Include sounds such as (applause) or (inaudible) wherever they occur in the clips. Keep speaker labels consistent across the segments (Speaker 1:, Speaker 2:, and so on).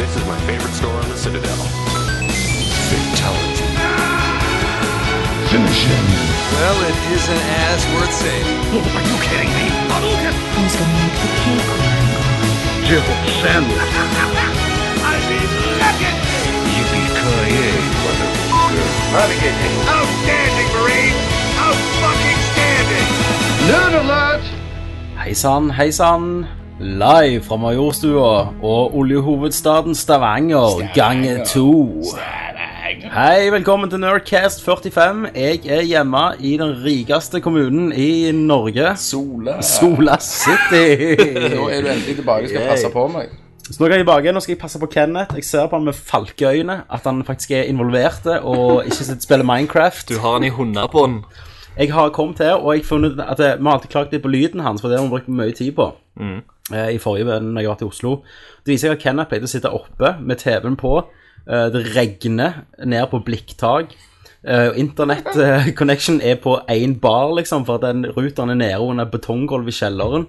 Speaker 1: favorite store on the Citadel. Fatality.
Speaker 2: Finish him.
Speaker 3: Well, it isn't as worth saving.
Speaker 2: Are you kidding me?
Speaker 4: Who's gonna make the cake work?
Speaker 2: Civil sandwich. Yippee-ki-yay, motherfucker.
Speaker 5: Outstanding, Marine! Out fucking standing!
Speaker 2: Nerd alert!
Speaker 6: Hei sann, hei sann. Live fra Majorstua og oljehovedstaden Stavanger, gange to. Hei, velkommen til Nerdcast 45. Jeg er hjemme i den rikeste kommunen i Norge.
Speaker 7: Sola.
Speaker 6: Sola City.
Speaker 7: (laughs) Nå er du endelig tilbake og skal passe på meg.
Speaker 6: Så nå er jeg tilbake, nå skal jeg passe på Kenneth. Jeg ser på han med falkeøyne, at han faktisk er involvert og ikke sitter og spiller Minecraft.
Speaker 8: Du har den i hundebånd.
Speaker 6: Jeg har kommet her, og jeg har funnet at det- vi har alltid klaget litt på lyden hans, for det har vi brukt mye tid på. Eh, I forrige venn når jeg var til Oslo. Det viser jeg at Kenneth pleide å sitte oppe med TV-en på. eh, Det regner ned på blikktak. Eh, Internett-connection eh, er på én bar, liksom, for at den ruteren er nede under betonggulvet i kjelleren.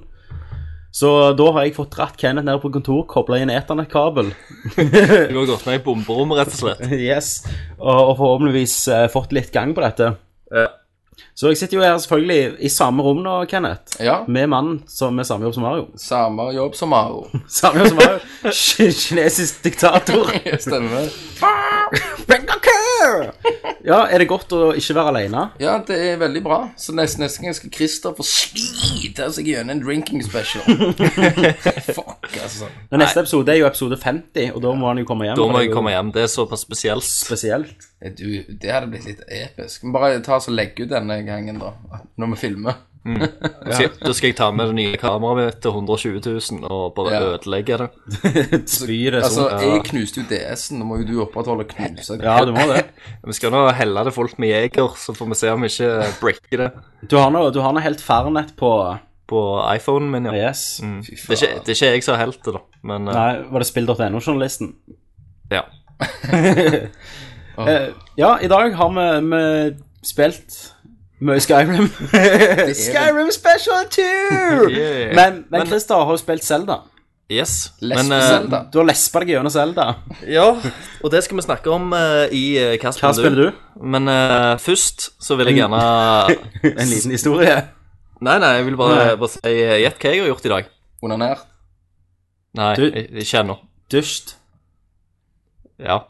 Speaker 6: Så da har jeg fått dratt Kenneth ned på kontor, kobla inn eternettkabel.
Speaker 8: Du har gått med i bomberommet, rett og slett.
Speaker 6: (laughs) Yes, og, og forhåpentligvis eh, fått litt gang på dette.
Speaker 8: Ja.
Speaker 6: Så jeg sitter jo her selvfølgelig i samme rom nå, Kenneth.
Speaker 7: Ja,
Speaker 6: Med mannen som er samme jobb som Mario. (laughs)
Speaker 7: samme jobb som
Speaker 8: (laughs)
Speaker 7: Maro.
Speaker 6: Samme jobb som Mario. Ki- Kinesisk diktator.
Speaker 8: (laughs)
Speaker 7: Stemmer.
Speaker 6: Ja, er det godt å ikke være alene?
Speaker 7: Ja, det er veldig bra. Så neste, neste gang skal Christer få slite seg gjennom en drinking
Speaker 8: (laughs)
Speaker 7: special. Fuck, altså.
Speaker 6: Den neste episode er jo episode 50, og da må han jo komme hjem.
Speaker 8: Da
Speaker 6: for
Speaker 8: må
Speaker 6: det er
Speaker 8: jeg
Speaker 6: jo
Speaker 8: komme hjem. Det er såpass spesielt. (laughs)
Speaker 6: Spesielt.
Speaker 7: Eh, Du, det hadde blitt litt episk. Men bare ta oss og legge ut denne gangen, da. Når vi filmer.
Speaker 8: Da skal- Da skal jeg ta med det nye kameraet mitt til 120 000 og bare
Speaker 7: Ja.
Speaker 8: ødelegge det.
Speaker 6: Spy det
Speaker 7: Altså,
Speaker 6: sånn.
Speaker 7: jeg knuste jo DS-en. Nå må jo du opprettholde og knuse.
Speaker 6: Ja, du må det.
Speaker 8: Vi skal nå helle det fullt med jeger, så får vi se om vi ikke breaker det
Speaker 6: Du har noe, du har noe helt fernet på
Speaker 8: på iPhonen min. ja.
Speaker 6: Yes.
Speaker 8: Mm. Det, er ikke, det er ikke jeg som har helt det, da. Men eh,
Speaker 6: Nei, var det spill.no-journalisten?
Speaker 8: ja.
Speaker 6: Eh, ja, i dag har vi, vi spilt mye (laughs) Skyrim. Skyrim Special (laughs) 2!
Speaker 8: Yeah.
Speaker 6: Men, men
Speaker 8: Men-
Speaker 6: Christer har jo spilt Zelda.
Speaker 8: Yes. Men eh,
Speaker 7: Lesbeselda.
Speaker 6: Du har lespa deg gjennom Zelda.
Speaker 8: ja, og det skal vi snakke om eh, i eh, Hva
Speaker 6: Hva
Speaker 8: spiller
Speaker 6: spiller
Speaker 8: du?
Speaker 6: du?
Speaker 8: Men eh, først så vil jeg gjerne
Speaker 6: (laughs) En liten historie.
Speaker 8: Nei, nei, jeg vil bare, bare si eh, Gjett hva jeg har gjort i dag.
Speaker 7: Onanert.
Speaker 8: Nei,
Speaker 6: Du-
Speaker 8: i- ikke ennå.
Speaker 6: Dusjt.
Speaker 8: Ja.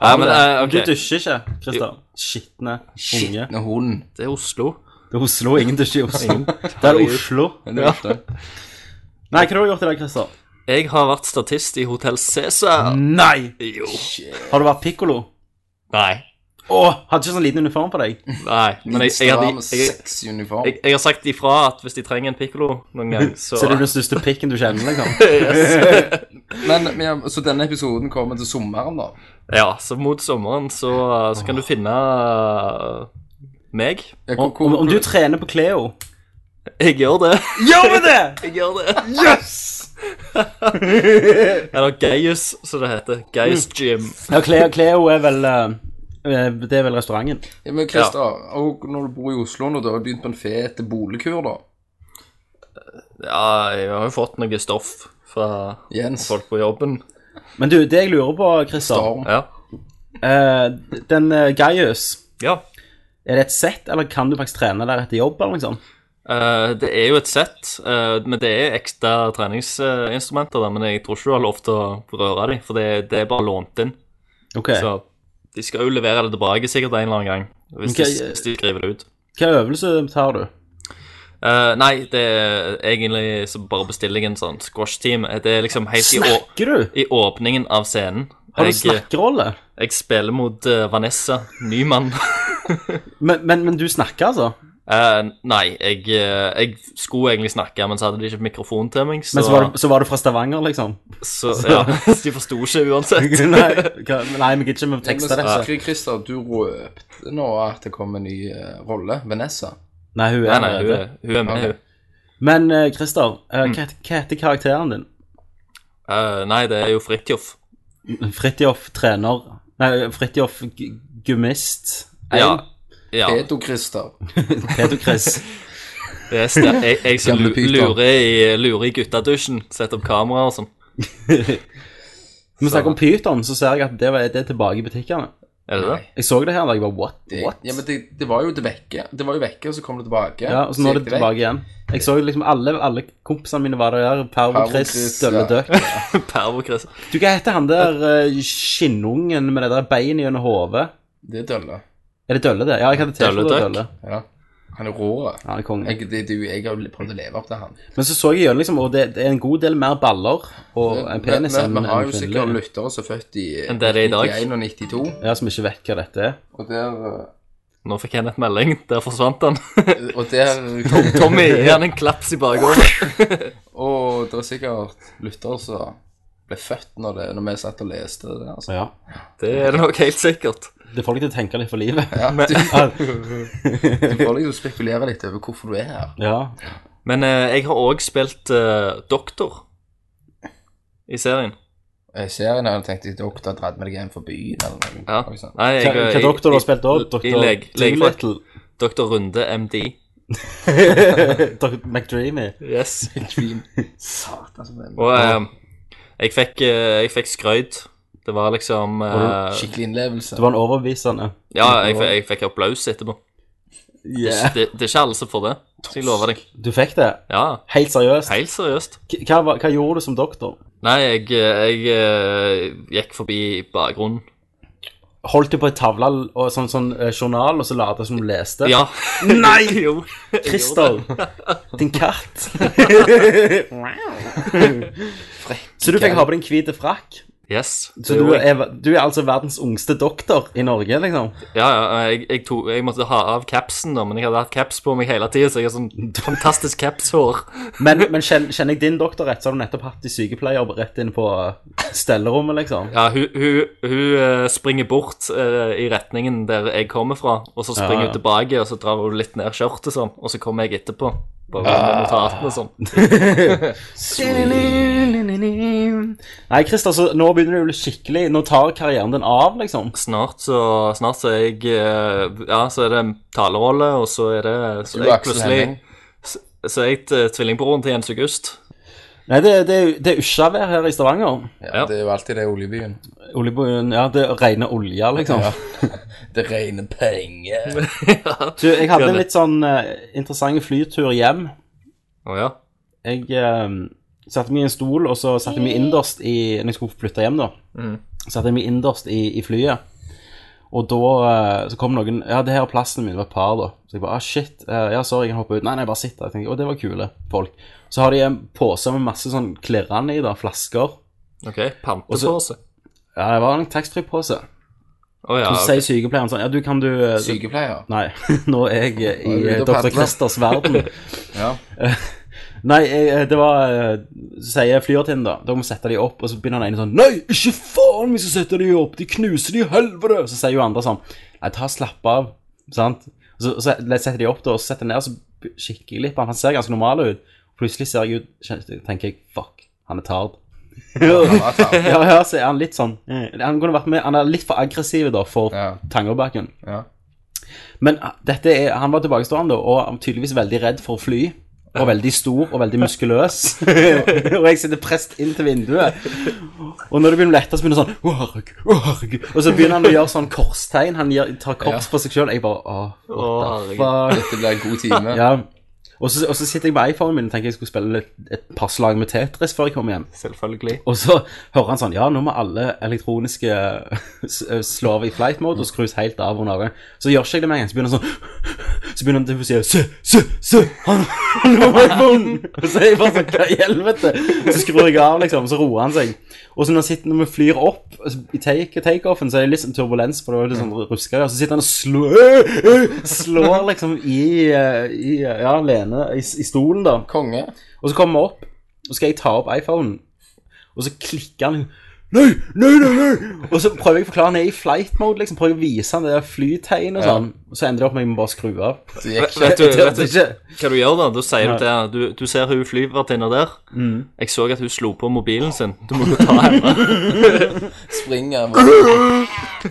Speaker 8: Nei, men eh, ok.
Speaker 6: Du dusjer ikke, Christer. Skitne unge.
Speaker 7: Skitne hund.
Speaker 8: Det er Oslo.
Speaker 6: Det er Oslo. Ingen dusjer i (laughs) Oslo. Det er Oslo.
Speaker 7: Men det er jo ikke det.
Speaker 6: Nei, hva har du gjort i dag, Christer?
Speaker 8: Jeg har vært statist i Hotell Cæsar.
Speaker 6: Nei!
Speaker 8: Jo.
Speaker 6: Har du vært pikkolo?
Speaker 8: Nei.
Speaker 6: Å, hadde ikke sånn liten uniform på deg?
Speaker 8: Nei. Men jeg, jeg,
Speaker 7: Stram,
Speaker 8: hadde, jeg,
Speaker 7: sexy uniform.
Speaker 8: jeg, jeg har sagt ifra at hvis de trenger en pikkolo noen gang, så
Speaker 6: Så det er den største pikken du kjenner, (laughs) liksom?
Speaker 7: Men, men ja, så denne episoden kommer til sommeren, da.
Speaker 8: Ja, så mot sommeren så, så kan du finne eh, meg.
Speaker 7: Ja, hvor-
Speaker 6: Om, om, om du trener på Cleo
Speaker 8: Jeg gjør det. (laughs)
Speaker 6: Gjør vi det?!
Speaker 8: Jeg gjør det. Yes! (laughs) Eller Gaius, som det heter. Gaius Gym.
Speaker 6: Ja, Cleo, Cleo er vel eh, Det er vel restauranten.
Speaker 7: Ja, men Christer, og når du bor i Oslo nå, du har jo begynt på en fet boligkur, da.
Speaker 8: Ja, jeg har jo fått noe stoff fra
Speaker 7: Jens.
Speaker 8: folk på jobben.
Speaker 6: Men du, det jeg lurer på, Christer
Speaker 7: Storm.
Speaker 8: Ja.
Speaker 6: eh, Den eh, Gaius,
Speaker 8: ja.
Speaker 6: er det et sett, eller kan du faktisk trene der etter jobb? eller noe sånt?
Speaker 8: Eh, det er jo et sett, eh, men det er ekte treningsinstrumenter der. Men jeg tror ikke du har lov til å røre dem, for det, det er bare lånt inn.
Speaker 6: Ok,
Speaker 8: Så de skal jo levere det tilbake sikkert en eller annen gang, hvis,
Speaker 6: Ok,
Speaker 8: de,
Speaker 6: eh.
Speaker 8: hvis de skriver det ut.
Speaker 6: Hva øvelse tar du?
Speaker 8: Eh, nei, det er egentlig så bare bestiller jeg en sånn squash-team. Det er liksom helt i, å,
Speaker 6: Snakker du?
Speaker 8: i åpningen av scenen.
Speaker 6: Har du
Speaker 8: Jeg,
Speaker 6: snakkerolle?
Speaker 8: jeg spiller mot eh, Vanessa Nyman.
Speaker 6: Men, men, men du snakker, altså?
Speaker 8: Eh, nei, jeg, eh, jeg skulle egentlig snakke, men så hadde de ikke mikrofon til meg. Så,
Speaker 6: Men så var du, så var du fra Stavanger, liksom?
Speaker 8: (laughs) så, ja, så de forsto ikke uansett.
Speaker 6: Nei, hva- nei vi gidder ikke med å
Speaker 7: Men
Speaker 6: tekste det. så-
Speaker 7: snakker Christer, du røpte nå at det kom en ny eh, rolle, Vanessa.
Speaker 6: Nei, hun
Speaker 8: Nei,
Speaker 6: er
Speaker 8: nei, hun
Speaker 6: allerede.
Speaker 8: er, Mm. hun er med, hun.
Speaker 6: Men eh, Christer, eh, hva, het- hva heter karakteren din?
Speaker 8: Eh, nei, det er jo Fridtjof.
Speaker 6: Fridtjof trener Nei, Fridtjof g- gummist.
Speaker 8: Ja. ja.
Speaker 7: Pedo-Christer.
Speaker 6: Peter
Speaker 8: (laughs)
Speaker 6: Chris.
Speaker 8: Det er stem- jeg, jeg som
Speaker 7: Gamle
Speaker 8: lu-
Speaker 7: Pyton.
Speaker 8: lurer i, lurer i guttadusjen. Setter opp kamera og sånn.
Speaker 6: Når vi snakker om Python, så ser jeg at det, var- det er tilbake i butikkene.
Speaker 8: Er det det?
Speaker 6: Jeg så det her da jeg var what?
Speaker 7: Det,
Speaker 6: what?
Speaker 7: ja, men det, det var jo det vekke. Det var jo vekke, og så kom det tilbake.
Speaker 6: Ja, og så nå er det
Speaker 7: gikk vekk.
Speaker 6: tilbake igjen. Jeg så liksom alle, alle kompisene mine var der. Pervo,
Speaker 7: Pervo,
Speaker 6: Chris,
Speaker 7: Chris,
Speaker 6: Dølle
Speaker 7: ja.
Speaker 6: Døkk.
Speaker 8: (laughs) Pervo, Chris.
Speaker 6: Du, hva heter han der eh, skinnungen med det der beinet gjennom hodet?
Speaker 7: Det er dølle.
Speaker 6: Er det Dølle, det? Ja, jeg hadde T-skjorte
Speaker 8: Dølle
Speaker 6: av
Speaker 8: Døkk.
Speaker 6: Dølle.
Speaker 7: Ja. Han er rå.
Speaker 6: Ja, han er kongen.
Speaker 7: Jeg, det, det, er jo- jeg har prøvd å leve opp til han.
Speaker 6: Men så så jeg gjennom, liksom, og det, det er en god del mer baller og en penis
Speaker 7: Men-
Speaker 6: enn
Speaker 7: men Vi har
Speaker 6: en
Speaker 7: jo
Speaker 6: kvinnelig.
Speaker 7: sikkert lyttere som er født i
Speaker 8: Enn det er i dag.
Speaker 7: 91 og 92.
Speaker 6: Ja, som ikke vet hva dette er.
Speaker 7: Og der,
Speaker 8: Nå fikk jeg en et melding. Der forsvant han. (laughs)
Speaker 7: eh, og der
Speaker 8: Tommy, gi han en klaps i bakhodet.
Speaker 7: Og det er sikkert lyttere som ble født når, det, når vi satt og leste det der. Altså.
Speaker 6: Ja.
Speaker 8: Det er det nok helt sikkert.
Speaker 6: Det får deg til å tenke litt for livet.
Speaker 7: Ja,
Speaker 8: (laughs)
Speaker 7: du, du får liksom spekulere litt over hvorfor du er her.
Speaker 6: Ja.
Speaker 8: Men eh, jeg har òg spilt eh, doktor i serien.
Speaker 7: Eh, Serien her tenkte jeg doktor dratt med deg hjem for byen eller noe.
Speaker 8: Ja.
Speaker 7: Oi, sånn. sant.
Speaker 8: Nei, jeg,
Speaker 6: Hva, hva doktor du har spilt òg? Doktor
Speaker 8: I leg, legefag.
Speaker 6: Doolittle?
Speaker 8: Doktor Runde, MD. (laughs)
Speaker 6: Doktor McDreamy?
Speaker 8: Yes.
Speaker 7: Dream. Satan, altså, som
Speaker 8: (laughs)
Speaker 7: en
Speaker 8: Og eh, jeg fikk, eh, jeg fikk skrøyt. Det var liksom eh,
Speaker 7: skikkelig innlevelse.
Speaker 6: Det var en overbevisende.
Speaker 8: Ja, jeg, fikk- jeg fikk applaus etterpå. Det, det er ikke alle som får det, skal jeg love deg.
Speaker 6: Du fikk det?
Speaker 8: Ja,
Speaker 6: Helt seriøst?
Speaker 8: helt seriøst.
Speaker 6: K- Hva, var- hva gjorde du som doktor?
Speaker 8: Nei, jeg, jeg eh, gikk forbi bakgrunnen.
Speaker 6: Holdt du på ei tavle og sånn, sånn eh, journal, og så lata som du leste? (laughs)
Speaker 8: Ja. (laughs) Nei! jo. jeg gjorde
Speaker 6: Christer!
Speaker 8: det. (laughs)
Speaker 6: Din katt! så du fikk ha på din hvite frakk?
Speaker 8: Yes.
Speaker 6: Så du er, du er altså verdens yngste doktor i Norge, liksom?
Speaker 8: Ja, ja, jeg, jeg, tok, jeg måtte ha av capsen, da, men jeg hadde hatt caps på meg hele tida, så jeg har sånn fantastisk capshår.
Speaker 6: Men, men kjenner, kjenner jeg din doktor rett, så har du nettopp hatt i sykepleier rett inn på eh, stellerommet, liksom?
Speaker 8: Ja, hun, hun, hun eh, springer bort eh, i retningen der jeg kommer fra, og så springer
Speaker 6: Ja, ja.
Speaker 8: hun tilbake, og så drar hun litt ned skjørtet sånn, og så kommer jeg etterpå. Bare med notatene sånn.
Speaker 6: Nei, Christer, så nå begynner du å bli skikkelig Nå tar karrieren din av, liksom.
Speaker 8: Snart så, snart så er jeg eh, Ja, så er det talerolle, og så er det Så
Speaker 7: Du,
Speaker 8: er jeg
Speaker 7: Aksel
Speaker 8: plutselig
Speaker 7: Henning.
Speaker 8: Så, så er jeg t- tvillingbroren til
Speaker 6: (laughs)
Speaker 8: Jens August.
Speaker 6: Nei, det, det, er- det er usjavær her i Stavanger.
Speaker 7: Ja, det er jo alltid det i oljebyen.
Speaker 6: Oljebyen, ja, det regner olje, liksom.
Speaker 7: (laughs) Det regner penger.
Speaker 6: Du, jeg hadde en
Speaker 8: Gjerne.
Speaker 6: litt sånn eh, interessant flytur hjem.
Speaker 8: Å ja.
Speaker 6: Jeg eh, satte meg i en stol, og så satte jeg meg innerst i Når jeg skulle flytte hjem, da.
Speaker 7: Mm.
Speaker 6: Satte jeg meg innerst i, i flyet. Og da eh, så kom noen Ja, det her er plassen min, det var et par, da. Så jeg bare ah, shit. eh, ja, sorry, jeg kan hoppe ut. Nei, nei, bare sitt der. Jeg tenker, Å, det var kule folk. Så har de en pose med masse sånn klirrende i, da. Flasker.
Speaker 8: OK. Pantepose.
Speaker 6: Ja, det var en taxfree-pose.
Speaker 8: Å ja.
Speaker 6: Så
Speaker 7: Ah,
Speaker 8: ok.
Speaker 6: sier sykepleieren sånn Ja, du, kan du eh,
Speaker 7: Sykepleier.
Speaker 6: Nei, (laughs) nå er jeg eh, i
Speaker 7: Nå er
Speaker 6: eh,
Speaker 7: du ute og
Speaker 6: Dr.
Speaker 7: padler.
Speaker 6: Christers
Speaker 7: (laughs)
Speaker 6: verden.
Speaker 7: Ja.
Speaker 6: Nei, eh, det var eh, Så sier flyvertinnen, da. Da må vi sette de opp. Og så begynner den ene sånn Nei, ikke faen, vi skal sette de opp! De knuser de i helvete! Så sier jo andre sånn Nei, ta slapp av. Sant? Og Så, så setter de opp, da, og så setter de ned, og så kikker jeg litt på han. Han ser ganske normal ut. Plutselig ser jeg ut kjen- Tenker jeg Fuck, han er tard. ja, ja, så er han litt sånn Han kunne vært med Han er litt for aggressiv da for
Speaker 7: Ja.
Speaker 6: Tangerbakken.
Speaker 7: Ja.
Speaker 6: Men ah, dette er, han var tilbakestående og han var tydeligvis veldig redd for å fly. Og veldig stor og veldig muskuløs. og jeg sitter prest inn til vinduet. Og når det begynner å lette, så begynner han sånn Å, herregud, å, herregud. Og så begynner han å gjøre sånn korstegn. Han gjør, tar kors på seg sjøl. Jeg bare Å, what the
Speaker 8: Å,
Speaker 6: fuck.
Speaker 7: Dette blir en god time.
Speaker 6: Ja. Og så, og så sitter jeg med iPhonen min og tenker jeg skulle spille litt, et par slag med Tetris før jeg kommer hjem.
Speaker 8: Selvfølgelig.
Speaker 6: (laughs) Og så hører han sånn Ja, nå må alle elektroniske (laughs) s- slå av i flight mode og skrus helt av under øynene. Så gjør ikke jeg det med en gang. Så begynner han sånn (laughs) Så begynner han til å si Se, se, se! Han (laughs) han har iPhonen! Og så er jeg bare sånn Hva i helvete? Så skrur jeg av, liksom. Så roer han seg. Og så når, han sitter, når vi flyr opp altså, i take- takeoffen, så er det litt sånn turbulens, for det var litt sånn ruskere. Og så sitter han og slår, (laughs) slår liksom i, eh, i eh, Ja, Lene, i, i stolen, da.
Speaker 7: Konge.
Speaker 6: Og så kommer vi opp, og så skal jeg ta opp iPhonen, og så klikker han Nei, nei, nei, nei! Og så prøver jeg å forklare han er i flight mode, liksom. Prøver jeg å vise han det der flytegn og sånn. Og så ender det opp med at jeg må bare skru av.
Speaker 7: Det gikk
Speaker 8: Vet
Speaker 6: (laughs)
Speaker 8: du,
Speaker 6: Det
Speaker 8: vet
Speaker 6: hørte
Speaker 8: du
Speaker 6: ikke.
Speaker 8: hva du gjør da? Da sier du til henne Du, du ser hun flyvertinna der.
Speaker 6: Mm.
Speaker 8: Jeg så at hun slo på mobilen sin. Du må gå og ta
Speaker 6: (laughs)
Speaker 8: henne.
Speaker 7: springer.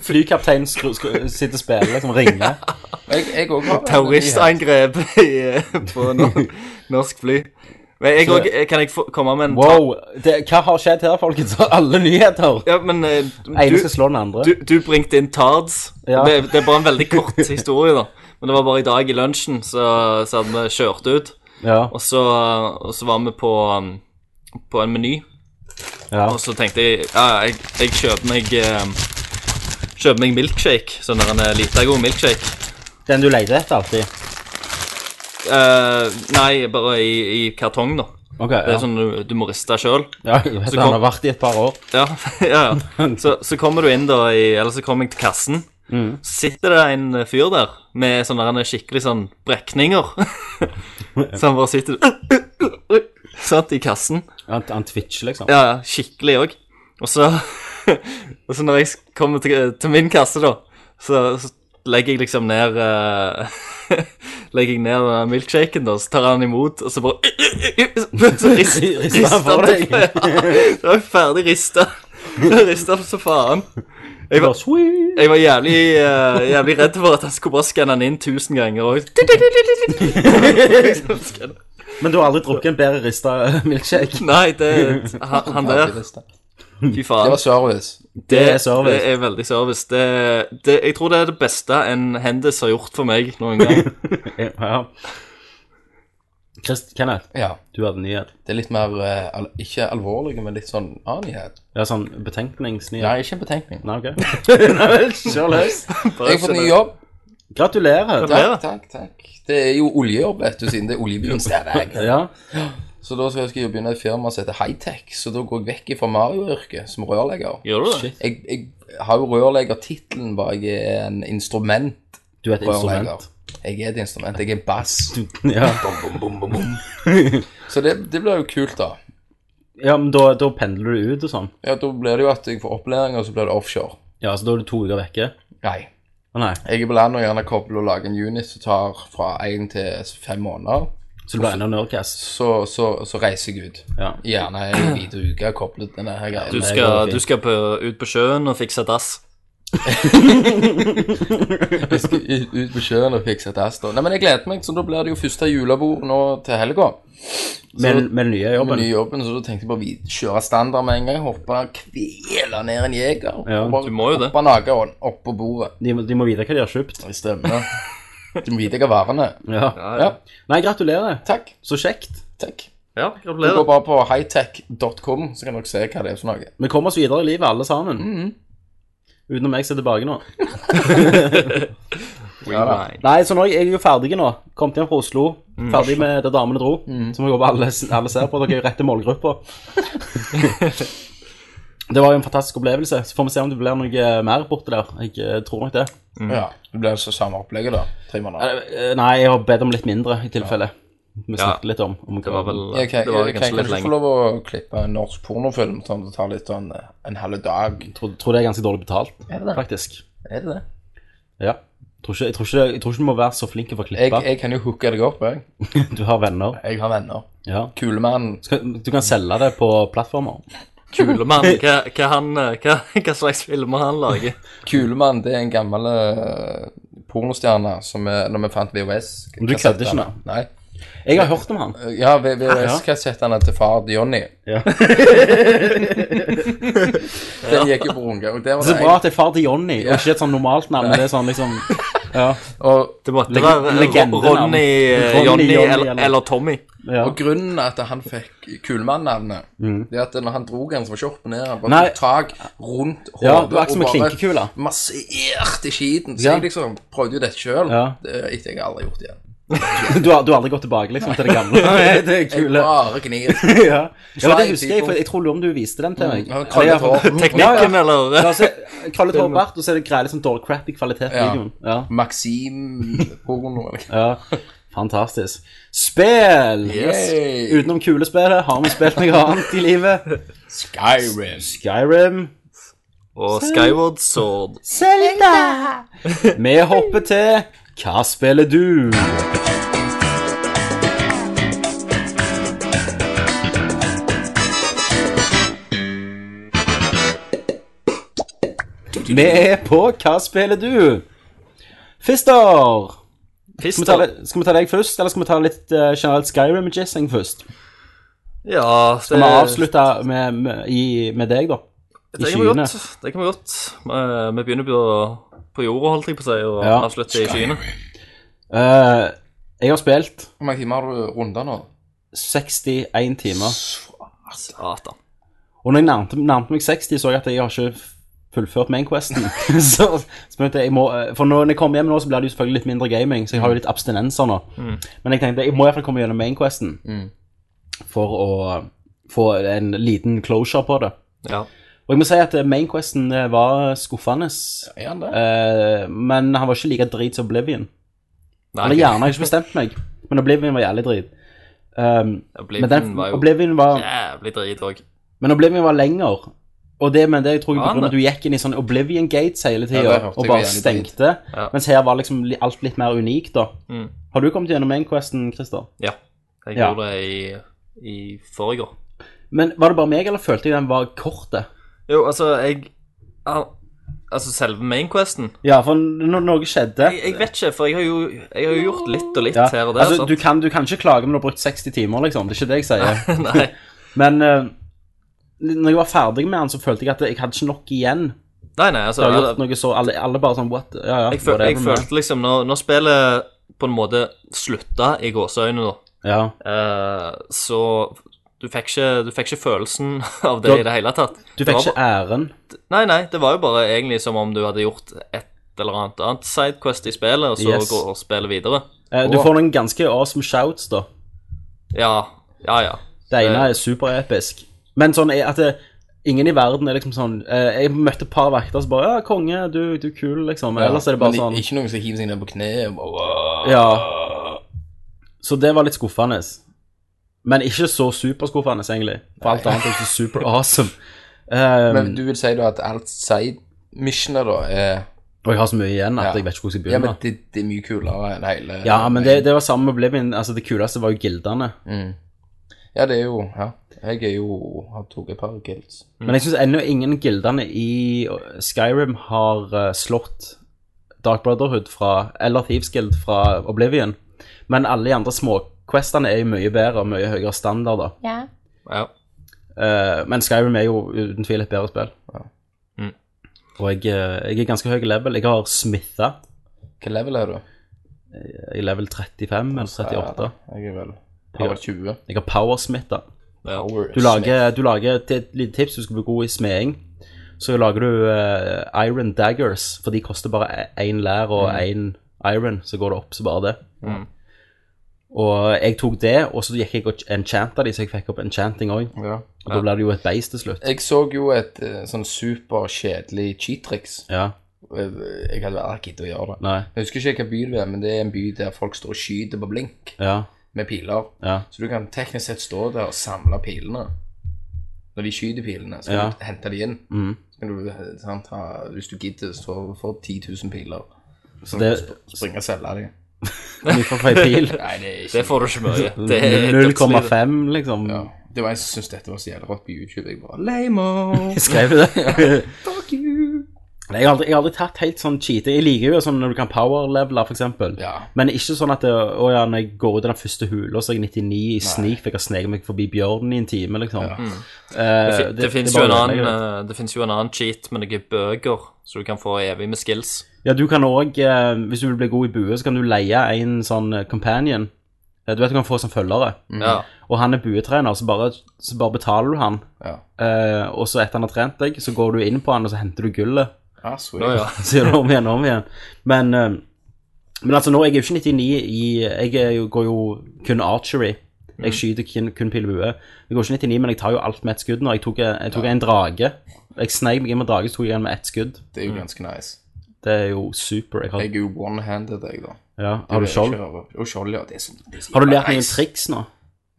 Speaker 6: Flykapteinen skru, skru, sitter og spiller, liksom. Ringer.
Speaker 7: Jeg, jeg også har
Speaker 6: (laughs)
Speaker 7: det.
Speaker 8: Terroristangrep i- på no eh, norsk fly. Men jeg, og- kan jeg få, komme med en
Speaker 6: Wow, det, hva har skjedd her, folkens? (laughs) Alle nyheter!
Speaker 8: Ja, men eh,
Speaker 6: Ene
Speaker 8: du,
Speaker 6: skal slå den andre.
Speaker 8: du, du bringte inn Tards.
Speaker 6: Ja.
Speaker 8: Det, det er bare en
Speaker 6: (laughs)
Speaker 8: veldig kort historie, da. Men det var bare i dag i lunsjen, så, så hadde vi kjørt ut.
Speaker 6: Ja,
Speaker 8: Og så, og så var vi på, um, på en meny,
Speaker 6: ja.
Speaker 8: og så tenkte jeg ja, ja, jeg, jeg kjøper meg eh, Kjøper meg milkshake. Sånn der en eh, lita god milkshake.
Speaker 6: Den du leter etter alltid.
Speaker 8: Eh, nei, bare i, i kartong, da.
Speaker 6: Ok, ja.
Speaker 8: Det er sånn du, du må riste sjøl.
Speaker 6: ja jeg vet, han
Speaker 8: så kom-
Speaker 6: har vært i et par år.
Speaker 8: Ja, (laughs) ja, ja. Så, så kommer du inn da i, Eller så kommer jeg til kassen Så sitter det en fyr der Med sånne der skikkelig sånn brekninger (laughs) Så han bare sitter (laughs) Sånn i kassen
Speaker 6: Han, han twitcher, liksom.
Speaker 8: Ja, ja, skikkelig også Og så (laughs) Og så når jeg kommer til, til min kasse da Så, så legger jeg liksom ned eh, (laughs) Legger jeg ned eh, milkshaken da Så tar han imot Og så bare (laughs) Så rist-
Speaker 6: (laughs) Rister han for deg?
Speaker 8: rister han til- (laughs) Ja, Da var jeg ferdig (laughs) ristet Ristet han så faen jeg var,
Speaker 6: Sweet.
Speaker 8: jeg var jævlig, eh, jævlig redd for at han skulle bare skanne den inn tusen ganger også.
Speaker 6: Men du har aldri drukket en bedre rista milkshake?
Speaker 8: (laughs) Nei, det, han, han der,
Speaker 7: Det
Speaker 8: fy faen
Speaker 7: var service.
Speaker 6: Det er service.
Speaker 8: Det er veldig service. Det, det, jeg tror det er det beste en hendis har gjort for meg noen
Speaker 6: (laughs)
Speaker 8: gang.
Speaker 6: Ja. Christ, Kenneth,
Speaker 7: Ja.
Speaker 6: du hadde nyhet.
Speaker 7: Det er litt mer eh, al Ikke alvorlige, men litt sånn anighet.
Speaker 6: Ja, sånn betenkningsnyhet.
Speaker 7: Nei, ikke en betenkning.
Speaker 6: Nei, ok. Kjør løs.
Speaker 7: Jeg har fått ny jobb.
Speaker 6: Gratulerer.
Speaker 7: Takk,
Speaker 8: Gratulerer.
Speaker 7: takk, takk. Det er jo oljejobb, vet du, siden det er oljebyen stedet.
Speaker 6: (laughs) Ja.
Speaker 7: Så da skal jeg skal jeg begynne i et firma som heter Hightech, så da går jeg vekk fra Mario-yrket som rørlegger.
Speaker 8: Gjør du det?
Speaker 6: Shit.
Speaker 7: Jeg, jeg har jo rørleggertittelen bare jeg er en instrumentrørlegger.
Speaker 6: Du er et instrument.
Speaker 7: Jeg er et instrument, jeg er bass.
Speaker 6: Ja,
Speaker 7: Så det, det blir jo kult, da.
Speaker 6: ja men da, da pendler du ut og sånn.
Speaker 7: Ja, Da blir det jo at jeg får opplæring, og så blir det offshore.
Speaker 6: Ja, så da er du to uker vekke.
Speaker 7: Nei.
Speaker 6: Å nei,
Speaker 7: Jeg er på land og gjerne kobler og lager en unit som tar fra én til fem måneder.
Speaker 6: så du blir enda nerdcast.
Speaker 7: Så, så, så reiser jeg ut.
Speaker 6: Ja.
Speaker 7: Gjerne en hvite uke koblet denne her greia.
Speaker 8: Du
Speaker 6: det går
Speaker 8: skal,
Speaker 6: fint.
Speaker 8: du skal på, ut på sjøen og fikse dass.
Speaker 7: Jeg skal ut ut på sjøen og fikse et ass da. Nei, men jeg gleder meg, så da blir det jo første julebord nå til helga.
Speaker 6: Med, med den nye
Speaker 7: Med
Speaker 6: jobben.
Speaker 7: ny jobben, så da tenkte jeg bare vi kjøre standard med en gang. Hoppe, kvele ned en jeger.
Speaker 6: Ja,
Speaker 7: og bare
Speaker 8: du må jo det.
Speaker 7: Hoppe naken opp på bordet.
Speaker 6: De, må- de må vite hva de har kjøpt.
Speaker 7: Det stemmer. (laughs) Du må vite hva varene er.
Speaker 6: Ja.
Speaker 7: Ja,
Speaker 6: Nei, gratulerer.
Speaker 7: takk.
Speaker 6: Så kjekt.
Speaker 7: Takk.
Speaker 8: Ja,
Speaker 7: Du går
Speaker 8: gratulerer.
Speaker 7: bare på hightech.com, så kan dere se hva det er for noe.
Speaker 6: Vi kommer oss videre i livet, alle sammen. Utenom jeg som er tilbake nå.
Speaker 8: Rewind.
Speaker 6: Nei, så nå er jeg jo ferdig nå. Kom hjem fra Oslo. Ferdig med det damene dro.
Speaker 7: Mm.
Speaker 6: Så må jeg håpe alle, alle ser på. Dere er jo rett i målgruppa. det var jo en fantastisk opplevelse. Så får vi se om det blir noe eh, mer borte der. Jeg eh, tror nok det.
Speaker 7: Ja, Det blir altså samme opplegget, da. Tre måneder.
Speaker 6: Eh, Nei, jeg har bedt om litt mindre, i tilfelle. Vi snakket litt om, om
Speaker 8: Det var vel
Speaker 7: Jeg kan,
Speaker 8: Det var
Speaker 7: jeg, kan,
Speaker 8: kanskje
Speaker 7: kan
Speaker 8: litt
Speaker 7: ikke få
Speaker 8: lenge.
Speaker 7: lov (laughs) å klippe en norsk pornofilm sånn at det tar litt sånn eh, en halv dag.
Speaker 6: tror, tror det er ganske dårlig betalt,
Speaker 7: Er det det?
Speaker 6: faktisk.
Speaker 7: Er det det?
Speaker 6: Ja. Tror ikke, jeg, tror ikke, jeg tror ikke du må være så flink for å
Speaker 7: Jeg,
Speaker 6: klippe.
Speaker 7: jeg kan jo hooke deg opp, jeg.
Speaker 6: Du har venner.
Speaker 7: Jeg har venner.
Speaker 6: Ja.
Speaker 7: Kulemann.
Speaker 6: Skal- Du kan selge det på plattformer.
Speaker 8: Kulemann. Hva, hva, han, eh, hva, hva slags filmer han lager?
Speaker 7: Kulemann, det er en gammel eh, pornostjerne som vi, når vi fant VHS.
Speaker 6: Men du kødder ikke nå?
Speaker 7: Nei.
Speaker 6: Jeg har hørt om han.
Speaker 7: Ja, VHS-kassettene til far til Johnny. (laughs)
Speaker 6: Ja.
Speaker 7: Den gikk jo på runke. Og der var
Speaker 6: Det
Speaker 7: det
Speaker 6: er bra
Speaker 7: en,
Speaker 6: at det er far til Johnny, og ikke et sånn normalt navn. men Det er sånn liksom Ja.
Speaker 7: og,
Speaker 8: Det måtte
Speaker 6: Leg-
Speaker 8: være eh,
Speaker 6: legendenavn.
Speaker 8: Ronny, eh,
Speaker 6: Ronny,
Speaker 8: Johnny
Speaker 6: Johnny,
Speaker 8: eller,
Speaker 6: eller-
Speaker 8: eller Tommy.
Speaker 6: ja. Mm.
Speaker 7: og grunnen at han fikk Kulemann-navnet, det er at når han dro den, så var ikke opp og ned. Han bare
Speaker 6: Nei.
Speaker 7: tok tak rundt hodet
Speaker 6: Ja, det var akkurat som en klinkekule.
Speaker 7: masserte skiten. Så
Speaker 6: Ja.
Speaker 7: jeg liksom prøvde jo dette sjøl,
Speaker 6: Ja.
Speaker 7: etter jeg aldri har gjort det igjen.
Speaker 6: Du, har, du har aldri gått tilbake liksom til det gamle? Nei, det er
Speaker 7: Jeg
Speaker 6: kule.
Speaker 7: bare (laughs) gnir.
Speaker 6: Ja. ja, men det husker jeg, for jeg tror lurer om du viste den til meg.
Speaker 7: Ja, krøllet
Speaker 6: Eller-
Speaker 7: hår.
Speaker 8: Teknikken,
Speaker 6: Ja,
Speaker 8: eller
Speaker 6: ja. Altså, Krøllet hår bart, og så er det grei liksom dårlig crappy kvalitet i
Speaker 7: Ja.
Speaker 6: videoen. Ja.
Speaker 7: Maxim-porno. eller hva?
Speaker 6: ja. Fantastisk. Spill!
Speaker 7: Yay.
Speaker 6: Utenom kulespillet, har vi spilt noe annet i livet?
Speaker 7: Skyrim.
Speaker 6: Skyrim.
Speaker 8: Og Skyward Sword.
Speaker 6: (laughs) Vi hopper til Hva spiller du? Vi er på Hva spiller du? Fister! Skal vi, ta,
Speaker 8: Fister.
Speaker 6: det- skal vi ta deg først, eller skal vi ta litt eh, generelt Skyrim-jessing først?
Speaker 8: Ja, det,
Speaker 6: Skal vi avslutte med, med, i- med deg, da?
Speaker 8: Eh, det
Speaker 6: i
Speaker 8: kan vi
Speaker 6: skyene?
Speaker 8: godt. Det kan vi godt. Eh, vi begynner på, på jorda, holdt jeg på å si, og
Speaker 6: Ja.
Speaker 8: avslutter i skyene.
Speaker 6: Eh, jeg har spilt
Speaker 7: Hvor mange timer har du runda nå?
Speaker 6: 61 timer.
Speaker 8: Satan.
Speaker 6: Og når jeg nærmte, nærmte meg 60, så jeg at jeg har ikke fullført
Speaker 8: (laughs)
Speaker 6: mainquesten. (laughs) så, så begynte jeg, jeg må, eh, for nå, når jeg kommer hjem nå, så blir det jo selvfølgelig litt mindre gaming, så jeg har jo litt abstinenser nå.
Speaker 8: Mm.
Speaker 6: Men jeg tenkte, jeg må i hvert fall komme gjennom mainquesten for å få en liten closure på det.
Speaker 8: Ja.
Speaker 6: Og jeg må si at eh, mainquesten eh, var skuffende,
Speaker 7: Er han det?
Speaker 6: eh, men han var ikke like drit som Oblivion.
Speaker 8: Nei,
Speaker 6: Eller gjerne, jeg har ikke bestemt meg, men Oblivion var jævlig drit. Um, men
Speaker 8: Oblivion
Speaker 6: den,
Speaker 8: var jo
Speaker 6: Oblivion var...
Speaker 8: jævlig drit òg.
Speaker 6: Men Oblivion var lenger. Og det, men det jeg tror jeg
Speaker 8: Var
Speaker 6: på
Speaker 8: han
Speaker 6: grunn av
Speaker 8: det?
Speaker 6: at du gikk inn i sånn Oblivion Gates hele tida
Speaker 7: Ja, det hørte
Speaker 6: og
Speaker 7: jeg
Speaker 6: bare
Speaker 7: var jævlig
Speaker 6: stengte.
Speaker 8: Ja.
Speaker 6: Mens her var liksom li- alt litt mer unikt, da.
Speaker 8: Mm.
Speaker 6: Har du kommet gjennom Mainquesten, Christer?
Speaker 8: Ja. Jeg
Speaker 6: Ja.
Speaker 8: gjorde det i, i forrige år.
Speaker 6: Men var det bare meg, eller følte jeg den var kort? det?
Speaker 8: Jo, altså, jeg al- Altså, selve mainquesten
Speaker 6: Ja, for no noe skjedde.
Speaker 8: jeg, jeg vet ikke, for jeg har jo, jeg har jo gjort litt og litt
Speaker 6: Ja.
Speaker 8: her og der.
Speaker 6: altså, du, kan, du kan ikke klage, men du har brukt 60 timer, liksom. Det er ikke det jeg sier.
Speaker 8: sant? (laughs) Nei. (laughs)
Speaker 6: Men eh, når jeg var ferdig med den, så følte jeg at jeg hadde ikke nok igjen.
Speaker 8: nei, nei, altså
Speaker 6: Jeg har
Speaker 8: jeg,
Speaker 6: gjort noe så Alle, alle bare sånn what? Ja, ja.
Speaker 8: jeg, føl, jeg
Speaker 6: whatever, man.
Speaker 8: følte liksom Når, når spillet på en måte slutta i gåseøynene, da,
Speaker 6: Ja.
Speaker 8: eh, så du fikk, ikke, du fikk ikke følelsen (laughs) av
Speaker 6: Du
Speaker 8: det
Speaker 6: har-
Speaker 8: i det hele tatt.
Speaker 6: Du
Speaker 8: Det
Speaker 6: fikk
Speaker 8: var
Speaker 6: ikke æren.
Speaker 8: Nei, nei, det var jo bare egentlig som om du hadde gjort et eller annet annet sidequest i spillet, og så
Speaker 6: Yes.
Speaker 8: går spillet videre.
Speaker 6: Eh, du får noen ganske awesome shouts, da.
Speaker 8: Ja, ja, ja.
Speaker 6: Det ene er superepisk. Men sånn er at det, ingen i verden er liksom sånn eh, Jeg møtte et par vakter som bare Ja, konge, du, du er kul, liksom. Men Ellers er det bare
Speaker 7: Men i-
Speaker 6: sånn
Speaker 7: Ikke noen som hiver seg ned på kneet og bare
Speaker 6: Ja. Så det var litt skuffende. Men ikke så superskuffende, egentlig. For alt annet er jo så super awesome. Um,
Speaker 7: Men du vil si da at alt side-missionet da er
Speaker 6: og jeg har så mye igjen at
Speaker 7: Ja.
Speaker 6: jeg vet ikke hvor jeg skal
Speaker 7: Ja, men
Speaker 6: begynne.
Speaker 7: det, det er mye kulere enn hele
Speaker 6: Ja, men det, det var samme med Oblivion. Altså, det kuleste var jo gildene.
Speaker 7: Ja, det er jo Ja. Jeg er jo Har tatt et par guilds.
Speaker 6: Men jeg syns ennå ingen gildene i Skyrim har eh, slått Dark Brotherhood fra, eller Thieves Guild fra Oblivion. Men alle de andre småquestene er jo mye bedre og mye høyere standard, da.
Speaker 4: Ja.
Speaker 8: ja.
Speaker 6: Eh, men Skyrim er jo uten tvil et bedre spill.
Speaker 8: Mm.
Speaker 6: Og jeg, eh, jeg er ganske høy level. Jeg har smitha
Speaker 7: Hvilken level er du?
Speaker 6: i level 35 eller 38.
Speaker 7: Jeg er vel Har vel 20.
Speaker 6: Jeg har powersmitha.
Speaker 8: ja.
Speaker 6: Du lager, du lager til et lite tips, du skal bli god i smeding. Så lager du eh, iron daggers, for de koster bare én lær og én iron. Så går det opp, så bare det.
Speaker 8: Mm.
Speaker 6: Og jeg tok det, og så gikk jeg og enchanta de, så jeg fikk opp enchanting òg.
Speaker 7: Ja.
Speaker 6: Og da ble det jo et beist til slutt.
Speaker 7: Jeg så jo et eh, sånn superkjedelig cheat-triks.
Speaker 6: Ja,
Speaker 7: Jeg jeg hadde aldri giddet å gjøre det.
Speaker 6: nei,
Speaker 7: Jeg husker ikke hvilken by det er, men det er en by der folk står og skyter på blink
Speaker 6: ja,
Speaker 7: med piler.
Speaker 6: ja.
Speaker 7: Så du kan teknisk sett stå der og samle pilene. Når de skyter pilene, så kan
Speaker 6: Ja.
Speaker 7: du hente de inn.
Speaker 6: Mm.
Speaker 7: Så kan du, eh, sant, ha, hvis du gidder, så får du 10 000 piler. Så
Speaker 6: det-
Speaker 7: kan du sp- springe og selge dem.
Speaker 6: Mye for feil pil.
Speaker 7: Nei, det er ikke
Speaker 8: Det får du ikke
Speaker 6: (laughs)
Speaker 8: mye. (laughs) Det er dødslivet.
Speaker 6: 0,5, liksom.
Speaker 7: ja. Det var en som syntes dette var så jævlig rått på YouTube. Jeg bare
Speaker 6: (laughs)
Speaker 7: Lame-o!
Speaker 6: Jeg skrev det. (laughs)
Speaker 7: Fuck you!
Speaker 6: Nei, jeg har aldri, jeg har aldri tatt helt sånn cheating. Jeg liker jo sånn når du kan power-levele, for eksempel.
Speaker 7: Ja.
Speaker 6: Men ikke sånn at det, å ja, når jeg går ut av den første hula, så er jeg 99 i sneak, for jeg har sneket meg forbi bjørnen i en time, liksom. Eh,
Speaker 8: Det, fi- det, finnes
Speaker 6: bare
Speaker 8: jo en annen,
Speaker 6: ødelegger det.
Speaker 8: eh, det finnes jo en annen cheat med noen bøker, så du kan få evig med skills.
Speaker 6: Ja, du kan òg, hvis du vil bli god i bue, så kan du leie en sånn eh, companion. Eh, Du vet du kan få som følgere.
Speaker 7: Mm.
Speaker 8: Ja.
Speaker 6: Og han er buetrener, så bare, så bare betaler du han.
Speaker 7: Ja.
Speaker 6: Eh, og så etter han har trent deg, så går du inn på han, og så henter du gullet.
Speaker 7: Ah, sweet.
Speaker 8: Å, ja. (clears throat)
Speaker 6: (laughs) Så gjør du om igjen og om igjen. Men, eh, men altså, nå jeg er jo ikke 99 i Jeg er jo, går jo kun archery. Jeg skyter kun, kun pil og bue. Jeg går ikke 99, men jeg tar jo alt med ett skudd. Når jeg tok, eh, jeg tok en drage Jeg sneik meg inn med drage, så tok jeg den med ett skudd.
Speaker 7: Det er jo ganske nice.
Speaker 6: Det er jo super. Jeg har,
Speaker 7: Jeg er jo one-handed, jeg, da.
Speaker 6: ja, har du skjold?
Speaker 7: Og skjold, ja. Det er så, det er så
Speaker 6: Har du lært
Speaker 7: jævla
Speaker 6: noen
Speaker 7: nice.
Speaker 6: triks nå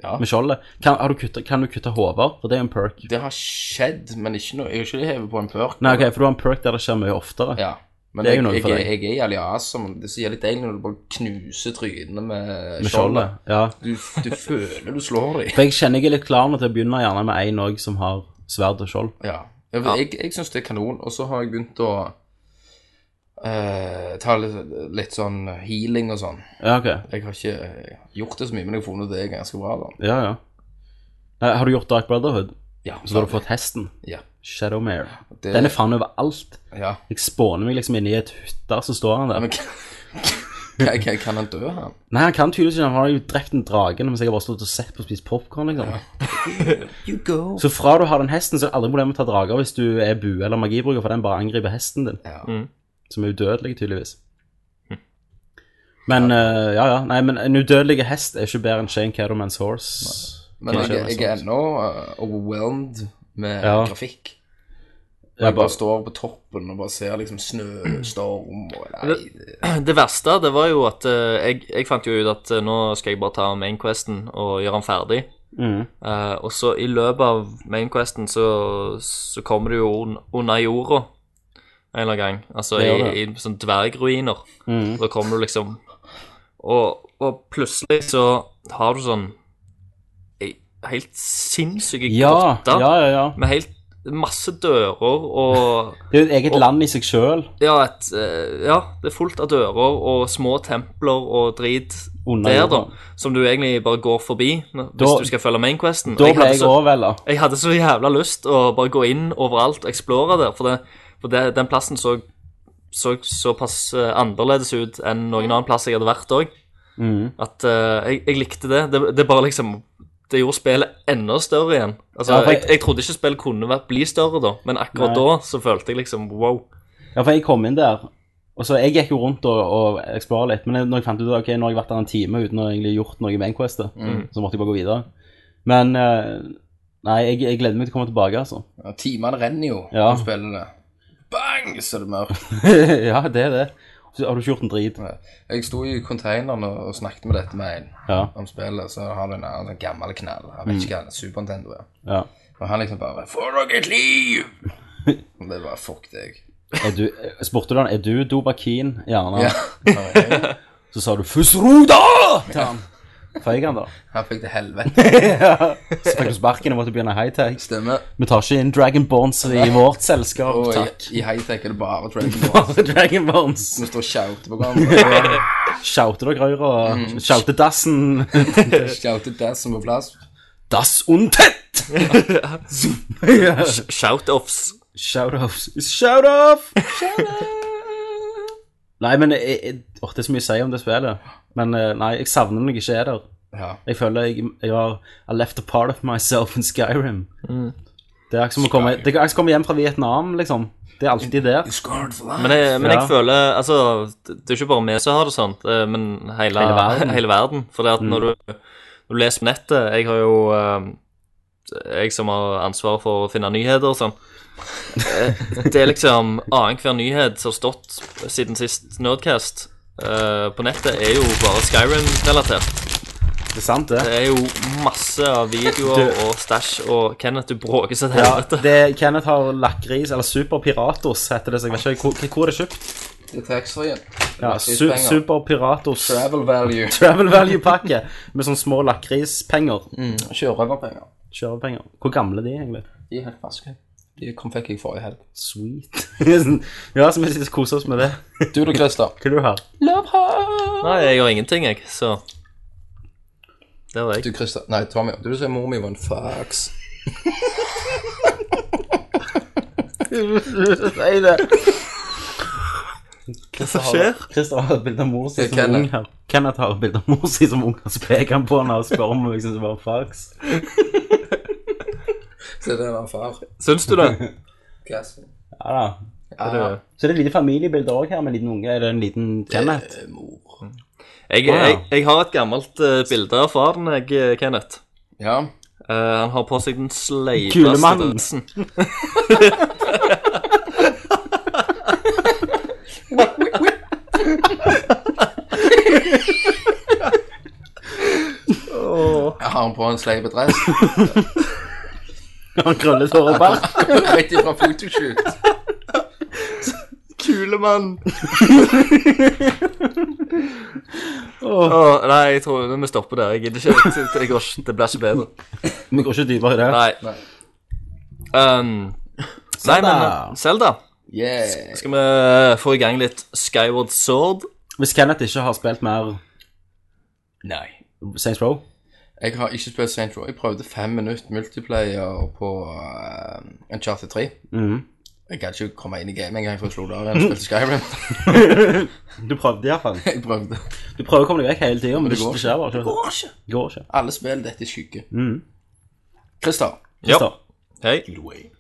Speaker 7: Ja.
Speaker 6: med skjoldet? Kan, har du kuttet, kan du kutte hoder? For det er jo en perk.
Speaker 7: Det har skjedd, men ikke noe Jeg har ikke hevet på en perk.
Speaker 6: Nei, ok, for du har en perk der det skjer mye oftere.
Speaker 7: Ja. Men
Speaker 6: Det er
Speaker 7: jeg,
Speaker 6: jo noe
Speaker 7: jeg,
Speaker 6: for
Speaker 7: jeg,
Speaker 6: deg.
Speaker 7: er jævlig awesome. Det er så jævlig deilig når du bare knuser trynet med,
Speaker 6: med
Speaker 7: skjoldet.
Speaker 6: skjoldet. Ja.
Speaker 7: Du, du føler du slår dem.
Speaker 6: For jeg kjenner jeg er litt klar nå til å begynne gjerne med en òg som har sverd og skjold.
Speaker 7: Ja. Jeg, jeg, jeg syns det er kanon. Og så har jeg begynt å eh, ta litt, litt sånn healing og sånn.
Speaker 6: Ja, ok.
Speaker 7: eh, Jeg har ikke gjort det så mye, men jeg har funnet ut det er ganske bra, da.
Speaker 6: Ja, ja. Nei, har du gjort Dark Brotherhood?
Speaker 7: Ja,
Speaker 6: Så har du fått hesten.
Speaker 7: Ja.
Speaker 6: Shadowmare.
Speaker 7: Det-
Speaker 6: Den er faen overalt.
Speaker 7: ja.
Speaker 6: Jeg spåner meg liksom inni et hytte, så står han der.
Speaker 7: (laughs) Men kan, kan, kan han dø, han?
Speaker 6: Nei, han kan tydeligvis ikke. Han har jo drept en drage mens jeg har bare stått og sett på og spist popkorn. Liksom.
Speaker 7: You go.
Speaker 6: Så fra du har den hesten, så er det aldri problem med å ta drager hvis du er bue- eller magibruker, for den bare angriper hesten din,
Speaker 7: Ja.
Speaker 6: som er udødelig, tydeligvis.
Speaker 7: Hm.
Speaker 6: Men eh, ja, ja. Nei, men en udødelig hest er ikke bedre enn Shane Cattleman's Horse.
Speaker 7: Men jeg,
Speaker 6: Shadowman's
Speaker 7: jeg er
Speaker 6: Horse.
Speaker 7: ennå eh, overwhelmed med
Speaker 6: Ja.
Speaker 7: grafikk.
Speaker 6: Ja,
Speaker 7: Jeg bare
Speaker 6: bare,
Speaker 7: står på toppen og bare ser liksom snø, storm og nei, det-
Speaker 8: Det verste det var jo at eh, jeg, jeg fant jo ut at eh, nå skal jeg bare ta mainquesten og gjøre den ferdig.
Speaker 6: mm,
Speaker 8: Eh, og så i løpet av mainquesten så, så kommer du jo un- under jorda en eller annen gang. Altså
Speaker 6: Det
Speaker 8: i,
Speaker 6: gjør
Speaker 8: i sånn dvergruiner.
Speaker 6: mm,
Speaker 8: Da kommer du liksom og, og plutselig så har du sånn ei helt sinnssyke
Speaker 6: ja,
Speaker 8: grotter
Speaker 6: ja, ja, ja.
Speaker 8: med helt masse dører og
Speaker 6: Det er jo et eget land i seg sjøl,
Speaker 8: Ja, et, eh, ja, det er fullt av dører og små templer og drit
Speaker 6: under
Speaker 8: der, da.
Speaker 6: jorda.
Speaker 8: Som du egentlig bare går forbi når- hvis
Speaker 6: Da-
Speaker 8: du skal følge mainquesten.
Speaker 6: Da ble jeg
Speaker 8: så,
Speaker 6: overvelda.
Speaker 8: jeg hadde så jævla lyst å bare gå inn overalt og explore der, for, det, for det, den plassen så, så såpass eh, annerledes ut enn noen annen plass jeg hadde vært òg,
Speaker 6: Mm.
Speaker 8: at eh, jeg, jeg likte det. det. Det bare liksom det gjorde spillet enda større igjen. Altså,
Speaker 6: Ja, for
Speaker 8: jeg,
Speaker 6: jeg-
Speaker 8: jeg trodde ikke spillet kunne vært- bli større da, men akkurat
Speaker 6: Nei.
Speaker 8: da så følte jeg liksom wow.
Speaker 6: Ja, for jeg kom inn der, og så jeg gikk jo rundt og, og eksplora litt, men når jeg fant ut at ok, nå har jeg vært der en time uten å egentlig gjort noe i mainquestet, så måtte jeg bare gå videre. Men eh, nei, jeg, jeg gleder meg til å komme tilbake, altså.
Speaker 7: ja, Timene renner jo
Speaker 6: Ja.
Speaker 7: når du spiller det. Bang, så er det mørkt.
Speaker 6: (laughs) ja, det er det. Så har du ikke gjort en drit?
Speaker 7: Jeg sto i containeren og og snakket med dette med en
Speaker 6: Ja,
Speaker 7: om spillet, så har du en annen sånn gammel knall. Jeg vet ikke hva det er, Super Nintendo er.
Speaker 6: ja.
Speaker 7: Og han liksom bare Få dere et liv! Og det er bare fuck deg.
Speaker 6: Er du, spurte du han, er du Dobakin? Gjerne.
Speaker 7: Ja. (laughs) Han
Speaker 6: Så sa du, Fusruda! til han. Feig han da.
Speaker 7: han fikk det helvete.
Speaker 6: Så fikk du sparken og måtte begynne high-tech.
Speaker 7: (laughs) Stemmer.
Speaker 6: Vi tar ikke inn Dragonborns i vårt selskap,
Speaker 7: Og i,
Speaker 6: takk.
Speaker 7: i high-tech er det bare (laughs) Dragon Balls.
Speaker 6: Bare Dragonborns.
Speaker 7: Vi står og shouter på (laughs) hverandre.
Speaker 6: Sjaute dere høyre, sjaute dassen
Speaker 7: Shouter det som på plass.
Speaker 6: Das und (laughs) tett!
Speaker 8: Shout-offs.
Speaker 6: Shout-offs. Shout-off! Nei, men jeg, jeg, åh, det er så mye å si om det spillet. Men eh, nei, jeg savner når jeg ikke er der.
Speaker 7: Ja.
Speaker 6: Jeg føler jeg, jeg har I left a part of myself in Skyrim. Det er akkurat som å komme, det er akkurat som å komme hjem fra Vietnam, liksom. Det er alltid der.
Speaker 7: Scarred for life.
Speaker 8: Men jeg, men
Speaker 6: Ja.
Speaker 8: jeg føler Altså, det det er ikke bare vi som har det sånn, eh, men hele,
Speaker 6: Hele
Speaker 8: (laughs)
Speaker 6: verden.
Speaker 8: hele verden. For det at når, du, når du leser på nettet Jeg har jo eh, Jeg som har ansvaret for å finne nyheter og sånn. Eh, Det er liksom annenhver nyhet som har stått siden sist Nerdcast eh, på nettet, er jo bare Skyrim-relatert.
Speaker 6: Det er sant, det.
Speaker 8: Det er jo masse av videoer og stæsj og Kenneth, du bråker så til
Speaker 6: Ja,
Speaker 8: helvete.
Speaker 6: det Kenneth har lakris, eller Super Piratos heter det, så jeg vet ikke hvor, hvor er det kjøpt.
Speaker 7: Det er taxfree-en.
Speaker 6: Ja, su, Super Piratos.
Speaker 7: Travel (laughs) value.
Speaker 6: (laughs) Travel value-pakke med sånne små lakrispenger.
Speaker 7: Sjørøverpenger.
Speaker 6: Kjørepenger. Hvor gamle er de egentlig?
Speaker 7: De er helt ferske. De kom fikk jeg forrige helg.
Speaker 6: Sweet. (laughs) ja, så vi sitter og koser oss med det.
Speaker 7: Du da, (laughs) Christer.
Speaker 6: Hva er det du har?
Speaker 8: Nei, jeg gjør ingenting, jeg, så Der var jeg.
Speaker 7: Du, Christer. Nei, Tommy. Du sier mor mi var en fax.
Speaker 6: Nei, det.
Speaker 8: Hva som skjer?
Speaker 6: Christer har et bilde av mor si
Speaker 7: Det er
Speaker 6: som
Speaker 7: Kenneth.
Speaker 6: ung her. Kenneth har et bilde av mor si som ung her, så peker han på henne og spør om hun liksom synes det var en fax.
Speaker 7: Så det var far.
Speaker 8: Syns du det?
Speaker 7: Kassen.
Speaker 6: Ja da.
Speaker 7: Ja,
Speaker 6: Så det er et lite familiebilde òg her med en liten unge. Er det en liten Kenneth?
Speaker 7: eh, mor.
Speaker 8: Jeg,
Speaker 6: Å, ja.
Speaker 8: jeg, jeg har et gammelt eh, bilde av faren, jeg, eh, Kenneth.
Speaker 7: Ja.
Speaker 8: Eh, han har på seg den sleipeste
Speaker 6: Kulemannen.
Speaker 8: dressen.
Speaker 7: Jeg har han på en sleipedress.
Speaker 6: Han krøllet håret bak.
Speaker 7: (laughs) Rett ifra photoshoot.
Speaker 8: Kulemann! nei, jeg tror vi stopper der. Jeg gidder ikke. Jeg, jeg går, ikke- det blir ikke bedre.
Speaker 6: Vi går ikke dypere i det.
Speaker 8: Nei.
Speaker 7: Nei.
Speaker 8: Um, nei, men eh, Zelda.
Speaker 7: Yeah.
Speaker 8: Skal vi eh, få i gang litt Skyward Sword?
Speaker 6: Hvis Kenneth ikke har spilt mer
Speaker 7: Nei.
Speaker 6: Saints Row
Speaker 7: Jeg har ikke spilt St. Roy. Jeg prøvde fem minutter multiplayer på uh, Uncharted 3. Jeg gadd ikke komme inn i gamet engang før jeg slo det av igjen og spilte Skyrim. (laughs)
Speaker 6: Du prøvde iallfall.
Speaker 7: jeg prøvde.
Speaker 6: Du prøver å komme deg vekk hele tida, men det,
Speaker 7: går
Speaker 6: det skjer bare ikke.
Speaker 7: Går ikke.
Speaker 6: Det går ikke.
Speaker 7: Alle spiller dette i skygge. Christer,
Speaker 8: Ja.
Speaker 6: Christer,
Speaker 8: Hei. (laughs)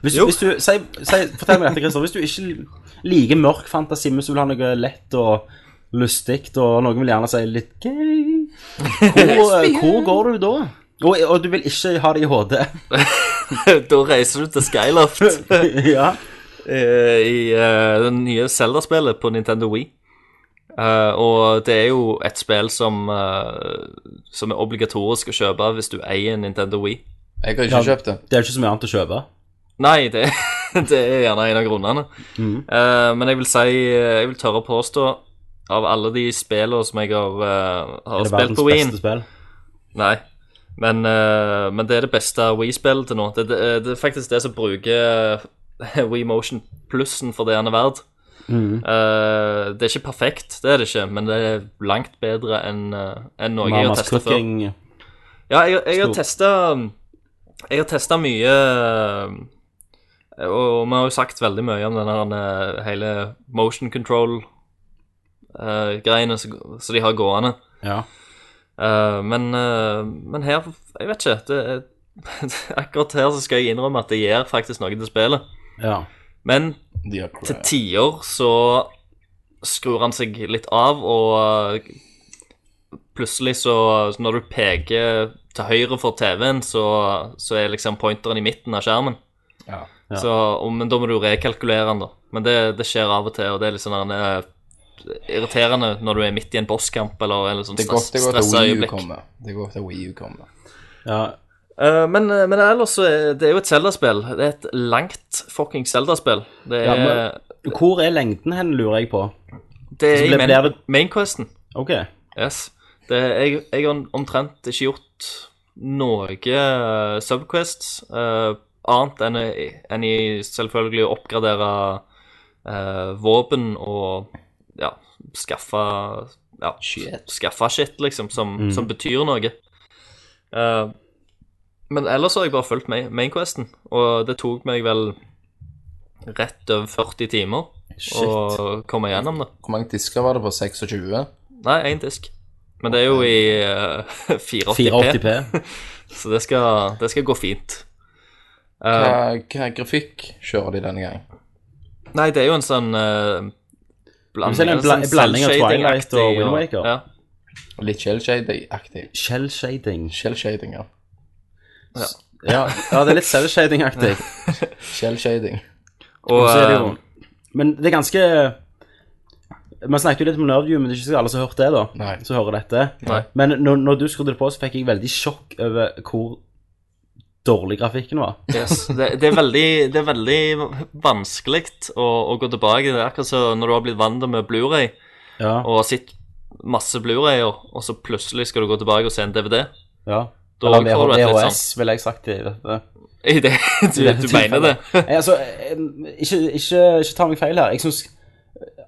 Speaker 6: Hvis,
Speaker 8: Jo.
Speaker 6: hvis du, si, si, fortell meg dette, Christer. Hvis du ikke liker mørk fantasi, men hvis du vil ha noe lett og lystig, og noen vil gjerne si litt gøy, hvor, hvor går du da? Og, og du vil ikke ha det i HD.
Speaker 8: da reiser du til Skyloft
Speaker 6: (laughs) ja.
Speaker 8: eh, i eh, det nye Zelda-spillet på Nintendo Wii. Eh, og det er jo et spill som, eh, som er obligatorisk å kjøpe hvis du eier en Nintendo Wii.
Speaker 7: jeg har ikke
Speaker 6: Ja.
Speaker 7: kjøpt det.
Speaker 6: Det er jo ikke så mye annet å kjøpe.
Speaker 8: Nei, det, (laughs) det er gjerne en av grunnene.
Speaker 6: Mm.
Speaker 8: Eh, men jeg vil si eh, Jeg vil tørre å påstå av alle de spillene som jeg har, eh,
Speaker 6: Det
Speaker 8: har
Speaker 6: er
Speaker 8: spilt
Speaker 6: verdens
Speaker 8: på Wien
Speaker 6: beste spill.
Speaker 8: Nei. Men, eh, men det er det beste Wii-spillet til nå. Det, det, det er faktisk det som bruker (laughs) Wii Motion plussen for det han er verd.
Speaker 6: Mm.
Speaker 8: Eh, det er ikke perfekt, det er det ikke, men det er langt bedre enn eh, enn noe jeg har
Speaker 6: Mamas
Speaker 8: testa før.
Speaker 6: cooking.
Speaker 8: Ja, jeg, jeg har
Speaker 6: Stor.
Speaker 8: testa Jeg har testa mye eh, Og og vi har jo sagt veldig mye om den her eh, hele motion control-greiene som de har gående.
Speaker 6: Ja.
Speaker 8: Eh, men, eh, men her Jeg vet ikke. Det, er- (laughs) akkurat her så skal jeg innrømme at det gjør faktisk noe til spillet.
Speaker 6: ja.
Speaker 8: Men
Speaker 7: De har
Speaker 8: til
Speaker 7: crap.
Speaker 8: tider så skrur han seg litt av, og eh, plutselig så så Når du peker til høyre for TV-en, så, så er liksom pointeren i midten av skjermen.
Speaker 7: Ja.
Speaker 8: Så, og, men da må du rekalkulere den, da. Men det, det skjer av og til, og det er litt sånn der, eh, irriterende når du er midt i en bosskamp eller, eller sånn
Speaker 7: Det er godt det er godt at
Speaker 8: stressa
Speaker 7: Wii U
Speaker 8: øyeblikk.
Speaker 7: kommer. Det er godt at Wii U kommer.
Speaker 6: ja.
Speaker 8: Eh, men, men ellers så er det er jo et Zelda-spill. Det er et langt fucking Zelda-spill. Det er,
Speaker 6: Ja, Hvor er lengden hen, lurer jeg på.
Speaker 8: det
Speaker 6: så
Speaker 8: er i
Speaker 6: ble-
Speaker 8: main,
Speaker 6: blir det-
Speaker 8: mainquesten.
Speaker 6: OK.
Speaker 8: Yes. Det, jeg, jeg har omtrent ikke gjort noe eh, subquests eh, annet enn, i- enn i selvfølgelig å oppgradere eh, våpen og ja, skaffe ja, shit. skaffe shit, liksom, som, som betyr noe. Eh, men ellers har jeg bare fulgt main- mainquesten, og det tok meg vel rett over 40 timer å komme gjennom det.
Speaker 7: Hvor mange disker var det på 26?
Speaker 8: Nei, én disk. Men det er jo i eh, (laughs) 480p,
Speaker 6: 480p.
Speaker 8: så det skal, det skal gå fint.
Speaker 7: Hva,
Speaker 8: Eh,
Speaker 7: hva grafikk kjører de denne gangen?
Speaker 8: nei, det er jo en sånn eh,
Speaker 6: Du ser en
Speaker 8: en
Speaker 6: bla-
Speaker 8: sånn
Speaker 6: blanding av Twilight og
Speaker 8: selvshading-aktig
Speaker 6: Wind Waker.
Speaker 8: Ja.
Speaker 7: Litt shellshading-aktig.
Speaker 6: Shell shading.
Speaker 7: Shellshading, ja.
Speaker 6: Ja, ja det er litt cell shading-aktig.
Speaker 7: Shellshading.
Speaker 8: Og,
Speaker 6: Og så er det
Speaker 8: eh,
Speaker 6: jo Men det er ganske Vi snakket jo litt om Nerveview, men det er ikke alle som har hørt det, da.
Speaker 7: Nei.
Speaker 6: Som hører dette.
Speaker 8: Nei.
Speaker 6: Men når, når du skrudde det på, så fikk jeg veldig sjokk over hvor dårlig grafikken var.
Speaker 8: yes, det, det, er veldig, det er veldig vanskelig å, å gå tilbake. Det er akkurat som når du har blitt vant med Blu-ray
Speaker 6: Ja.
Speaker 8: og har sett masse Blu-rayer, og så plutselig skal du gå tilbake og se en DVD.
Speaker 6: ja.
Speaker 8: Da
Speaker 6: Eller
Speaker 8: får du et litt
Speaker 6: VHS,
Speaker 8: sånn (laughs)
Speaker 6: ville jeg sagt til dette.
Speaker 8: I det, du,
Speaker 6: dette
Speaker 8: du mener det?
Speaker 6: tilfellet. (laughs) Nei, altså, eh, ikke, ikke, ikke ta meg feil her. Jeg syns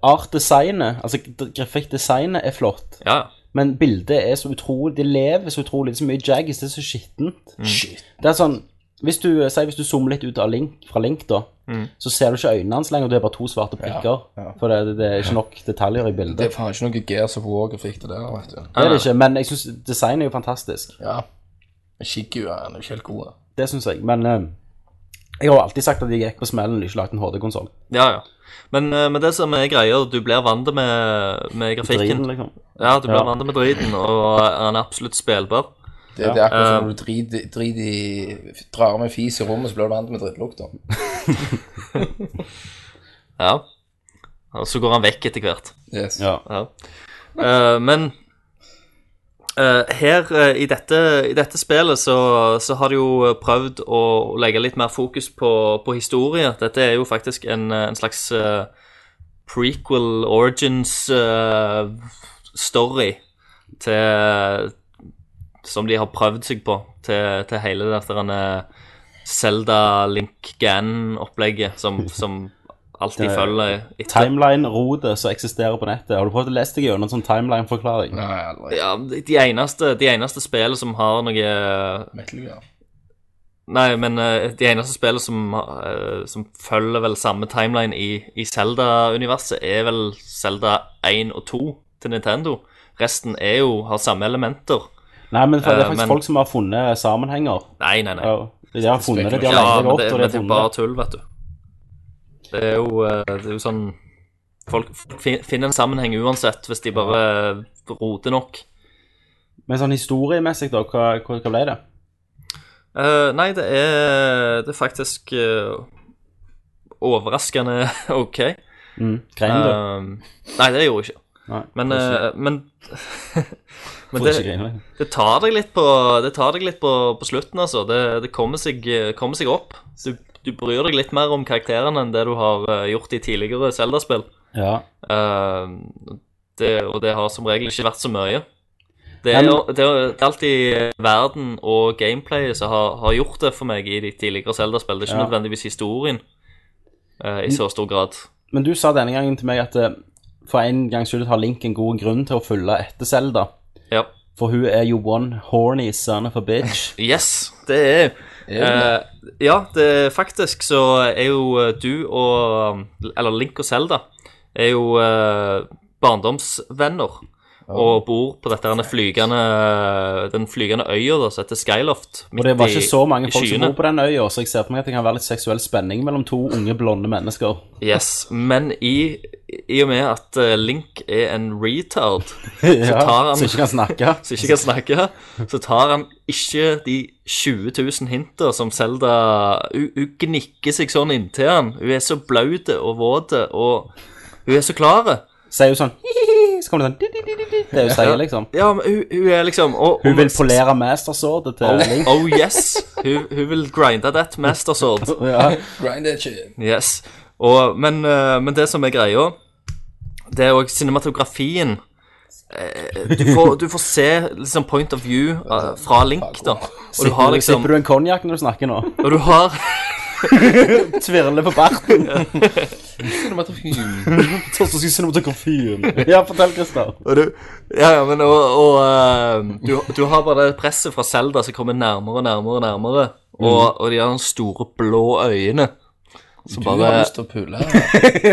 Speaker 6: art-designet, altså g- grafikkdesignet, er flott.
Speaker 8: Ja.
Speaker 6: Men bildet er så utrolig Det lever så utrolig. Det er så mye jaggis. Det er så skittent. Det er sånn Hvis du, si, hvis du zoomer litt ut av Link, fra Link, da,
Speaker 8: Mm.
Speaker 6: så ser du ikke øynene hans lenger. Det er bare to svarte prikker. For det, det er ikke nok detaljer i bildet.
Speaker 7: Det
Speaker 6: Det,
Speaker 7: er faen ikke noe Gears of War-grafikk, det der, vet du.
Speaker 8: Ah,
Speaker 6: er det ikke, men jeg syns designet er jo fantastisk.
Speaker 7: Ja. Shiggy er jo ikke helt god.
Speaker 6: Det syns jeg. Men eh, jeg har jo alltid sagt at jeg gikk på smellen og ikke lagde en HD-konsoll.
Speaker 8: Ja, ja. Men, eh, men det som er greia, du blir vant med, med grafikken.
Speaker 6: Liksom.
Speaker 8: Ja, du blir
Speaker 6: Ja.
Speaker 8: vant med driten, og han er absolutt spillbar.
Speaker 7: Det, det er
Speaker 8: eh,
Speaker 7: akkurat som når du driter drit i Drar med fis i rommet, så blir du vant med drittlukta.
Speaker 8: Ja. Og så går han vekk etter hvert.
Speaker 7: Yes.
Speaker 6: Ja.
Speaker 8: Ja. Eh, men eh, her eh, i, dette, i dette spillet så, så har de jo prøvd å legge litt mer fokus på, på historie. Dette er jo faktisk en, eh, en slags eh, prequel origins eh, story til Som de har prøvd seg på til, til hele dette Zelda Link Gan-opplegget som, som alt de følger etter.
Speaker 6: Timeline-rotet som eksisterer på nettet. Har du prøvd å lese deg gjennom en sånn timeline-forklaring?
Speaker 7: Nei, aldri.
Speaker 8: Ja, de de eneste, de eneste spillene som har noe
Speaker 7: Metal Gear.
Speaker 8: Nei, men eh, de eneste spillene som, eh, som følger vel samme timeline i, i Zelda-universet, er vel Zelda 1 og 2 til Nintendo. Resten er jo, har samme elementer.
Speaker 6: Nei, men for det er
Speaker 8: Eh,
Speaker 6: faktisk
Speaker 8: men-
Speaker 6: folk som har funnet sammenhenger.
Speaker 8: Nei, nei, nei.
Speaker 6: Ja, de har funnet det, de har
Speaker 8: Ja,
Speaker 6: lengdet
Speaker 8: men
Speaker 6: godt,
Speaker 8: det,
Speaker 6: og
Speaker 8: men
Speaker 6: de
Speaker 8: det
Speaker 6: har
Speaker 8: er bare
Speaker 6: funnet
Speaker 8: tull, vet du. Det er jo, eh, det er jo sånn Folk folk fin- finner en sammenheng uansett, hvis de bare roter nok.
Speaker 6: Men sånn historiemessig, da, hva, hva, hva ble det?
Speaker 8: Eh, nei, det er, det er faktisk eh, overraskende (laughs) OK.
Speaker 6: Mm. Grein, du?
Speaker 8: Ehm, nei, det gjorde jeg ikke.
Speaker 6: Nei,
Speaker 8: Men,
Speaker 6: får
Speaker 8: eh, men, men
Speaker 6: ikke- får ikke
Speaker 8: det,
Speaker 6: grine lenger.
Speaker 8: det tar deg litt på, det tar deg litt på, på slutten, altså. Det, det kommer, seg, kommer seg opp. Du, du bryr deg litt mer om karakterene enn det du har eh, gjort i tidligere Zelda-spill.
Speaker 6: Ja.
Speaker 8: Ehm, det, og det har som regel ikke vært så mye. Det
Speaker 6: Nei,
Speaker 8: er,
Speaker 6: men-
Speaker 8: jo- det er jo alltid verden og gameplayet som har, har gjort det for meg i de tidligere Zelda-spill. Det er ikke
Speaker 6: Ja.
Speaker 8: nødvendigvis historien eh, i så stor grad.
Speaker 6: Men du sa denne gangen til meg at eh, for en gangs skyld har Link en god grunn til å følge etter Selda.
Speaker 8: Ja.
Speaker 6: For hun er jo one horny son of a
Speaker 8: (laughs)
Speaker 6: bitch.
Speaker 8: Yes, det er
Speaker 7: Er
Speaker 8: Eh, ja, det, faktisk så er jo eh, du og um, Eller Link og Selda er jo eh, barndomsvenner. Og bor på dette her flygende, den flygende øya da, som heter Skyloft.
Speaker 6: Og det var ikke så mange folk som bor på den øya, så jeg ser for meg at det kan være litt seksuell spenning mellom to unge, blonde mennesker.
Speaker 8: (laughs) Yes, Men i, i og med at eh, Link er en retard tar han-
Speaker 6: Som ikke kan
Speaker 8: (laughs)
Speaker 6: snakke.
Speaker 8: som ikke kan snakke, så tar han ikke de 20 000 hinta som Selda hun, hun gnikker seg sånn inntil han. Hun er så blaut og våt, og hun er så klar.
Speaker 6: Sier jo sånn (laughs) «Hihihi», Så kommer det sånn «di-di-di-di-di», Det hun sier, liksom.
Speaker 8: Ja, men hun, hun er liksom og, og-
Speaker 6: Hun
Speaker 8: (laughs)
Speaker 6: vil polere mastersordet til
Speaker 8: Oh,
Speaker 6: Link.
Speaker 8: oh yes! Hun, hun vil grinde that master sword.
Speaker 6: (laughs) Ja.
Speaker 7: Grind that shit.
Speaker 8: Yes. Og, men, eh, men det som er greia, det er òg cinematografien. Eh, Du får, du får se liksom point of view eh, fra Link, da. Og du
Speaker 6: Sipper du-
Speaker 8: har liksom
Speaker 6: Sipper du en konjakk når du snakker nå?
Speaker 8: Og du har
Speaker 6: (laughs) Tvirler på barten.
Speaker 7: Cinematografien.
Speaker 6: Sånn som cinematografien. (laughs) Ja, fortell, Christer.
Speaker 8: Og du, ja, ja, men og, og eh, du, du har bare det presset fra Selda som kommer nærmere og nærmere og nærmere. Og, og de har de store blå øyene. Så
Speaker 7: Mhm. Du har
Speaker 8: bare
Speaker 7: lyst til å pule.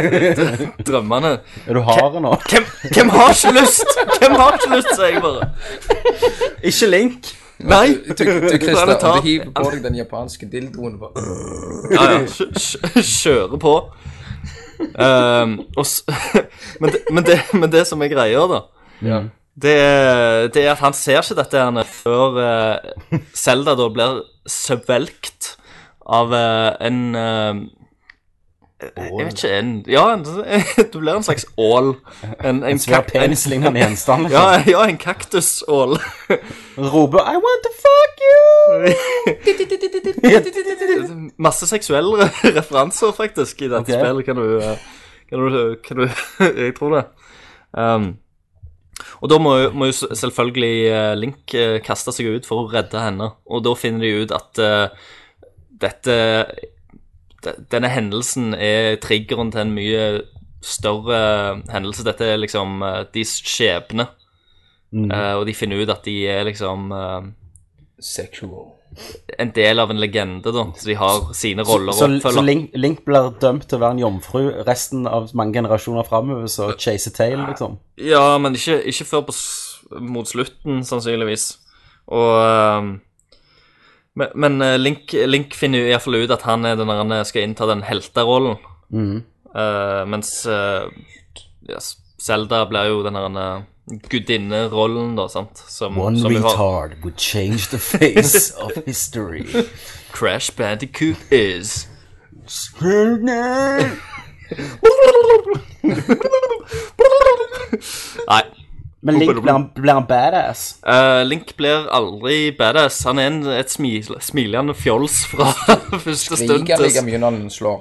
Speaker 8: (laughs) drømmene
Speaker 6: Er du hard nå?
Speaker 8: hvem, hvem har ikke lyst? Hvem har ikke lyst, sier jeg bare.
Speaker 6: Ikke Link.
Speaker 8: Nei.
Speaker 7: Du, du, du Christer,
Speaker 8: Bare ta- Mm.
Speaker 7: du hiver på deg den japanske dildoen og bare
Speaker 8: Ja, ja. kjø- kjø- Kjøre på. Ehm, og s (laughs) men, det, men, det, men det som er greia, da det, er- det er at han ser ikke dette her før uh, Zelda da blir svelgt av eh, en eh, Jeg vet ikke en Ja, en, (laughs) du blir en slags ål. En, en,
Speaker 6: Svær
Speaker 8: kak- en,
Speaker 6: penislignende gjenstand.
Speaker 8: ja,
Speaker 6: Liksom.
Speaker 8: ja, en kaktusål. (laughs)
Speaker 6: Roper 'I want to fuck you'.
Speaker 8: sånn Masse seksuelle (laughs) referanser, faktisk, i dette
Speaker 6: Ok.
Speaker 8: spillet, kan du, eh, kan du, kan du (laughs) Jeg tror det. Um, og da må, jo- må jo s- selvfølgelig eh, Link eh, kaste seg ut for å redde henne, og da finner de ut at eh, dette de- Denne hendelsen er triggeren til en mye større hendelse. Dette er liksom eh, deres skjebne,
Speaker 6: Mm.
Speaker 8: Eh, og de finner ut at de er liksom eh,
Speaker 7: Sexual.
Speaker 8: en del av en legende, da. Så de har sine roller å
Speaker 6: Så, så
Speaker 8: oppfølge.
Speaker 6: Link, Link blir dømt til å være en jomfru resten av mange generasjoner framover, så chase a tail, liksom.
Speaker 8: Ja, men ikke, ikke før på, s- mot slutten, sannsynligvis. Og ehm, Men, men eh, Link, Link finner jo iallfall ut at han er den der han eh, skal innta den helterollen. Eh, mens uh, Selda blir jo den der eh, gudinnerollen, da, sant. Som,
Speaker 6: One
Speaker 8: som hun har-
Speaker 6: retard would change the (laughs) face of history.
Speaker 8: Crash Bandicoot is. (laughs) Nei.
Speaker 6: Men Link blir han, blir han badass.
Speaker 8: eh, Link blir aldri badass. Han er en, et smil, smilende fjols fra (laughs) første stund.
Speaker 7: Skriker like
Speaker 8: til-
Speaker 7: mye når den slår.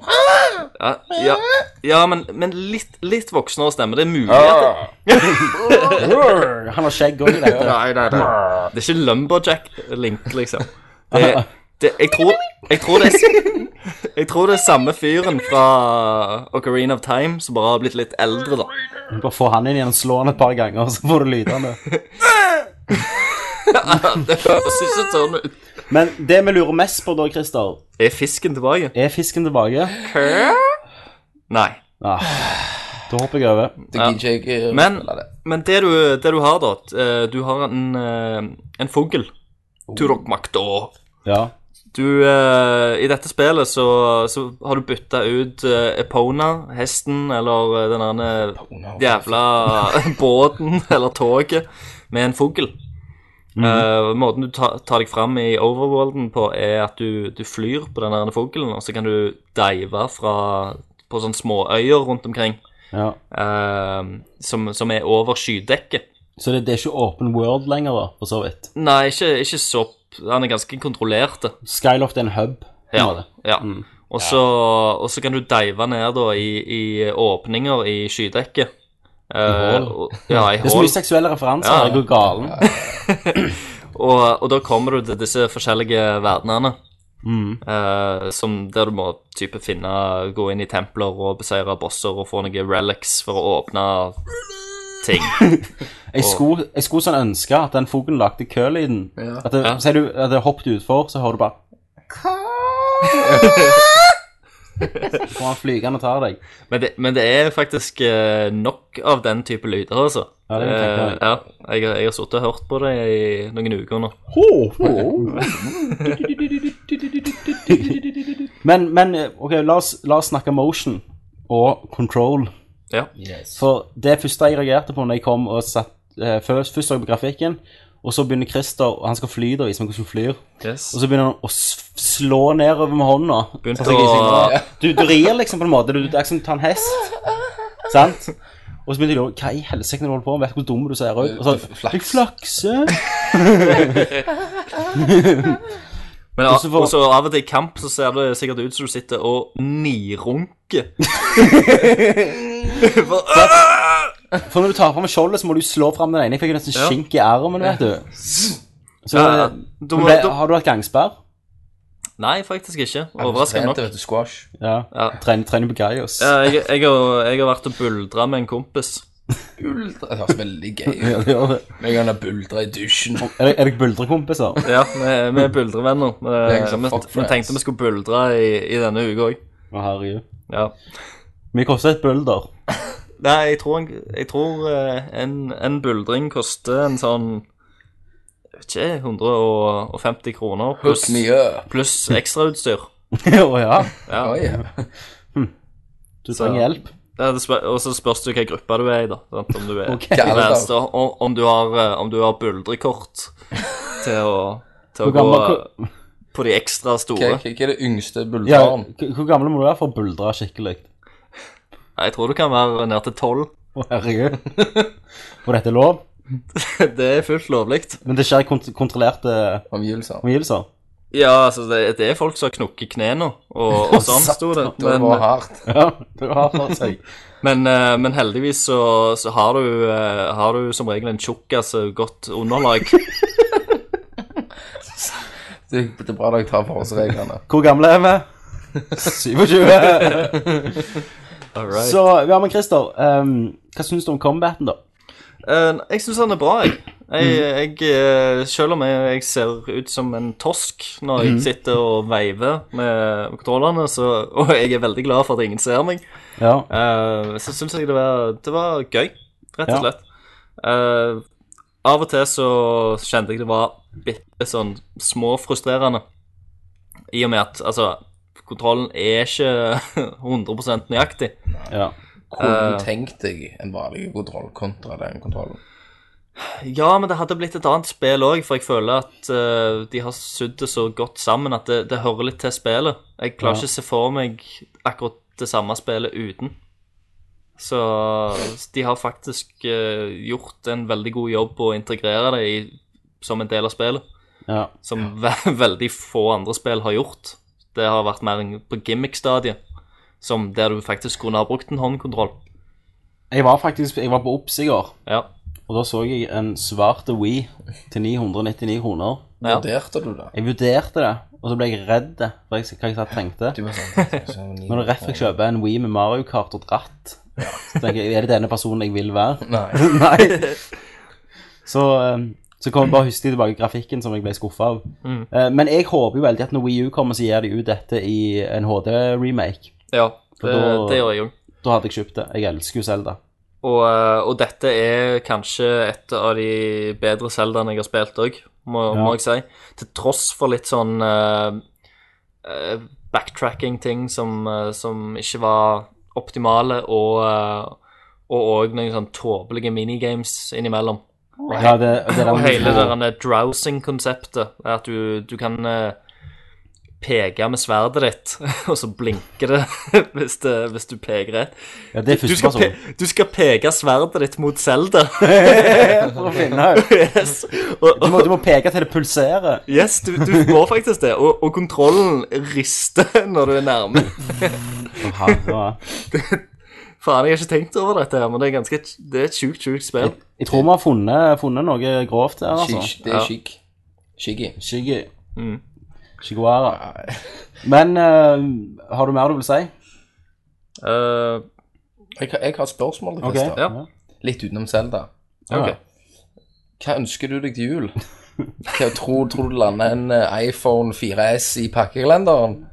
Speaker 8: Ja, ja, ja men, men litt, litt voksnere stemme. Det er mulig at det,
Speaker 6: Han har skjegg òg i dette.
Speaker 8: Nei, nei, nei. det er ikke Lumberjack-Link, liksom. Det, det, jeg, tror, jeg, tror det er, (laughs) jeg tror det er samme fyren fra Ocarina of Time som bare har blitt litt eldre, da. (laughs)
Speaker 6: Bare få han inn igjen og slå han et par ganger, så får du lydene.
Speaker 8: Det høres ikke sånn ut.
Speaker 6: Men det vi lurer mest på da, Christer,
Speaker 8: Er fisken tilbake?
Speaker 6: er fisken tilbake?
Speaker 8: Nei.
Speaker 6: Ah, da hopper jeg over.
Speaker 7: Det gidder ikke jeg eh,
Speaker 8: Men,
Speaker 7: spille det.
Speaker 8: men det, du, det du har, da eh, Du har en, eh, en fugl.
Speaker 7: Oh.
Speaker 8: Turokmakta.
Speaker 6: Ja.
Speaker 8: Du, eh, I dette spillet så, så har du bytta ut eh, Epona, hesten, eller eh, den andre jævla (laughs) båten (laughs) eller toget, med en fugl.
Speaker 7: Mhm.
Speaker 8: Eh, måten du ta, tar deg fram i overworlden på, er at du, du flyr på den der fuglen, og så kan du dive fra, på sånne småøyer rundt omkring
Speaker 6: ja.
Speaker 8: eh, som, som er over skydekket.
Speaker 6: Så det, det er ikke open world lenger, da, for så vidt.
Speaker 8: Nei, ikke, ikke sopp. Han er ganske kontrollert.
Speaker 6: Skyloft er en hub. på en
Speaker 8: Ja.
Speaker 6: måte. Mm.
Speaker 8: ja. Og så og så kan du dive ned da i, i åpninger i skydekket. Eh,
Speaker 6: hull.
Speaker 8: og- ja, i
Speaker 6: (laughs) Det er så
Speaker 8: hull.
Speaker 6: mye seksuelle referanser.
Speaker 8: Ja.
Speaker 6: Jeg går galen.
Speaker 8: Og, og da kommer du til disse forskjellige verdenene.
Speaker 6: Mm.
Speaker 8: eh, som der du må type finne Gå inn i templer og beseire bosser og få noen relics for å åpne ting.
Speaker 6: Jeg skulle, jeg skulle sånn ønske at den fuglen lagde kølyden.
Speaker 7: Ja.
Speaker 6: At det,
Speaker 8: Ja.
Speaker 6: Sier du at det hoppet utfor, så hører du bare Så kommer han flygende og tar deg.
Speaker 8: Men det, men det er faktisk eh, nok av den type lyder, altså.
Speaker 6: Ja, det kan jeg tenke meg.
Speaker 8: Eh, ja, jeg, har- jeg har sittet og hørt på det i noen uker nå.
Speaker 6: Men, men eh, OK, la oss, la oss snakke motion og control.
Speaker 8: Ja.
Speaker 6: For det første jeg reagerte på når jeg kom og satt eh, Først, først så jeg på grafikken, og så begynner Christer og Han skal fly, da, i som hvordan han flyr.
Speaker 8: Yes.
Speaker 6: Og så begynner han å s- slå nedover med hånda.
Speaker 8: Begynte
Speaker 6: Sånn at jeg
Speaker 8: å-
Speaker 6: ikke- du, du rir liksom på en måte. Du, det er ikke som å ta en hest. Sant? Og så begynte jeg å lure Hva i helsike er det du holder på med? Vet du hvor dum du ser ut? Og så
Speaker 7: Flaks.
Speaker 6: Jeg flakser.
Speaker 8: Men
Speaker 6: Og så
Speaker 8: av-
Speaker 6: får-
Speaker 8: og så av og til i kamp så ser det sikkert ut som du sitter og
Speaker 6: (laughs)
Speaker 8: nirunker. For-
Speaker 6: For når du tar fram skjoldet, så må du slå fram den ene. Jeg fikk jo nesten
Speaker 8: Ja.
Speaker 6: skink i armen, vet du. Så
Speaker 8: Ja, ja. Da
Speaker 6: men
Speaker 8: må-
Speaker 6: det,
Speaker 8: da-
Speaker 6: Har du hatt gangsperr?
Speaker 8: Nei, faktisk ikke.
Speaker 7: Jeg
Speaker 8: Overraskende
Speaker 7: trente,
Speaker 8: nok.
Speaker 7: vet du, Squash.
Speaker 6: Ja.
Speaker 8: Ja.
Speaker 6: Trener, trener på Gaius.
Speaker 8: Ja, Jeg, jeg, har, jeg har vært og buldra med en kompis.
Speaker 7: Buldre. Det høres veldig gøy
Speaker 8: (laughs)
Speaker 7: ut.
Speaker 6: (laughs) Ja, det gjør det.
Speaker 7: Jeg kan ha buldre i dusjen.
Speaker 6: Er det- er dere buldrekompiser?
Speaker 8: Ja, vi, vi er buldrevenner. Vi,
Speaker 7: er ikke så
Speaker 8: vi,
Speaker 7: fuck
Speaker 8: vi
Speaker 7: friends.
Speaker 8: tenkte vi skulle buldre i, i denne uka òg.
Speaker 6: Å, herregud.
Speaker 8: Ja.
Speaker 6: Mye koster et bulder. (laughs)
Speaker 8: Nei, jeg tror, en- jeg tror eh, en, en buldring koster en sånn jeg vet ikke, 150 kroner pluss,
Speaker 7: Hook me up.
Speaker 8: pluss ekstrautstyr.
Speaker 6: Å ja.
Speaker 8: Ja.
Speaker 7: Oi, ja.
Speaker 6: Du
Speaker 8: Så-
Speaker 6: trenger hjelp.
Speaker 8: Ja, det spør, og så spørs det hvilken gruppe du er i, da. Sant? Om du er
Speaker 6: Ok.
Speaker 8: om, du er eldst, og om, om du har, eh, om du har buldrekort til å, til å
Speaker 6: Hvor
Speaker 8: gå
Speaker 6: gammel-
Speaker 8: eh, på de ekstra
Speaker 7: Hva,
Speaker 8: store.
Speaker 7: hva hva er det yngste
Speaker 6: Ja,
Speaker 7: bulderen?
Speaker 6: k- hvor gammel må du være for å buldre skikkelig?
Speaker 8: Nei, Jeg tror du kan være ned til tolv. (laughs)
Speaker 6: Å, herregud. (laughs) For dette er lov,
Speaker 8: det er fullt lovlig.
Speaker 6: men det skjer i kont kontrollerte
Speaker 7: Omgivelser.
Speaker 6: omgivelser.
Speaker 8: Ja, altså, det, det er folk som har knukket knærne,
Speaker 6: (laughs)
Speaker 8: og, og sånn sto det.
Speaker 7: Det var
Speaker 8: Men-
Speaker 7: hardt.
Speaker 6: Ja, det har for seg.
Speaker 8: Men, eh, men heldigvis så, så har, du, eh, har du som regel en tjukkas og godt (laughs) underlag.
Speaker 7: Det, (laughs) det er bra dere tar forholdsreglene.
Speaker 6: Hvor gamle
Speaker 8: (laughs)
Speaker 6: er vi? 27. Så, ja, men Christer, ehm, hva syns du om combaten, da?
Speaker 8: Eh, jeg syns han er bra, jeg. jeg, jeg eh, selv om jeg, jeg ser ut som en tosk når jeg sitter og veiver med kontrollene, så, (laughs) og jeg er veldig glad for at ingen ser meg,
Speaker 6: Ja.
Speaker 8: eh, så syns jeg det var, det var gøy, rett
Speaker 6: Ja.
Speaker 8: og slett. Eh, av og til så kjente jeg det var bitte sånn småfrustrerende, i og med at altså Kontrollen er ikke (laughs) 100 nøyaktig.
Speaker 6: ja.
Speaker 8: Eh.
Speaker 7: Kunne tenkt deg en vanlig kontroll kontra den kontrollen.
Speaker 8: Ja, men det hadde blitt et annet spill òg, for jeg føler at eh, de har sydd det så godt sammen at det, det hører litt til spillet. Jeg
Speaker 6: Ja.
Speaker 8: klarer ikke å se for meg akkurat det samme spillet uten. Så de har faktisk eh, gjort en veldig god jobb på å integrere det i, som en del av spillet.
Speaker 6: ja.
Speaker 8: Som ve (laughs) veldig få andre spill har gjort. Det har vært mer en- på gimmick-stadiet, som der du faktisk kunne ha brukt en håndkontroll.
Speaker 6: Jeg var faktisk jeg var på Ops i går.
Speaker 8: Ja.
Speaker 6: Og da så jeg en svart Wii til 999 kroner.
Speaker 8: Ja.
Speaker 7: Vurderte du det?
Speaker 6: Jeg vurderte det, og så ble jeg redd for jeg, hva jeg satt tenkte.
Speaker 7: Du var sånn sånn ni-
Speaker 6: Når det rett fikk kjøpe en Wii med Mario Kart og et ratt, så tenker jeg, er det denne personen jeg vil
Speaker 8: (laughs)
Speaker 6: være?
Speaker 7: Nei.
Speaker 6: Nei. Så, eh, så kom jeg bare huske tilbake grafikken som jeg ble skuffa av.
Speaker 8: Mm.
Speaker 6: Eh, Men jeg håper jo veldig at når Wii U kommer, så gir de ut dette i en HD-remake.
Speaker 8: ja
Speaker 6: Og
Speaker 8: det,
Speaker 6: da-
Speaker 8: det gjør jeg òg.
Speaker 6: Da hadde jeg kjøpt det. Jeg elsker jo Zelda.
Speaker 8: Og, eh, og dette er kanskje et av de bedre Zeldaene jeg har spilt òg, må,
Speaker 6: Ja.
Speaker 8: må jeg si. Til tross for litt sånn eh, eh, backtracking-ting som, eh, som ikke var optimale, og eh, og òg noen sånn tåpelige minigames innimellom.
Speaker 6: Ja, det, det er
Speaker 8: Og hele det
Speaker 6: der
Speaker 8: derne drowsing-konseptet. er At du, du kan eh, peke med sverdet ditt, (laughs) og så blinker det (laughs) hvis, det, hvis du peker rett.
Speaker 6: ja, det er
Speaker 8: Du skal,
Speaker 6: førsteperson.
Speaker 7: sånn-
Speaker 8: pe du skal peke sverdet ditt mot Zelda. (laughs)
Speaker 6: For å finne ut.
Speaker 8: yes. Og,
Speaker 6: Du
Speaker 8: og,
Speaker 6: må, du må peke til det pulserer.
Speaker 8: yes, du, du må faktisk det. Og, og kontrollen rister (laughs) når du er nærme.
Speaker 6: Å, herre.
Speaker 8: Faen, jeg har ikke tenkt over dette, her, men det er, ganske, det er et sjukt, sjukt spill.
Speaker 6: Jeg tror vi har funnet, funnet noe grovt her, altså.
Speaker 8: sånn.
Speaker 7: Skik, det er skikk. Skikki.
Speaker 6: Shiggy.
Speaker 8: Mm.
Speaker 6: Shiguara. Men eh, har du mer du vil si?
Speaker 8: Eh,
Speaker 7: Jeg, har- jeg har et spørsmål til
Speaker 6: Ok,
Speaker 7: Christer.
Speaker 8: ja.
Speaker 7: Litt utenom Zelda.
Speaker 8: ok.
Speaker 7: Hva ønsker du deg til jul? Hva, tror, tror du det lander en eh, iPhone 4S i pakkekalenderen?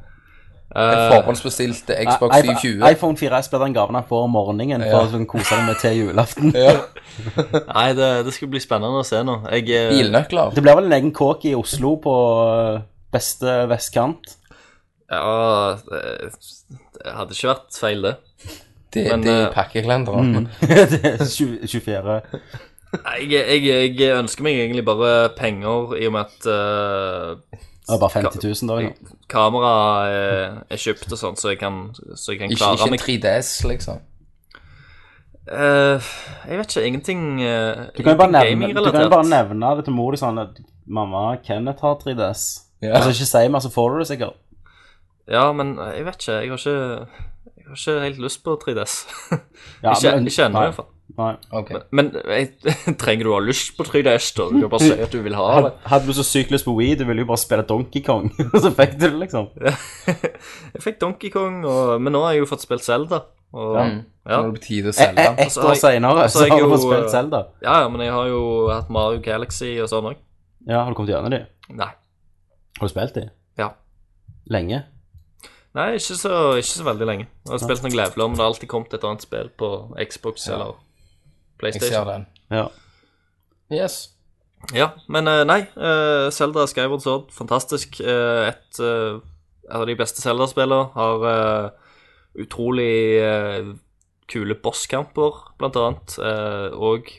Speaker 8: Eh,
Speaker 7: En forhåndsbestilt Xbox
Speaker 6: I- I-
Speaker 7: 720?
Speaker 6: iPhone 4S blir den gaven han får om morgenen for å sånn kose deg med til julaften. (laughs)
Speaker 8: Nei, det, det skal bli spennende å se nå. Jeg, eh,
Speaker 7: Bilnøkler?
Speaker 6: Det blir vel en egen kåk i Oslo på eh, beste vestkant. (laughs)
Speaker 8: Ja, det, det hadde ikke vært feil, det.
Speaker 7: Det,
Speaker 8: Men,
Speaker 7: det er
Speaker 8: eh,
Speaker 7: i pakkekalenderen.
Speaker 6: det er tju- 24.
Speaker 8: Nei, Jeg, jeg, jeg ønsker meg egentlig bare penger, i og med at eh,
Speaker 6: Det er bare 50 000 da. liksom.
Speaker 8: kamera er, er kjøpt og sånn, så jeg kan, så jeg kan
Speaker 7: Ikke,
Speaker 8: klare
Speaker 7: ikke en
Speaker 8: meg.
Speaker 7: 3DS, liksom.
Speaker 8: Eh, jeg vet ikke, ingenting uh,
Speaker 6: Du kan jo bare nevne, du kan jo bare nevne det til mor di sånn at mamma, Kenneth har 3DS.
Speaker 7: Ja.
Speaker 6: Altså ikke si mer, så får du det sikkert.
Speaker 8: Ja, men eh, jeg vet ikke. Jeg har ikke, jeg har ikke helt lyst på (laughs) 3DS.
Speaker 6: Ja,
Speaker 8: ikke
Speaker 6: men-
Speaker 8: ikke ennå,
Speaker 6: nei,
Speaker 8: i hvert fall.
Speaker 6: nei.
Speaker 7: Ok.
Speaker 8: Men jeg, (laughs) trenger du å ha lyst på 3DS, da? Du kan bare si at du vil ha Ah, det. (laughs)
Speaker 6: Had- Hadde du så sykt lyst på Wii, du ville jo bare spille Donkey Kong, (laughs) og så fikk du det, liksom.
Speaker 8: Jeg fikk Donkey Kong, og, men nå har jeg jo fått spilt Zelda. Og, ja.
Speaker 7: Mm.
Speaker 8: Ja.
Speaker 7: Nå
Speaker 8: Eh,
Speaker 7: er det på tide å
Speaker 6: E-
Speaker 7: selge.
Speaker 6: e- Ett
Speaker 8: så har
Speaker 6: år
Speaker 8: altså, jeg-
Speaker 6: senere
Speaker 8: og så har
Speaker 6: så
Speaker 8: jeg
Speaker 6: har du
Speaker 8: jo,
Speaker 6: fått
Speaker 8: eh,
Speaker 6: spilt Zelda.
Speaker 8: ja, men jeg har jo hatt Mario Galaxy og sånn òg.
Speaker 6: Ja, har du kommet gjennom de?
Speaker 8: Nei.
Speaker 6: Har du spilt de?
Speaker 8: Ja.
Speaker 6: Lenge?
Speaker 8: Nei, ikke så, ikke så veldig lenge. Jeg har spilt noen leveler, men det har alltid kommet et annet spill på Xbox eller
Speaker 7: Jeg ser
Speaker 8: PlayStation.
Speaker 7: den.
Speaker 6: Ja.
Speaker 7: Yes.
Speaker 8: Ja, men eh, nei. eh, Zelda Skyward Sword, fantastisk. Eh, et eh, av de beste Zelda-spillene. Har eh, utrolig eh, kule bosskamper, blant annet. eh, og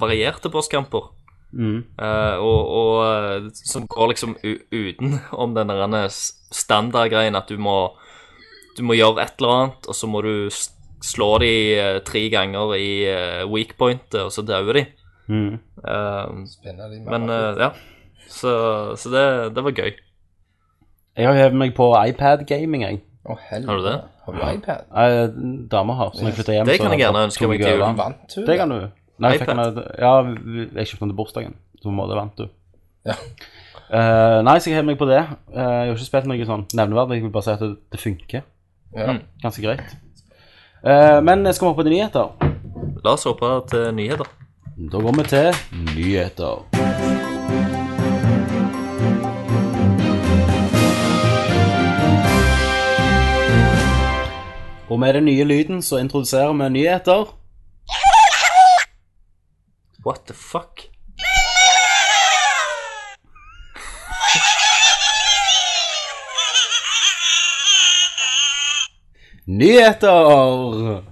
Speaker 8: varierte bosskamper.
Speaker 6: Mm.
Speaker 8: Eh, og, og eh, som går liksom u (laughs) utenom den der standardgreien at du må Du må gjøre et eller annet, og så må du s- slå de eh, tre ganger i eh, weak pointet, og så dauer de.
Speaker 6: Mm.
Speaker 8: Eh,
Speaker 7: Spinner de
Speaker 8: men eh,
Speaker 7: med.
Speaker 8: ja. Så, så det, det var gøy.
Speaker 6: Jeg har hevet meg på iPad-gaming, jeg.
Speaker 7: Å, helvete.
Speaker 8: eh, Har du det?
Speaker 7: Har du iPad?
Speaker 6: Eh, Dama har, så når jeg flytter hjem
Speaker 8: Det kan
Speaker 6: så
Speaker 8: jeg gjerne
Speaker 6: tok
Speaker 8: ønske meg
Speaker 6: jeg
Speaker 8: til
Speaker 6: over.
Speaker 8: jul.
Speaker 7: Vant hun
Speaker 6: Det kan du. Nei, jeg fikk
Speaker 8: iPad.
Speaker 6: den, ja, jeg kjøpte den til bursdagen, så på en måte vant du.
Speaker 7: Ja.
Speaker 6: Eh, nei, så jeg hever meg på det. Eh, jeg har ikke spilt noe sånn nevneverdig, jeg vil bare si at det, det funker.
Speaker 7: Ja.
Speaker 6: Ganske greit. Eh, men skal vi hoppe til nyheter?
Speaker 8: La oss hoppe til nyheter.
Speaker 6: Da går vi til nyheter. Og med den nye lyden så introduserer vi nyheter.
Speaker 8: What the fuck?
Speaker 6: Nyheter!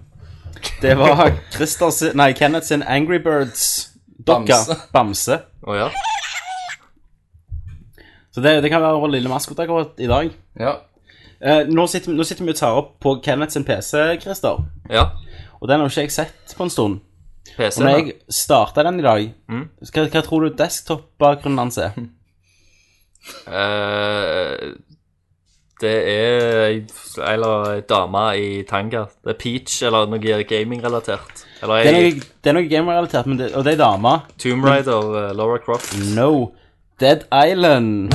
Speaker 6: Det var Christer sin, nei, Kenneth sin Angry Birds dokka.
Speaker 7: Bamse.
Speaker 6: (laughs) Bamse.
Speaker 8: Å ja.
Speaker 6: Så det, det kan være vår lille maskot akkurat i dag.
Speaker 7: Ja.
Speaker 6: Eh, nå, sitter, nå sitter vi og tar opp på Kenneth sin PC, Christer.
Speaker 8: Ja.
Speaker 6: Og den har jo ikke jeg sett på en stund.
Speaker 8: PC.
Speaker 6: Så når jeg starta den i dag, hva, hva tror du desktop-bakgrunnen hans er?
Speaker 8: Eh, Det er ei eller ei dame i tanga. Det er Peach eller noe gaming-relatert. Eller
Speaker 6: Det er
Speaker 8: ei
Speaker 6: noe, det er noe game-relatert, men det, og det er dama.
Speaker 8: Tomb Raider, eh, Laura Croft.
Speaker 6: No. Dead Island.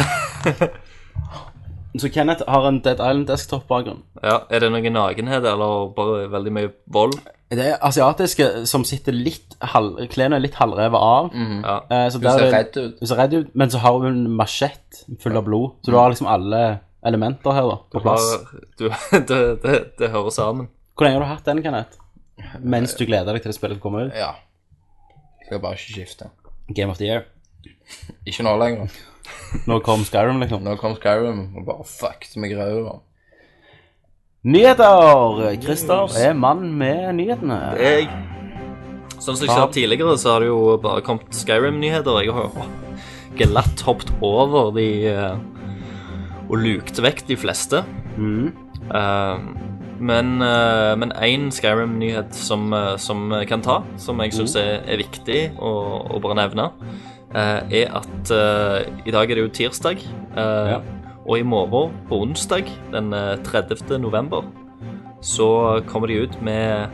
Speaker 6: Så Kenneth har en Dead Island desktop-bakgrunn.
Speaker 8: Ja, Er det noe nakenhet eller bare veldig mye vold?
Speaker 6: Det er asiatiske som sitter litt halv, klærne er litt halvrevet av.
Speaker 8: Ja.
Speaker 6: Eh, så
Speaker 7: Mm. Du
Speaker 6: der
Speaker 7: ser
Speaker 6: er-
Speaker 7: redd ut.
Speaker 6: Hun ser redd ut, men så har hun en machett full av blod. Så
Speaker 7: Mm.
Speaker 6: du har liksom alle elementer her da, på plass.
Speaker 8: Bare- Du, (laughs) det, det, det hører sammen.
Speaker 6: Hvor lenge har du hatt den, Kenneth? Mens du gleder deg til det spillet kommer ut?
Speaker 7: Ja. Skal bare ikke skifte.
Speaker 6: Game of the Year.
Speaker 7: Ikke nå lenger.
Speaker 6: Nå kom Skyrim, liksom.
Speaker 7: Nå kom Skyrim og bare fucket meg i røret.
Speaker 6: Nyheter! Christer er mann med nyhetene.
Speaker 8: Jeg, sånn som jeg sa tidligere, så har det jo bare kommet Skyrim-nyheter. Jeg har jo glatt hoppet over de eh, og lukt vekk de fleste. Eh, men eh, men én Skyrim-nyhet som, eh, som jeg kan ta, som jeg syns er, er viktig å, å bare nevne, eh, er at eh, i dag er det jo tirsdag. eh, Og i morgen, på onsdag den eh, 30. november, så kommer de ut med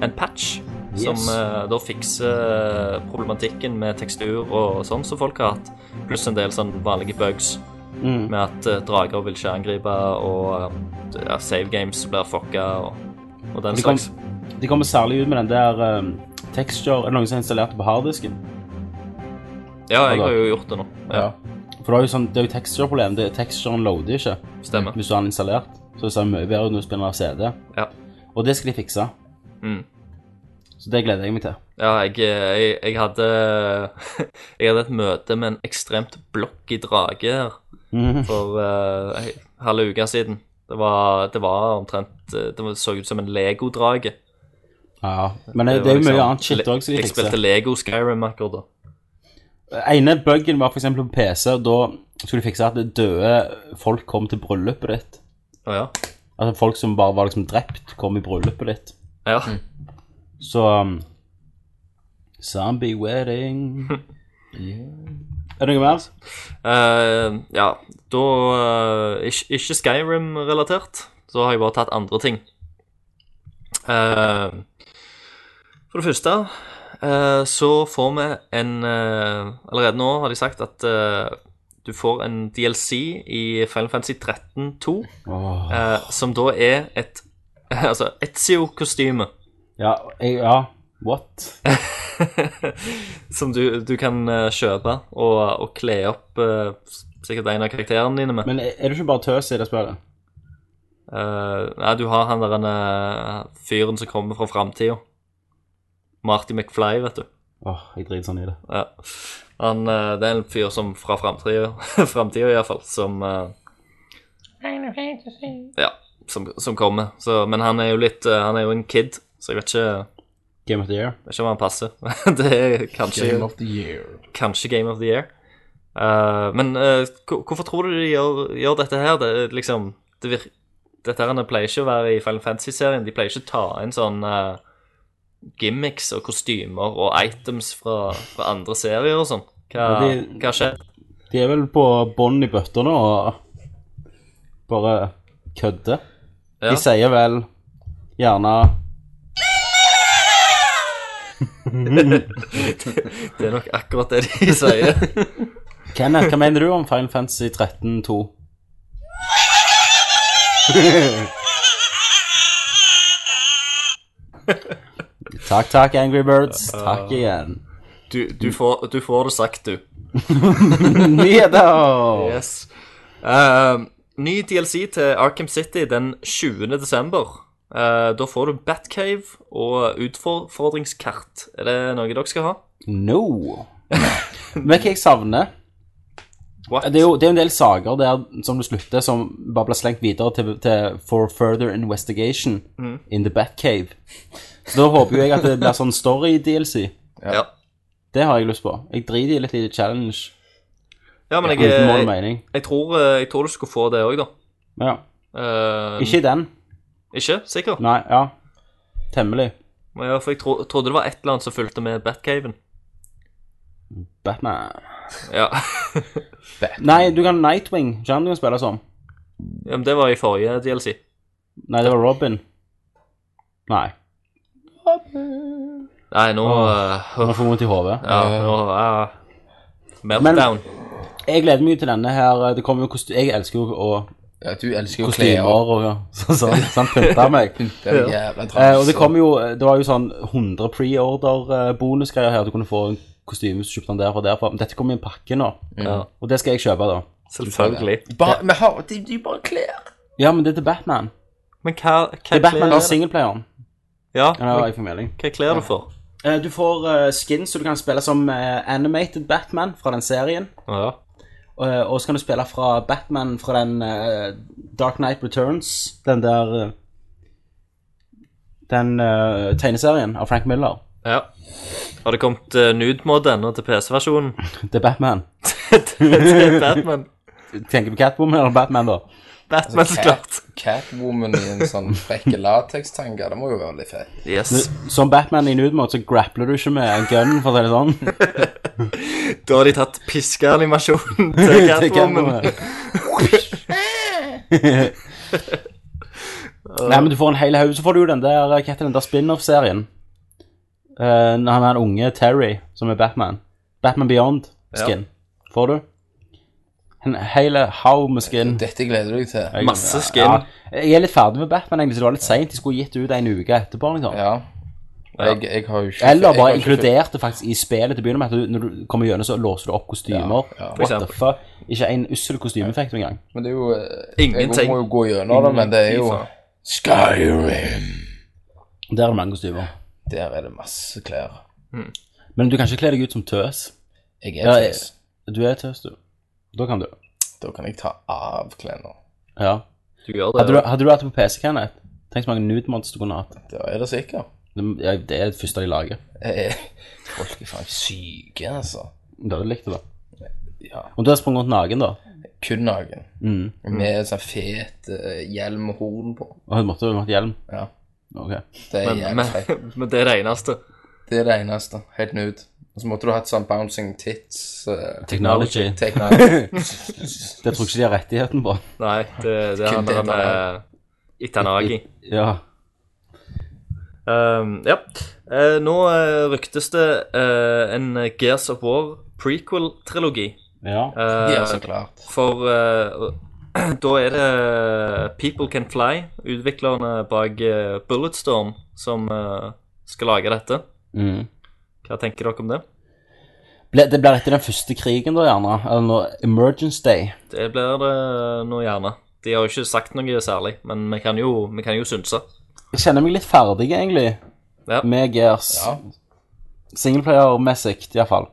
Speaker 8: en patch som
Speaker 6: Yes.
Speaker 8: eh, da fikser eh, problematikken med tekstur og sånn som folk har hatt, pluss en del sånn vanlige bugs
Speaker 6: Mm.
Speaker 8: med at eh, drager vil ikke angripe, og eh, ja, save games blir fucka og, og den
Speaker 6: De, kom,
Speaker 8: slags.
Speaker 6: de kommer særlig ut med den der um, texture Er det noen som har installert det på harddisken?
Speaker 8: Ja, jeg
Speaker 6: da.
Speaker 8: har jo gjort det nå. Ja,
Speaker 6: For det er jo, sånn, det er jo texture-problem. Det- Texturen loader ikke
Speaker 8: Stemmer.
Speaker 6: hvis du har den installert. Så det ser mye bedre ut når du spiller av CD.
Speaker 8: Ja.
Speaker 6: Og det skal de fikse.
Speaker 8: Mm.
Speaker 6: Så det gleder jeg meg til.
Speaker 8: Ja, jeg, jeg, jeg hadde (laughs) Jeg hadde et møte med en ekstremt blokky drage her for eh, ei halve uke siden. Det var, det var omtrent eh, Det så ut som en Lego-drage.
Speaker 6: Ja, Men det, det, er jo mye annet shit òg som de
Speaker 8: liksom Jeg
Speaker 6: fikser.
Speaker 8: spilte Lego Skyrim akkurat da.
Speaker 6: ene buggen var f.eks. på PC. og Da skulle de fikse at døde folk kom til bryllupet ditt.
Speaker 8: Å ja.
Speaker 6: Altså folk som bare var liksom drept, kom i bryllupet ditt.
Speaker 8: Ja.
Speaker 6: Så um, Zombie
Speaker 8: (laughs)
Speaker 6: wedding Er det noe mer?
Speaker 8: Eh, ja, da eh, Ikke, ikke Skyrim-relatert. Så har jeg bare tatt andre ting. Eh, for det første eh, så får vi en eh, Allerede nå har de sagt at eh, du får en DLC i Final Fantasy 13 2,
Speaker 6: Åh.
Speaker 8: eh, som da er et (laughs) Altså Etzio-kostyme.
Speaker 6: Ja, jeg, ja. What?
Speaker 8: (laughs) som du, du kan eh, kjøpe og, og kle opp eh, s- sikkert en av karakterene dine med.
Speaker 6: Men er er du ikke bare tøs i det spillet?
Speaker 8: Eh, nei, du har han der en, eh, fyren som kommer fra framtida. Marty McFly, vet du.
Speaker 6: Åh, jeg driter sånn i det.
Speaker 8: Ja. Han, eh, det er en fyr som fra (laughs) framtida, framtida iallfall, som eh, Ja, som, som kommer. Så, men han er jo litt eh, Han er jo en kid, så jeg vet ikke,
Speaker 6: Game of the Year.
Speaker 8: vet ikke om han passer. (laughs) det er kanskje
Speaker 7: Game of the year.
Speaker 8: kanskje Game of the Year. Eh, men eh, hvor- hvorfor tror du de gjør, gjør dette her? Det, er liksom, det vir dette her det pleier ikke å være i Final Fantasy-serien. De pleier ikke å ta inn sånn eh, gimmicks og kostymer og items fra, fra andre serier og sånn. Hva,
Speaker 6: Ja, de-
Speaker 8: hva skjer?
Speaker 6: De er vel på bånn i bøtter nå og bare kødder.
Speaker 8: Ja.
Speaker 6: De sier vel gjerne
Speaker 8: (laughs) Det er nok akkurat det de sier.
Speaker 6: (laughs) Kenneth, hva mener du om Final Fantasy 13-2? takk, takk, Angry Birds. Takk igjen.
Speaker 8: Du, du, får, du får det sagt, du.
Speaker 6: Nyheter!
Speaker 8: Yes. Eh, ny DLC til Arkham City den 20. desember. Eh, da får du Batcave og utfordringskart. Er det noe dere skal ha?
Speaker 6: No. Men hva jeg savner
Speaker 8: What?
Speaker 6: Det er jo det er jo en del saker der som du slutter, som bare blir slengt videre til, til For further investigation in the Batcave. Så da håper jo jeg at det blir sånn story-DLC.
Speaker 8: ja.
Speaker 6: Det har jeg lyst på. Jeg driter i litt i challenge.
Speaker 8: ja, men jeg,
Speaker 6: Uten mål og
Speaker 8: jeg,
Speaker 6: mening.
Speaker 8: jeg, tror, eh, jeg tror du skulle få det òg, da.
Speaker 6: Men ja.
Speaker 8: Eh,
Speaker 6: Ikke i den.
Speaker 8: ikke? Sikker?
Speaker 6: Nei, ja. Temmelig.
Speaker 8: Ja, for jeg tro, trodde det var et eller annet som fulgte med Batcaven.
Speaker 6: Batman.
Speaker 8: Ja.
Speaker 6: Nei, du kan Nightwing. Ikke han du kan spille som.
Speaker 8: (laughs) Ja, men det var i forrige DLC.
Speaker 6: Nei, det var Robin. Nei.
Speaker 8: Nei, nå eh,
Speaker 6: Han får vondt i hodet.
Speaker 8: Ja, nå eh, Meltdown.
Speaker 6: Jeg gleder meg jo til denne her. Det kommer jo kost- Jeg elsker jo å
Speaker 7: Ja, du elsker jo klær og
Speaker 6: kostymer og ja. sånn. Så, så han pynta meg.
Speaker 7: Det er jævla
Speaker 6: Eh, og det
Speaker 7: trams.
Speaker 6: kom jo Det var jo sånn 100 pre-order-bonusgreier her. Du kunne få en kostyme som kjøpte han derfra og derfra. Men dette kommer i en pakke nå,
Speaker 8: Ja,
Speaker 6: og det skal jeg kjøpe, da.
Speaker 8: selvfølgelig.
Speaker 7: Bare, vi har, det det er jo bare
Speaker 6: (laughs)
Speaker 7: klær.
Speaker 6: Ja, men det er til Batman.
Speaker 8: Men hva, hva
Speaker 6: Det er Batman
Speaker 8: klær
Speaker 6: og singleplayeren.
Speaker 8: Ja,
Speaker 6: Eller
Speaker 8: men
Speaker 6: jeg får melding.
Speaker 8: hva klær du får?
Speaker 6: Eh, Du får eh, skin, så du kan spille som eh, animated Batman fra den serien.
Speaker 8: Ja.
Speaker 6: Eh, og så kan du spille fra Batman fra den eh, Dark Knight Returns, den der eh, Den eh, tegneserien av Frank Miller.
Speaker 8: ja. Har det kommet uh, nude-mod ennå til
Speaker 7: (laughs)
Speaker 8: PC-versjonen?
Speaker 6: Det er Batman.
Speaker 8: til til Batman.
Speaker 6: Tenker du Catwoman eller Batman, da?
Speaker 8: Batman, så klart.
Speaker 7: Cat, Catwoman i en sånn frekke latekstanke. Det må jo være litt fett.
Speaker 8: Yes.
Speaker 6: Som Batman i nude mode så grappler du ikke med en gun, for å si det
Speaker 8: (laughs)
Speaker 6: sånn.
Speaker 8: Da har de tatt piskeanimasjonen
Speaker 7: (laughs)
Speaker 8: til
Speaker 6: Det er
Speaker 8: Catwoman. (laughs)
Speaker 6: Catwoman. Nei, men du får en hel haug. Så får du jo den der, hva heter den der spin-off-serien. Eh, når han er den unge Terry, som er Batman. Batman Beyond-skin. Får du? En hel haug med skin.
Speaker 7: Dette gleder du deg til.
Speaker 6: Jeg-
Speaker 8: Masse skin.
Speaker 6: Ja, jeg er litt ferdig med Batman, egentlig, så det var litt seint. De skulle gitt ut en uke etterpå. Liksom.
Speaker 7: Ja. Jeg, jeg har jo ikke
Speaker 6: Eller
Speaker 7: jeg har
Speaker 6: bare
Speaker 7: ikke-
Speaker 6: inkludert det faktisk i spillet til å begynne med. At du, når du kommer gjennom, så låser du opp kostymer.
Speaker 7: Ja, ja.
Speaker 6: What
Speaker 8: For
Speaker 6: the
Speaker 8: eksempel.
Speaker 6: fuck? Ikke en ussel kostymeeffekt engang.
Speaker 7: Men det er jo eh,
Speaker 8: Ingenting.
Speaker 7: Jeg må jo gå gjennom det, men det er jo
Speaker 8: Fy faen.
Speaker 7: Skyrim.
Speaker 6: Der er det mange kostymer.
Speaker 7: Der er det masse klær.
Speaker 6: Men du kan ikke kle deg ut som tøs.
Speaker 7: Jeg
Speaker 6: Ja,
Speaker 7: er
Speaker 6: jeg-
Speaker 7: tøys.
Speaker 6: Du er tøs, du. Da kan du.
Speaker 7: Da kan jeg ta av klærne.
Speaker 6: Ja.
Speaker 8: Du gjør
Speaker 6: Hadde
Speaker 8: det.
Speaker 6: du, hadde du hatt det på PC, Kenneth? Tenk så mange nudemods du kunne hatt.
Speaker 7: Da er det sikkert.
Speaker 6: Det, ja, det er det første de lager.
Speaker 7: Jeg er- Folk er faen syke, altså.
Speaker 6: Det hadde du likt, det da.
Speaker 7: Ja.
Speaker 6: Om du hadde sprunget rundt naken, da,
Speaker 7: Kun naken.
Speaker 6: mm.
Speaker 7: Med sånn fet eh, hjelm og horn på.
Speaker 6: og hadde måttet hatt hjelm
Speaker 7: Ja.
Speaker 6: Ok.
Speaker 7: Det er
Speaker 8: Men,
Speaker 7: jævlig fett.
Speaker 8: men, (laughs) men det er det eneste.
Speaker 7: Det er det eneste. Helt nude. Og så måtte du hatt sånn bouncing tits eh,
Speaker 6: Technology. (laughs)
Speaker 7: Technology.
Speaker 6: Det tror jeg ikke de har rettigheten på.
Speaker 8: Nei, det, det er
Speaker 7: Kun
Speaker 8: han der
Speaker 7: det
Speaker 8: med Itanagi.
Speaker 6: Ja.
Speaker 8: Um, ja. Eh, nå eh, ryktes det eh, en Gears of War prequel-trilogi.
Speaker 6: ja.
Speaker 8: Eh,
Speaker 7: ja, så klart.
Speaker 8: for eh, (clears throat) da er det eh, People Can Fly, utviklerne bak eh, Bulletstorm, som eh, skal lage dette.
Speaker 6: Mm.
Speaker 8: Hva tenker dere om det?
Speaker 6: Ble, det blir etter den første krigen, da, gjerne. Eller når Emergence Day.
Speaker 8: Det blir det nå gjerne. De har jo ikke sagt noe særlig, men vi kan jo, vi kan jo synse.
Speaker 6: Jeg kjenner meg litt ferdig, egentlig,
Speaker 8: Ja.
Speaker 6: med Gears.
Speaker 7: Ja.
Speaker 6: Singleplayer-messig, iallfall.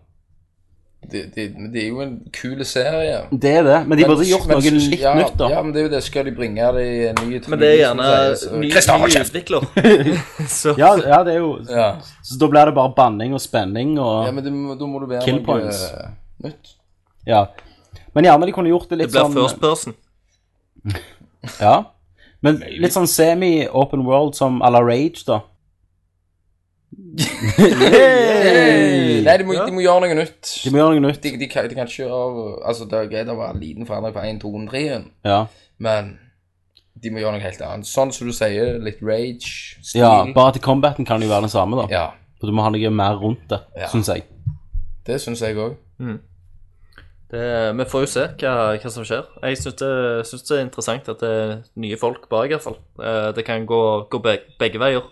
Speaker 7: Det, det, men det er jo en kul serie.
Speaker 6: Det er det, men de burde gjort
Speaker 7: Men-
Speaker 6: noe litt
Speaker 7: ja,
Speaker 6: nytt, da.
Speaker 7: Ja, men det er jo det. Skal de bringe det i en ny
Speaker 8: Men det er gjerne ny,
Speaker 7: Kristoffer
Speaker 8: ny
Speaker 7: Kjeft!
Speaker 8: utvikler. Så (laughs)
Speaker 6: Ja, ja, det er jo
Speaker 7: Ja.
Speaker 6: Så da blir det bare banning og spenning og
Speaker 7: ja, men det, må- da må det være
Speaker 6: Kill
Speaker 7: noe
Speaker 6: points.
Speaker 7: eh, nytt.
Speaker 6: Ja. Men gjerne de kunne gjort det
Speaker 8: det
Speaker 6: litt
Speaker 8: blir
Speaker 6: sånn
Speaker 8: first person.
Speaker 6: Ja. Men litt sånn semi-open world som à la Rage, da.
Speaker 7: Hey, Nei, de må, de må gjøre noe nytt.
Speaker 6: De må gjøre noe nytt.
Speaker 7: De, de, kan, de kan ikke gjøre Altså, det er greit å være en liten forandring på 1, 2, 3,
Speaker 6: Ja.
Speaker 7: men de må gjøre noe helt annet. Sånn som du sier, litt rage. stil.
Speaker 6: ja bare til combaten kan det jo være den samme, da.
Speaker 7: Mm. ja.
Speaker 6: For du må ha noe mer rundt det,
Speaker 7: Ja.
Speaker 6: synes syns jeg.
Speaker 7: Det syns jeg òg.
Speaker 8: Det, vi får jo se hva, hva som skjer. Jeg syns det, synes det er interessant at det er nye folk bak, iallfall. Eh, Det kan gå, gå beg- begge veier.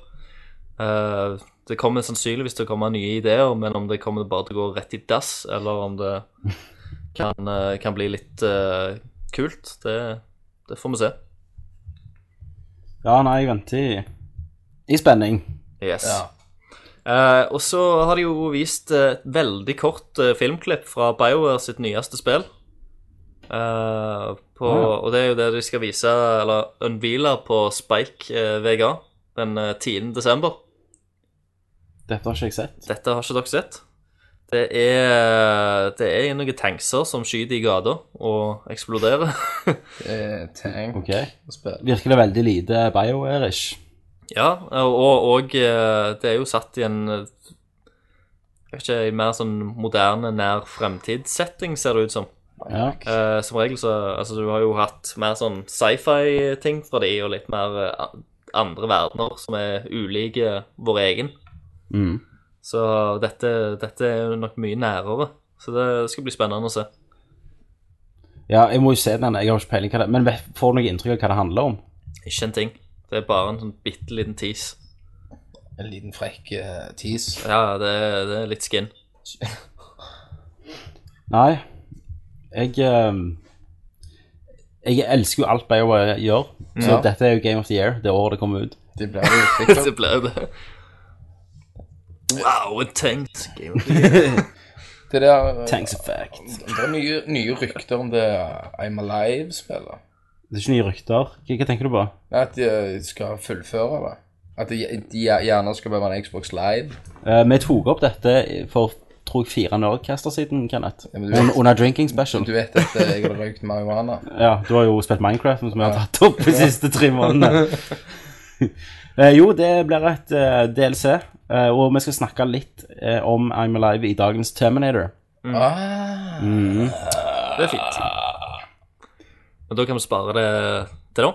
Speaker 8: Eh, Det kommer sannsynligvis til å komme nye ideer, men om det kommer bare til å gå rett i dass, eller om det kan, eh, kan bli litt eh, kult, det, det får vi se.
Speaker 6: Ja, nei, jeg venter i, i spenning.
Speaker 8: Yes.
Speaker 7: Ja.
Speaker 8: Eh, og så har de jo vist eh, et veldig kort eh, filmklipp fra BioWare sitt nyeste spill. Eh, på, Og det er jo det de skal vise, eller unveile, på Spike eh, VGA den eh, 10. desember.
Speaker 6: Dette har ikke jeg sett.
Speaker 8: Dette har ikke dere sett. Det er, eh, det er noen tankser som skyter i gata og eksploderer. (laughs)
Speaker 7: Eh, Tank
Speaker 6: Ok.
Speaker 7: og spill.
Speaker 6: Virker det veldig lite BioWare-ish?
Speaker 8: ja, og, og eh, det er jo satt i en eh, jeg vet ikke, en mer sånn moderne, nær fremtidssetting, ser det ut som.
Speaker 6: Ja.
Speaker 8: Eh, som regel så Altså, du har jo hatt mer sånn sci-fi-ting fra de, og litt mer eh, an- andre verdener som er ulike vår egen.
Speaker 6: Mm.
Speaker 8: Så dette, dette er jo nok mye nærere. Så det skal bli spennende å se.
Speaker 6: ja, jeg må jo se den. Jeg har ikke peiling hva det Men vet- får du noe inntrykk av hva det handler om?
Speaker 8: Ikke en ting. Det er bare en sånn bitte liten tis.
Speaker 7: En liten frekk eh, tease.
Speaker 8: Ja, det, er- det er litt skin. (laughs)
Speaker 6: Nei. Jeg ehm, Jeg elsker jo alt BioWare gjør, så
Speaker 7: Ja.
Speaker 6: dette er jo Game of the Year, det året det kommer ut.
Speaker 7: Det blir jo sikkert (laughs)
Speaker 8: det ble jo det. Wow, intense game.
Speaker 7: Det der eh,
Speaker 6: Thanks effect.
Speaker 7: Det er nye, nye rykter om det eh, I'm Alive-spillet.
Speaker 6: Det er ikke nye rykter. Hva, hva tenker du på?
Speaker 7: Nei, At de eh, skal fullføre det. At de, de gjerne skal være med en Xbox Live.
Speaker 6: Eh, vi tok opp dette for tror jeg fire Nerdcaster siden, Kenneth.
Speaker 7: Ja, men du vet-
Speaker 6: Un- under drinking special.
Speaker 7: Du vet at eh, jeg har røykt marihuana.
Speaker 6: Ja, du har jo spilt Minecraft, som vi har tatt opp de siste tre månedene. Eh, jo, det blir et eh, DLC, eh, og vi skal snakke litt eh, om I'm Alive i dagens Terminator.
Speaker 7: Ah,
Speaker 8: (laughs) Det er fint. Men da kan vi spare det til da.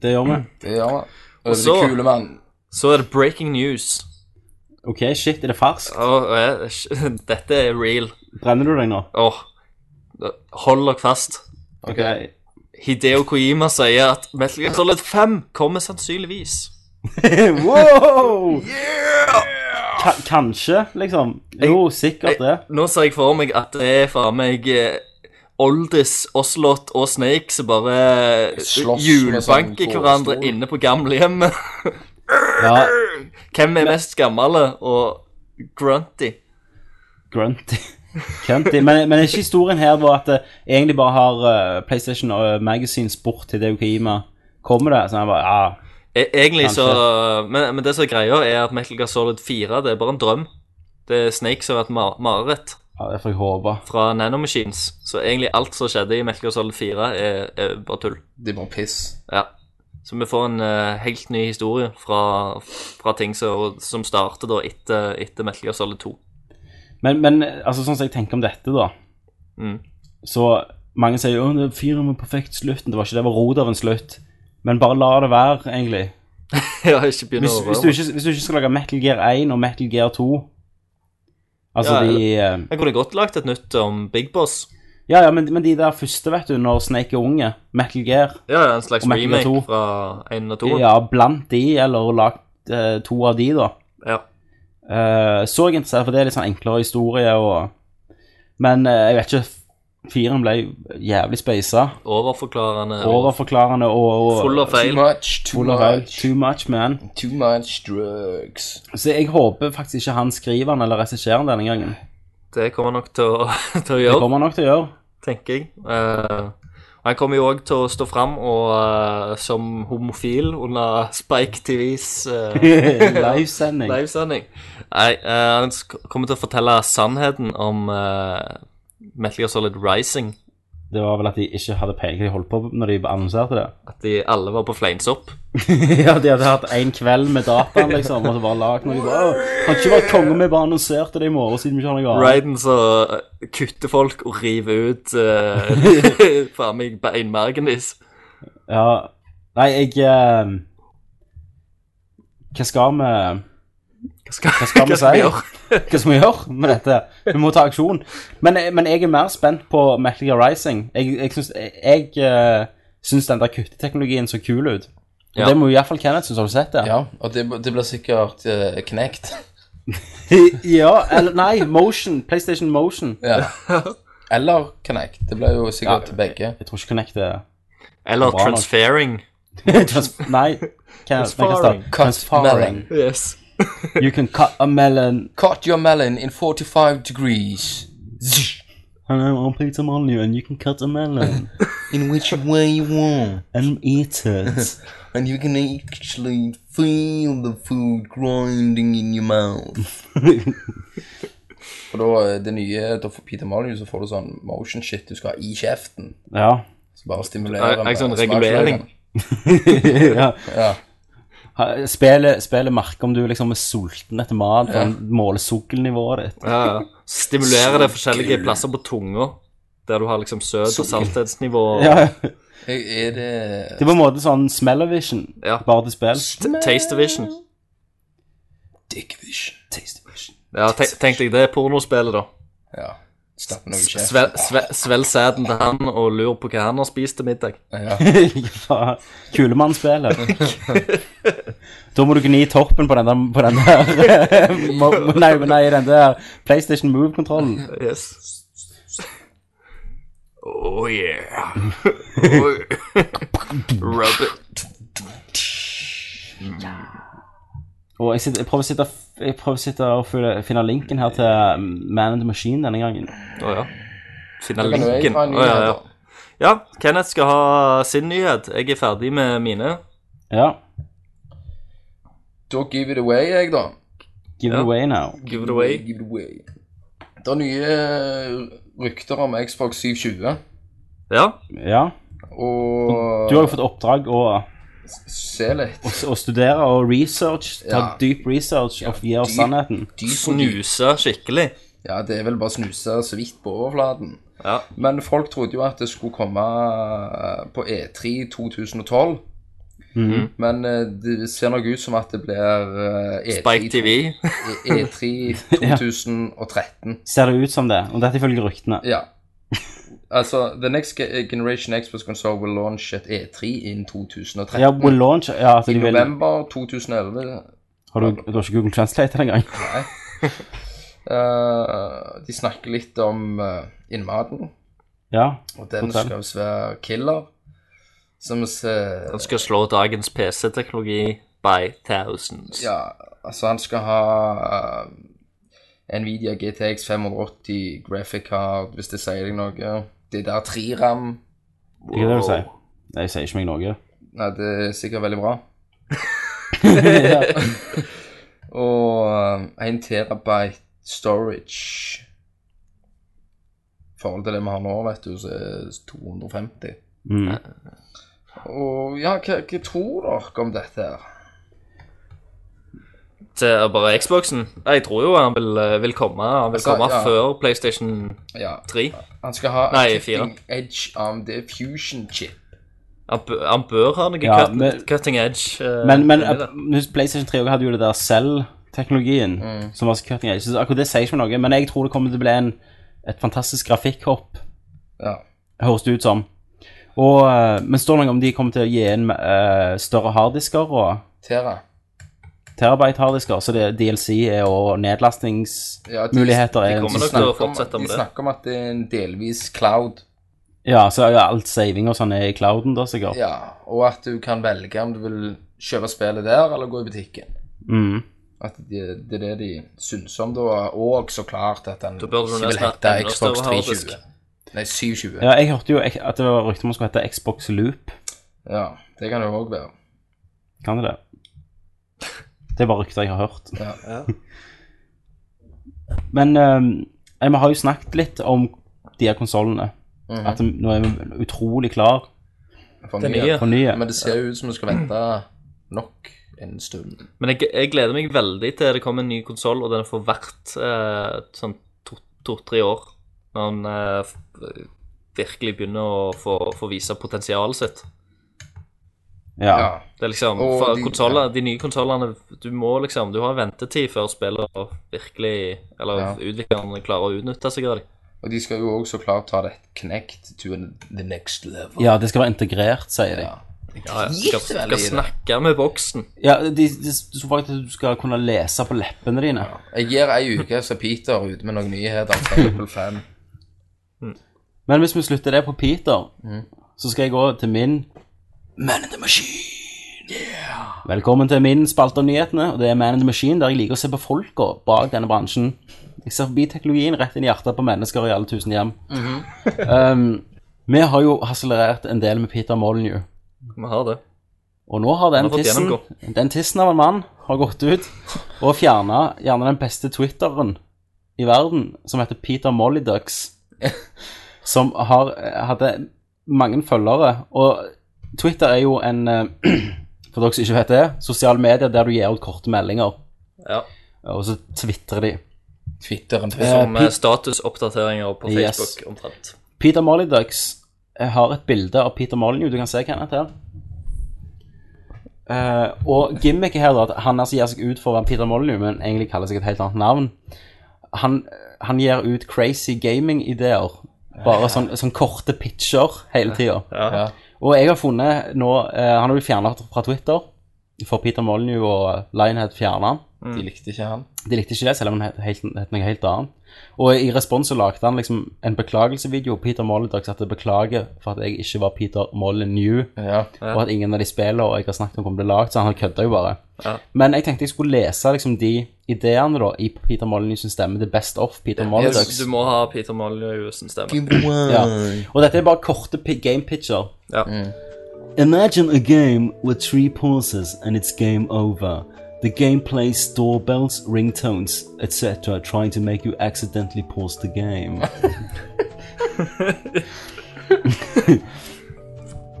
Speaker 6: Det gjør vi.
Speaker 7: det gjør man. Og det
Speaker 8: så-
Speaker 7: er kule, mann.
Speaker 8: Så er det breaking news.
Speaker 6: OK, shit, er det ferskt?
Speaker 8: Åh, eh, (laughs) dette er real.
Speaker 6: Brenner du deg nå?
Speaker 8: Åh, hold dere fast.
Speaker 6: OK. (laughs)
Speaker 8: Hideo Kojima sier at Metal Gear Solid 5 kommer sannsynligvis.
Speaker 6: wow! Ka kanskje, liksom. Jo, sikkert det.
Speaker 8: Nå ser jeg for meg at det er faen meg eh, Oldis, Oslot og Snake som bare eh,
Speaker 7: Slåss med sånn
Speaker 8: hjulbanker
Speaker 7: tårestol.
Speaker 8: hverandre inne på gamlehjemmet. (laughs)
Speaker 6: Ja,
Speaker 8: Hvem er mest gammel eh, og grunty?
Speaker 6: Grunty. Grunty. Men, men er ikke historien her var at eh, egentlig bare har eh, PlayStation og Magazine spurt til Deo Kojima Kommer det? Så han bare ja,
Speaker 8: E egentlig så
Speaker 6: Kanskje.
Speaker 8: men, men det som er greia, er at Metal Gear Solid 4 det er bare en drøm. Det er Snake som har vært mar mareritt
Speaker 6: ja, det får jeg håpe.
Speaker 8: fra Nanomachines. Så egentlig alt som skjedde i Metal Gear Solid 4, er, er bare tull.
Speaker 7: Det er bare piss.
Speaker 8: Ja. Så vi får en eh, helt ny historie fra, fra ting som, som starter da etter, etter Metal Gear Solid 2.
Speaker 6: Men, men altså, sånn som jeg tenker om dette, da
Speaker 8: Mm. (laughs)
Speaker 6: Så mange sier jo det er fyren med perfekt slutten. Det var ikke det, det var rot av en slutt. Men bare la det være, egentlig.
Speaker 8: Jeg har ikke begynt
Speaker 6: Hvis,
Speaker 8: å
Speaker 6: hvis, du, ikke, hvis du ikke skal lage Metal Gear 1 og Metal Gear 2 Altså
Speaker 8: Ja,
Speaker 6: de eh,
Speaker 8: Jeg kunne godt lagt et nytt om Big Boss.
Speaker 6: Ja, ja, men, men de der første, vet du, når Snake er unge, Metal Gear
Speaker 8: Ja, En slags
Speaker 6: Og Metal Gear
Speaker 8: remake
Speaker 6: 2.
Speaker 8: fra 1 og 2.
Speaker 6: Ja, blant de, eller lagt eh, to av de, da.
Speaker 8: Ja.
Speaker 6: Eh, så jeg interessert, for det er litt sånn enklere historie og Men eh, jeg vet ikke Firen ble jævlig speisa.
Speaker 8: Overforklarende. og
Speaker 6: Overforklarende og, og
Speaker 8: Full av
Speaker 7: Too
Speaker 8: feil.
Speaker 7: much, too
Speaker 6: full av feil.
Speaker 7: much.
Speaker 6: Too much, man.
Speaker 7: Too much drugs.
Speaker 6: Så jeg håper faktisk ikke han skriver den eller regisserer den denne gangen.
Speaker 8: Det kommer nok til å, (laughs) til å
Speaker 6: Det
Speaker 8: gjøre.
Speaker 6: kommer han nok til å gjøre.
Speaker 8: tenker jeg. Eh, og han kommer jo òg til å stå fram og, eh, som homofil under (laughs) Spike TVs eh,
Speaker 6: Livesending.
Speaker 8: livesending. Nei, eh, han sk- kommer til å fortelle sannheten om eh, Metal Gear Solid Rising.
Speaker 6: Det var vel at de ikke hadde peiling på hva de holdt på med når de annonserte det. (laughs)
Speaker 8: At de alle var på fleinsopp.
Speaker 6: ja, de hadde hatt en kveld med dataen, liksom, og så bare lagd noe. De bare, «Åh, Kan ikke være konge, vi bare annonserte det i morgen siden vi ikke har noe annet.
Speaker 8: Raiden så eh, kutter folk og river ut eh, (laughs) faen meg beinmargen deres.
Speaker 6: Ja. Nei, jeg eh, Hva skal vi
Speaker 8: Hva skal,
Speaker 6: Hva skal vi si?
Speaker 8: gjøre?
Speaker 6: Hva skal vi gjøre med dette? Vi må ta aksjon. Men, men jeg er mer spent på Metal Gear Rising. Jeg, jeg, syns, jeg, eh, syns den der kutteteknologien så kul ut. Og
Speaker 8: Ja.
Speaker 6: Det må jo iallfall Kenneth synes. Har du sett det?
Speaker 7: Ja, og det, det blir sikkert uh, knekt.
Speaker 6: (laughs) Ja, eller nei, Motion. PlayStation Motion.
Speaker 7: (laughs) Ja. (laughs) Eller knekt. Det blir jo sikkert begge.
Speaker 6: Jeg tror ikke Connect er
Speaker 8: Eller
Speaker 6: Bra nok.
Speaker 8: transferring.
Speaker 6: Trans (laughs) nei. Kenneth, nei, hva står det? Transfaring.
Speaker 7: melon.
Speaker 8: Yes.
Speaker 6: You can cut a melon.
Speaker 7: Cut your melon in 45 degrees. Zzz.
Speaker 6: And I'm on pizza menu and you can cut a (laughs) melon.
Speaker 7: In which way you want.
Speaker 6: And eat it.
Speaker 7: And you can actually feel the food grinding in your mouth. For da eh, det nye, da får Peter Molyneux, så får du sånn motion shit du skal ha i kjeften.
Speaker 6: ja.
Speaker 7: Så bare
Speaker 8: Er-
Speaker 7: stimulerer
Speaker 8: er ikke sånn
Speaker 7: smaker
Speaker 8: regulering?
Speaker 7: den.
Speaker 6: ja.
Speaker 7: Ja.
Speaker 6: Ha- Spillet spillet merker om du liksom er sulten etter mat, for den måler sukkelnivået ditt.
Speaker 8: Ja, ja. Stimulerer det forskjellige plasser på tunga. Der du har liksom søt- og salthetsnivå. og
Speaker 6: Ja,
Speaker 7: Er det
Speaker 6: det er på en måte sånn Smell-O-Vision,
Speaker 8: Ja.
Speaker 6: bare til
Speaker 8: (laughs)
Speaker 6: spill.
Speaker 8: t- Taste Division.
Speaker 7: Dickvision? Tastevision.
Speaker 8: Ja, te tenk deg det pornospillet, da.
Speaker 7: Ja. Stappe noe i kjeften.
Speaker 8: Svel, svel, svelg sæden til han og lur på hva han har spist til middag.
Speaker 7: Ja.
Speaker 6: Fra Kulemannsspillet.
Speaker 8: (laughs)
Speaker 6: da må du gni toppen på den der, på den
Speaker 8: (laughs)
Speaker 6: der mo- Nei, nei, den der PlayStation Move-kontrollen.
Speaker 8: Yes. Oh yeah. Oh, Rub it.
Speaker 6: Og jeg, sitter, jeg prøver å sitte, jeg prøver å sitte og føle- finne linken her til um, Man and the Machine denne gangen.
Speaker 8: Å ja. Finne
Speaker 7: Kan du jeg
Speaker 8: linken.
Speaker 7: ta en
Speaker 8: Å, ja,
Speaker 7: nyhet,
Speaker 8: ja.
Speaker 7: da?
Speaker 8: ja, Kenneth skal ha sin nyhet. Jeg er ferdig med mine.
Speaker 6: Ja.
Speaker 7: Da give it away, jeg, da.
Speaker 6: Give
Speaker 8: Ja.
Speaker 6: it away now.
Speaker 8: Give it away.
Speaker 7: Give it away. Det er nye eh, rykter om Xbox 720,
Speaker 8: Ja.
Speaker 6: Ja.
Speaker 7: og
Speaker 6: Du har jo fått oppdrag å,
Speaker 7: se litt.
Speaker 6: å studere og research. Ta
Speaker 7: Ja.
Speaker 6: dyp research og gi oss
Speaker 7: dyp-
Speaker 6: sannheten.
Speaker 7: Dyp og dyp.
Speaker 8: Snuse skikkelig.
Speaker 7: Ja, det er vel bare snuse så vidt på overflaten.
Speaker 8: Ja.
Speaker 7: Men folk trodde jo at det skulle komme eh, på E3 2012.
Speaker 6: Mhm.
Speaker 7: Men eh, det ser nok ut som at det blir eh, E3,
Speaker 8: Spike TV.
Speaker 7: E- E3 2013.
Speaker 6: Ser det ut som det? Og dette ifølge ryktene.
Speaker 7: Ja. Altså, the next ge- generation Xbox console will launch at E E3 in 2013.
Speaker 6: Ja, will launch Ja, at
Speaker 7: Altså, I
Speaker 6: de vil Har
Speaker 7: november 2011
Speaker 6: du, du har ikke Google Translate engang? (laughs)
Speaker 7: eh, De snakker litt om eh, innmaten,
Speaker 6: Ja.
Speaker 7: og den
Speaker 6: Fortell.
Speaker 7: skal visst være killer. Som vi ser
Speaker 8: Han skal slå dagens PC-teknologi by thousands.
Speaker 7: Ja, altså han skal ha eh, Nvidia GTX 580 graphic card, hvis det sier deg noe. Det der 3-ram,
Speaker 6: Det er det du sier. Nei, jeg sier ikke meg noe.
Speaker 7: nei, det er sikkert veldig
Speaker 8: (laughs)
Speaker 7: bra.
Speaker 6: ja.
Speaker 7: Og eh, 1 terabyte storage. I forhold til det vi har nå, vet du, så er det 250.
Speaker 6: mm.
Speaker 7: Og ja, hva, hva tror dere om dette her?
Speaker 8: Til bare Xboxen. Jeg tror jo han vil, eh, vil komme. Han vil
Speaker 7: Altså,
Speaker 8: komme
Speaker 7: ja.
Speaker 8: før PlayStation
Speaker 7: Ja,
Speaker 8: 3.
Speaker 7: han skal ha
Speaker 8: Nei,
Speaker 7: Cutting Edge AMD Fusion Chip.
Speaker 8: Han, bø- han bør ha noe
Speaker 6: Ja,
Speaker 8: cut,
Speaker 6: men-
Speaker 8: cutting edge. eh,
Speaker 6: Men, men
Speaker 8: inni det.
Speaker 6: eh, husk, PlayStation 3 også hadde jo det der Cell-teknologien.
Speaker 7: Mhm.
Speaker 6: Som var så cutting edge. Så akkurat det sier ikke meg noe, men jeg tror det kommer til å bli en, et fantastisk grafikkhopp,
Speaker 7: Ja.
Speaker 6: høres det ut som. Og, eh, men står det noe om de kommer til å gi inn eh, større harddisker og
Speaker 7: Tera.
Speaker 6: terabyte-harddisker, så det, DLC er, og
Speaker 7: Ja, de-
Speaker 6: nedlastingsmuligheter
Speaker 8: de
Speaker 6: er
Speaker 8: kommer
Speaker 6: så stor-
Speaker 8: nok til å
Speaker 7: Snakker om at-
Speaker 8: fortsette med
Speaker 7: de
Speaker 8: det.
Speaker 7: snakker om at det er en delvis cloud.
Speaker 6: Ja, så er jo alt saving og sånn er i clouden, da, sikkert.
Speaker 7: Ja, og at du kan velge om du vil kjøpe spillet der, eller gå i butikken.
Speaker 6: Mm.
Speaker 7: At det, det er det de syns om, da. Og så klart at den
Speaker 8: Da burde du
Speaker 7: ikke vil
Speaker 8: nesten ha
Speaker 7: hete
Speaker 8: enda
Speaker 7: Xbox
Speaker 8: større harddisk.
Speaker 7: 320. Nei, 720. Ja.
Speaker 6: ja, jeg hørte jo ek- at det var rykte om å skulle hete Xbox Loop.
Speaker 7: det kan det òg være.
Speaker 6: Kan det det? Det er bare rykter jeg har hørt.
Speaker 7: Ja.
Speaker 6: Men ehm, eh, vi har jo snakket litt om de her konsollene.
Speaker 7: Mhm.
Speaker 6: At nå er vi utrolig klar
Speaker 7: For
Speaker 8: Den
Speaker 7: mye.
Speaker 8: nye.
Speaker 6: for nye.
Speaker 7: Men det ser jo ut som du skal vente nok en stund.
Speaker 8: Men jeg, jeg gleder meg veldig til det kommer en ny konsoll, og den får hvert eh, sånn to-tre år. Når den eh, f- virkelig begynner å få, få vise potensialet sitt.
Speaker 6: Ja.
Speaker 7: Ja.
Speaker 8: Det er liksom,
Speaker 7: Og
Speaker 8: for
Speaker 7: de-
Speaker 8: konsoller, De nye konsollene Du må liksom, du har ventetid før spiller virkelig Eller
Speaker 7: Ja.
Speaker 8: utviklerne klarer å utnytte seg av dem.
Speaker 7: Og de skal jo òg så klart ta det knekt to the next level.
Speaker 6: ja, det skal være integrert, sier de.
Speaker 7: Ja.
Speaker 8: Ja, ja. Skal,
Speaker 7: Dritvel
Speaker 8: skal
Speaker 7: i det.
Speaker 8: snakke med boksen.
Speaker 6: Ja, de, de, de tror faktisk at du skal kunne lese på leppene dine.
Speaker 7: Jeg gir ei uke, så er Peter ute med noen nyheter. Table 5.
Speaker 6: Men hvis vi slutter det på Peter, så skal jeg gå til min Man in the Machine. Velkommen til min spalte om nyhetene, og det er Man in the Machine, der jeg liker å se på folka bak denne bransjen. Jeg ser forbi teknologien rett inn i hjertet på mennesker i alle tusen hjem. um, vi har jo harselerert en del med Peter Molyneux,
Speaker 8: Vi har det.
Speaker 6: og nå har
Speaker 8: Han
Speaker 6: den
Speaker 8: har fått
Speaker 6: tissen, den tissen av en mann har gått ut og fjerna gjerne den beste twitteren i verden, som heter Peter Mollyducks (laughs) som har, eh, hadde mange følgere. Og Twitter er jo en eh, (clears throat) For dere som ikke vet det, sosiale medier der du gir ut korte meldinger,
Speaker 8: Ja.
Speaker 6: og så tvitrer de.
Speaker 7: Twitteren.
Speaker 6: Eh,
Speaker 8: Som eh,
Speaker 6: Pete-
Speaker 8: statusoppdateringer på
Speaker 6: Yes.
Speaker 8: Facebook, omtrent.
Speaker 6: Peter Mollydux har et bilde av Peter Molyneux. Du kan se hva han heter. Eh, og gimmicket her, da, at han altså gir seg ut for å være Peter Molyneux, men egentlig kaller seg et helt annet navn. Han, han gir ut crazy gaming-ideer. Bare sånn, sånn korte pitcher hele tida.
Speaker 7: Ja.
Speaker 6: Og jeg har funnet nå eh, Han har blitt fjerna fra Twitter. For Peter Molyneux og Lionhead fjerna han.
Speaker 7: De likte ikke han.
Speaker 6: De likte ikke det, selv om han het, helt, het noe helt annet. Og i respons så lagde han liksom en beklagelsevideo. Peter Molyneux at jeg beklager for at jeg ikke var Peter Molyneux.
Speaker 7: Ja.
Speaker 6: Og at ingen av de spillene og jeg har snakket om kommer til å bli lagd, så han kødda jo bare. Men jeg tenkte jeg skulle lese liksom de ideene da i Peter Molyneux sin stemme. The best of Peter Molyneux.
Speaker 8: Du må ha Peter Molyneux sin stemme.
Speaker 6: Ja. Og dette er bare korte pi- game pitcher.
Speaker 8: Ja.
Speaker 6: Imagine a game with three pauses and it's game over. The game plays doorbells, ringtones, etc., trying to make you accidentally pause the game. (laughs)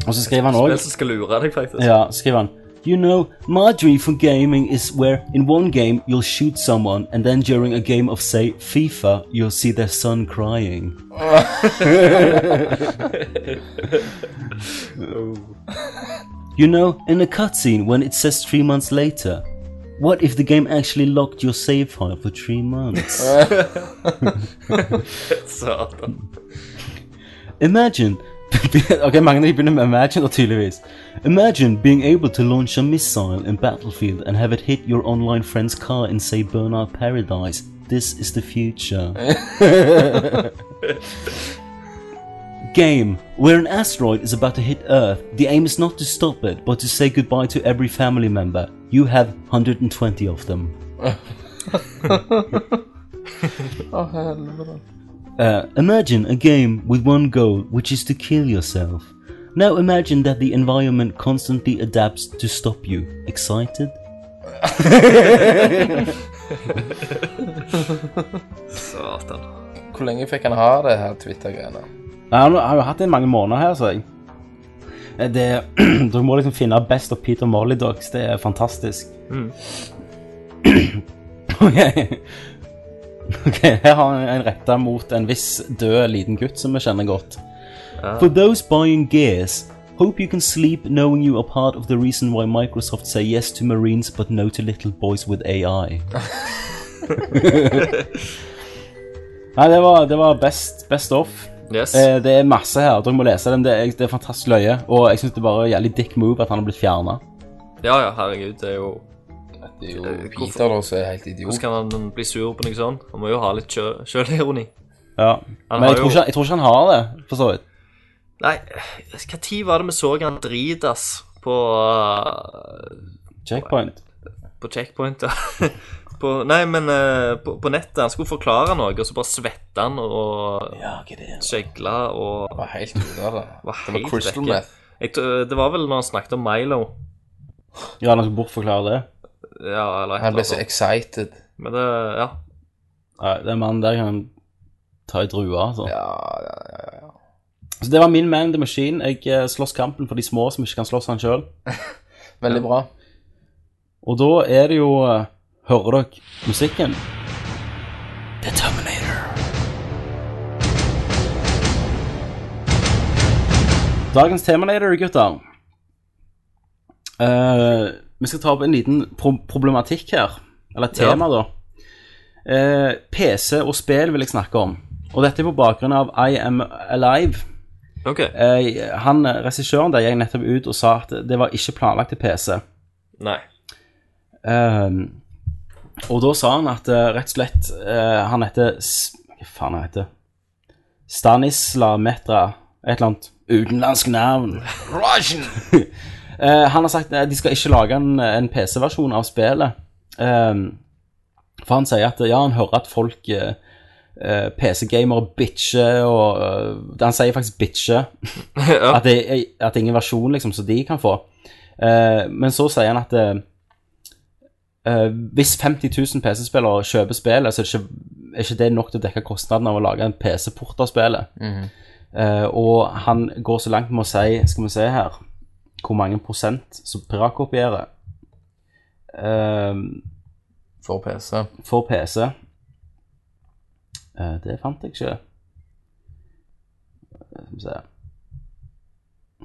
Speaker 6: Og så skriver han
Speaker 8: Hvem
Speaker 6: også
Speaker 8: som skal lure deg, faktisk.
Speaker 6: Ja, skriver han. You know, Marjorie for gaming is where in one game you'll shoot someone, and then during a game of, say, FIFA, you'll see their son crying. you know, in a cutscene when it says three months later, what if the game actually locked your save file for three months?
Speaker 8: Satan.
Speaker 6: Imagine (laughs) Ok, mange av de begynner med Imagine, da, tydeligvis. Imagine being able to launch a missile in Battlefield and have it hit your online friend's car in, say, Burnout Paradise. This is the future. Game. Where an asteroid is about to hit Earth, the aim is not to stop it, but to say goodbye to every family member. You have 120 of them. Uh, imagine a game with one goal, which is to kill yourself. Now imagine that the environment constantly adapts to stop you. Excited?
Speaker 8: Satan.
Speaker 7: Hvor lenge fikk han ha det her Twitter-greiene?
Speaker 6: han har jo hatt det i mange måneder her, så jeg. Eh, Det, (clears throat) dere må liksom finne best av Peter Mollydogs. Det er fantastisk. (clears throat) ok. Ok, Her har han en retta mot en viss død liten gutt som vi kjenner godt. For those buying gears, hope you can sleep knowing you are part of the reason why Microsoft say yes to Marines but no to little boys with AI. Nei, det var, det var best, best off.
Speaker 8: Yes.
Speaker 6: Eh, det er masse her, dere må lese dem. Det er, det er fantastisk løye. Og jeg syns det er bare jævlig dick move at han har blitt fjerna.
Speaker 8: Ja, ja, herregud, det er jo
Speaker 7: Oh. Det er jo Peter da som er helt idiot.
Speaker 8: Hvordan kan han bli sur på noe sånt? Han må jo ha litt sjø- sjølironi.
Speaker 6: Ja.
Speaker 8: Han
Speaker 6: Men
Speaker 8: har
Speaker 6: jeg tror,
Speaker 8: jo-
Speaker 6: ikke, jeg tror ikke han har det, for så vidt.
Speaker 8: Nei, hva tid var det vi så han dritas på uh,
Speaker 6: Checkpoint.
Speaker 8: På checkpoint, da? (laughs) på, nei, men eh, på, på nettet. Han skulle forklare noe, og så bare svetta han og
Speaker 6: Ja, hva det er?
Speaker 8: skjegla og
Speaker 7: Han var helt ute av det.
Speaker 8: var
Speaker 7: Det var
Speaker 8: helt
Speaker 7: Crystal
Speaker 8: vekke.
Speaker 7: Meth.
Speaker 8: jeg, tror- Det var vel når han snakket om Milo.
Speaker 6: Ja, han skal bortforklare det.
Speaker 8: Ja, eller et
Speaker 7: Han ble
Speaker 8: eller
Speaker 7: så
Speaker 8: annet.
Speaker 7: excited.
Speaker 8: Men det Ja.
Speaker 6: Nei, den mannen der kan ta i drua, altså.
Speaker 7: Ja, ja, ja.
Speaker 6: Så det var min man in the machine. Jeg eh, slåss kampen for de små som ikke kan slåss han sjøl.
Speaker 7: Veldig bra.
Speaker 6: Og da er det jo eh, Hører dere musikken? The Terminator. Dagens Terminator, gutter. Eh, vi skal ta opp en liten pro problematikk her. Eller et tema, da. Eh, PC og spill vil jeg snakke om. Og dette er på bakgrunn av I Am Alive.
Speaker 8: OK.
Speaker 6: Eh, han, eh, Regissøren der gikk nettopp ut og sa at det var ikke planlagt til PC.
Speaker 8: Nei.
Speaker 6: Ehm, og da sa han at eh, rett og slett eh, Han heter S- Hva faen han heter Stanisla Metra. Et eller annet utenlandsk navn. (laughs) Eh, han har sagt at de skal ikke lage en, en PC-versjon av spillet. Ehm, for han sier at ja, han hører at folk eh, eh, PC-gamere bitcher og eh, Han sier faktisk bitcher.
Speaker 8: ja.
Speaker 6: At det, er- at det er ingen versjon liksom, som de kan få. Eh, men så sier han at eh, eh, hvis 50 000 PC-spillere kjøper spillet, så er det ikke, er ikke det nok til å dekke kostnaden av å lage en PC-port av spillet. Eh, og han går så langt med å si Skal vi se her hvor mange prosent som piratkopierer eh,
Speaker 7: For PC.
Speaker 6: for PC. Eh, det fant jeg ikke. Eh, Skal vi se.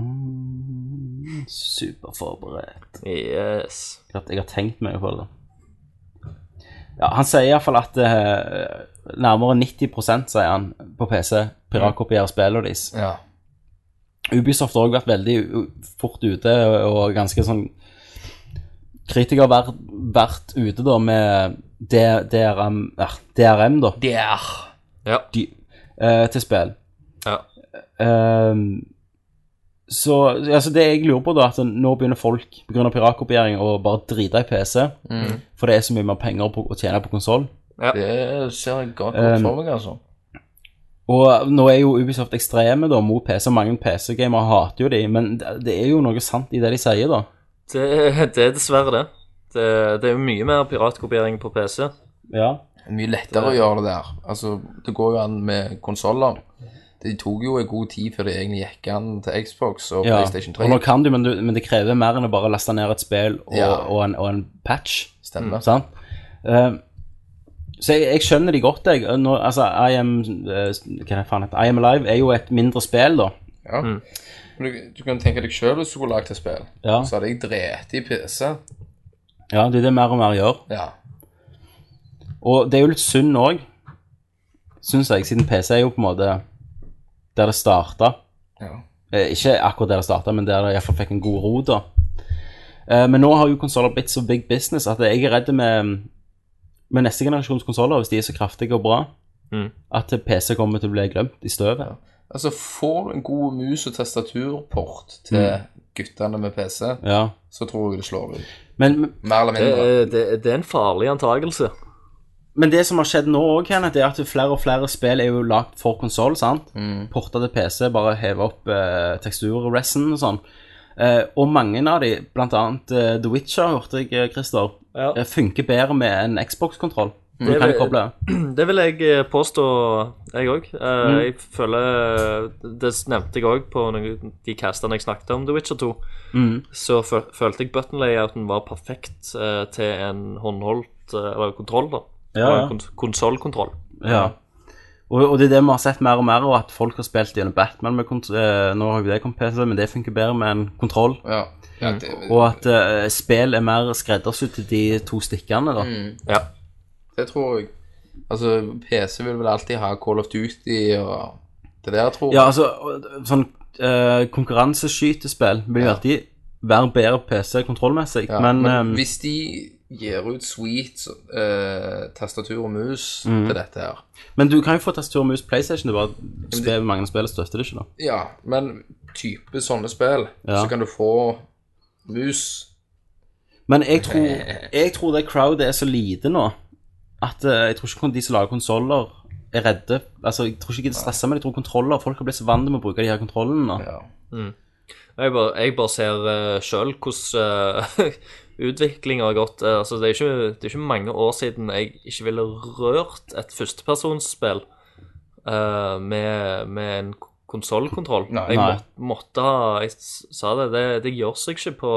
Speaker 6: Mm, Superforberedt.
Speaker 8: Yes.
Speaker 6: Jeg har, jeg har tenkt mye på det. Ja, han sier iallfall at eh, nærmere 90 sier han, på PC piratkopierer spillene deres.
Speaker 7: Ja.
Speaker 6: Ubisoft har òg vært veldig u- fort ute og ganske sånn Kritiker har vært, vært ute da med D- DRM, eh, DRM da,
Speaker 7: Det er
Speaker 8: Ja.
Speaker 6: de, eh, til spill.
Speaker 8: Ja.
Speaker 6: Ehm, så altså det jeg lurer på, da, at nå begynner folk pga. piratkopiering å bare drite i PC.
Speaker 7: Mm.
Speaker 6: For det er så mye mer penger på, å tjene på konsoll.
Speaker 7: Det ser jeg godt godt for meg, altså.
Speaker 6: Og nå er jo Ubisoft ekstreme da, mot PC. Mange PC-gamere hater jo de, men det det er jo noe sant i det de sier, da.
Speaker 8: Det, det er dessverre det. det. Det er jo mye mer piratkopiering på PC.
Speaker 6: Ja.
Speaker 7: Mye lettere å gjøre det der. Altså, det går jo an med konsoller. Det tok jo en god tid før det egentlig gikk an til Xbox og
Speaker 6: Ja,
Speaker 7: PlayStation 3.
Speaker 6: og nå kan du men, du, men det krever mer enn å bare laste ned et spill og,
Speaker 7: Ja.
Speaker 6: og, en, og en patch.
Speaker 7: Stemmer.
Speaker 6: Sant? Eh, så jeg, jeg skjønner de godt, jeg. Nå, altså, I am, eh, hva faen heter det? I am Alive er jo et mindre spill, da.
Speaker 7: Ja. Men Du, du kan tenke deg sjøl hvis du skulle lagd et spill.
Speaker 6: Ja.
Speaker 7: Så hadde jeg drept i PC.
Speaker 6: Ja, Det er det mer og mer gjør.
Speaker 7: Ja.
Speaker 6: Og det er jo litt synd òg, syns jeg, siden PC er jo på en måte der det starta.
Speaker 7: ja.
Speaker 6: Eh, ikke akkurat der det starta, men der det iallfall fikk en god ro, da. Eh, men nå har jo konsoller blitt så big business at jeg er redd med, med neste generasjons konsoller, hvis de er så kraftige og bra,
Speaker 8: Mm.
Speaker 6: at PC kommer til å bli glemt i støvet.
Speaker 7: Altså, får du en god mus- og tastaturport til guttene med PC,
Speaker 6: Ja.
Speaker 7: så tror jeg det slår ut.
Speaker 6: Men, men-
Speaker 7: Mer eller
Speaker 8: Det,
Speaker 7: mindre.
Speaker 8: er- det, det er en farlig antakelse.
Speaker 6: men det som har skjedd nå òg, Kenneth, er at flere og flere spill er jo lagd for konsoll, sant?
Speaker 7: Mm.
Speaker 6: Porta til PC, bare heve opp eh, teksturresten og sånn. Eh, og mange av de, blant annet eh, The Witcher, hørte jeg, eh, Christer,
Speaker 8: Ja.
Speaker 6: eh, funker bedre med en Xbox-kontroll. Du
Speaker 8: Det
Speaker 6: kan
Speaker 8: vil-
Speaker 6: koble.
Speaker 8: (clears throat) Det vil jeg eh, påstå, jeg òg.
Speaker 6: Mm.
Speaker 8: Jeg føler eh, Det nevnte jeg òg på noen- de castene jeg snakket om The Witcher 2.
Speaker 6: Mm.
Speaker 8: Så føl- følte jeg button-layouten var perfekt eh, til en håndholdt eh, eller kontroll, da.
Speaker 6: Ja,
Speaker 8: Eller
Speaker 6: ja.
Speaker 8: en kons- Konsollkontroll.
Speaker 6: Ja. Og, og det er det vi har sett mer og mer, og at folk har spilt gjennom Batman med kont eh, Nå har jo det kommet PC, men det funker bedre med en kontroll.
Speaker 7: Ja. ja det,
Speaker 6: Og at eh, spill er mer skreddersydd til de to stikkene, da.
Speaker 8: Ja.
Speaker 7: det tror jeg. Altså, PC vil vel alltid ha Call of Duty og det der, tror jeg.
Speaker 6: Ja, altså, og- sånn eh, konkurranseskytespill vil jo alltid være bedre PC kontrollmessig,
Speaker 7: Ja,
Speaker 6: men, ehm,
Speaker 7: hvis de gir ut sweet eh, tastatur og mus til dette her
Speaker 6: men du kan jo få tastatur og mus PlayStation, det er bare spill, mange spill støtter det ikke, da.
Speaker 7: Ja, men type sånne spill,
Speaker 6: Ja.
Speaker 7: så kan du få mus.
Speaker 6: Men jeg (laughs) tror, jeg tror det crowdet er så lite nå at eh, jeg tror ikke de som lager konsoller, er redde. Altså, Jeg tror ikke de stresser med det. Jeg tror kontroller, Folk har blitt så vant med å bruke de her kontrollene. nå.
Speaker 7: Ja.
Speaker 8: Jeg bare, jeg bare ser uh, sjøl hvordan (laughs) uh, utviklinga har gått. Eh, altså, det, er ikke, det er ikke mange år siden jeg ikke ville rørt et førstepersonsspill eh, med, med en konsollkontroll.
Speaker 7: Nei.
Speaker 8: Jeg
Speaker 6: Nei.
Speaker 8: må, måtte ha Jeg s- sa det, det, det gjør seg ikke på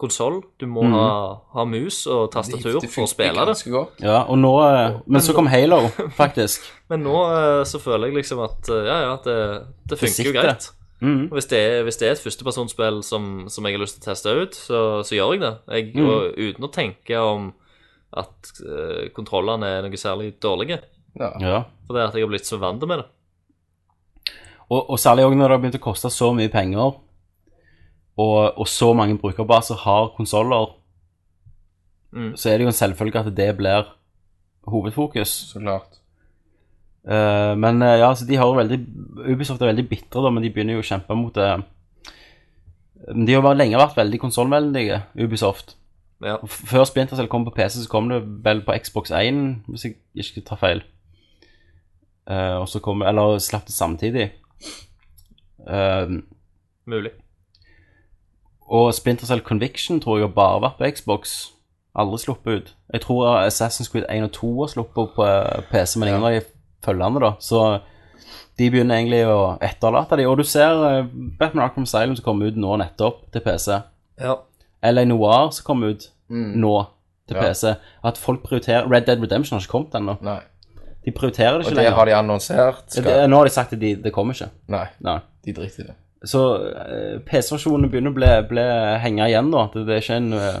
Speaker 8: konsoll. Du må ha,
Speaker 6: Mhm.
Speaker 8: ha mus og tastatur for å spille det.
Speaker 7: ganske godt.
Speaker 6: Ja, og nå, eh, Men så kom (laughs) Halo, faktisk.
Speaker 8: Men nå eh, så føler jeg liksom at eh, ja, ja, det, det funker
Speaker 6: sitter.
Speaker 8: jo greit.
Speaker 6: Mhm.
Speaker 8: Og Hvis det, er, hvis det er et førstepersonsspill som, som jeg har lyst til å teste ut, så, så gjør jeg det. Jeg, og, uten å tenke om at eh, kontrollene er noe særlig dårlige.
Speaker 7: Ja.
Speaker 6: Ja.
Speaker 8: For det er at jeg har blitt så vant med det.
Speaker 6: Og, og særlig òg når det har begynt å koste så mye penger, og, og så mange brukerbaser har konsoller,
Speaker 8: Mm.
Speaker 6: så er det jo en selvfølge at det blir hovedfokus.
Speaker 7: Så klart.
Speaker 6: Eh, men eh, ja, altså, de har jo veldig Ubisoft er veldig bitre, da, men de begynner jo å kjempe mot det. Men De har bare lenge vært veldig konsollvennlige, Ubisoft.
Speaker 8: Ja.
Speaker 6: Og f- Før Splintercell kom på PC, så kom det vel på Xbox 1, hvis jeg ikke tar feil. Eh, og så kom, Eller slapp det samtidig. Eh,
Speaker 8: Mulig.
Speaker 6: og Splintercell Conviction tror jeg har bare vært på Xbox. Aldri sluppet ut. Jeg tror Assassin's Creed 1 og 2 har sluppet på eh, PC, men ingen av de følgende, da. Så de begynner egentlig å etterlate de. Og du ser eh, Batman Arkham Asylum som kommer ut nå nettopp til PC.
Speaker 8: Ja.
Speaker 6: LA Noir som kommer ut
Speaker 7: Mm.
Speaker 6: nå til
Speaker 7: Ja.
Speaker 6: PC. At folk prioriterer Red Dead Redemption har ikke kommet ennå.
Speaker 7: Nei.
Speaker 6: De prioriterer det
Speaker 7: Og
Speaker 6: ikke
Speaker 7: det
Speaker 6: lenger.
Speaker 7: har de annonsert. Skal...
Speaker 6: Det- Nå har de sagt at de, det kommer ikke.
Speaker 7: Nei,
Speaker 6: Nei.
Speaker 7: de driter i det.
Speaker 6: Så eh, PC-versjonen begynner å bli, bli henge igjen, da. Det, det er ikke en eh,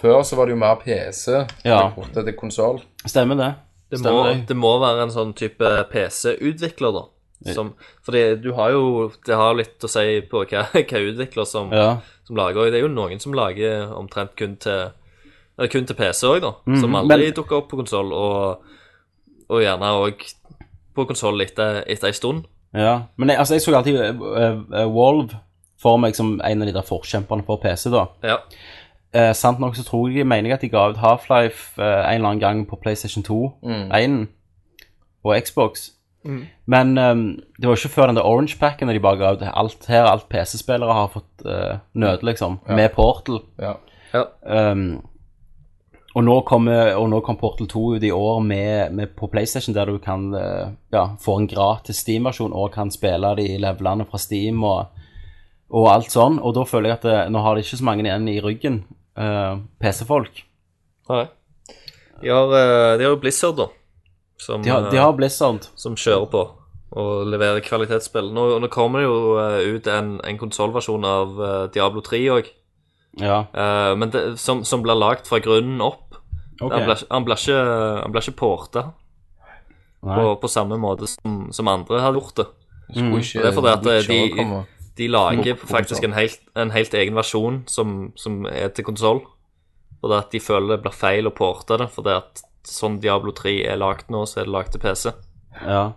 Speaker 7: Før så var det jo mer PC.
Speaker 6: Ja.
Speaker 7: Det portet til konsoll.
Speaker 6: Stemmer det?
Speaker 8: Det må,
Speaker 6: Stemmer det.
Speaker 8: det må være en sånn type PC-utvikler, da. Som, fordi du har jo Det har jo litt å si på hva, (laughs) hva utvikler som,
Speaker 6: Ja.
Speaker 8: som lager. Og det er jo noen som lager omtrent kun til eh, kun til PC òg, da. som
Speaker 6: Mhm,
Speaker 8: aldri
Speaker 6: men-
Speaker 8: dukker opp på konsoll, og, og gjerne òg på konsoll etter, etter ei stund.
Speaker 6: ja. Men jeg, altså, jeg så alltid eh, eh, Valve for meg som en av de der forkjemperne for PC, da.
Speaker 8: Ja.
Speaker 6: Eh, sant nok så tror jeg de mener jeg at de ga ut Half-Life eh, en eller annen gang på PlayStation 2,
Speaker 7: Mm.
Speaker 6: 1 og Xbox. Men ehm, det var ikke før den der Orange Packen de bare ga ut alt her, alt PC-spillere har fått eh, nød, liksom, med Portal.
Speaker 7: Ja.
Speaker 6: Ehm, og, nå kommer- og nå kom Portal 2 ut i år med, med på PlayStation, der du kan eh, ja, få en gratis Steam-versjon og kan spille de levelene fra Steam og, og alt sånn. Og da føler jeg at eh, nå har de ikke så mange igjen i ryggen, eh, PC-folk.
Speaker 8: Nei. De har, eh, de har jo Blizzard, da. Som, eh,
Speaker 6: De, har- de har Blizzard.
Speaker 8: som kjører på og leverer kvalitetsspill. Nå, nå kommer det jo eh, ut en, en konsollversjon av eh, Diablo 3 òg,
Speaker 6: Ja,
Speaker 8: men det, som, som blir lagd fra grunnen opp.
Speaker 6: ok.
Speaker 8: Han blir ikke- Han blir ikke, han blir ikke porta
Speaker 6: Nei.
Speaker 8: på, på samme måte som, som andre har gjort det.
Speaker 7: Skulle ikke
Speaker 8: Det er fordi at
Speaker 7: Witcher
Speaker 8: de-
Speaker 7: komme.
Speaker 8: De lager
Speaker 7: På- på
Speaker 8: faktisk
Speaker 7: konsoll.
Speaker 8: en helt, en helt egen versjon som, som er til konsoll. Og det at de føler det blir feil å porte det, fordi at sånn Diablo 3 er lagd nå, så er det lagd til PC.
Speaker 6: Ja.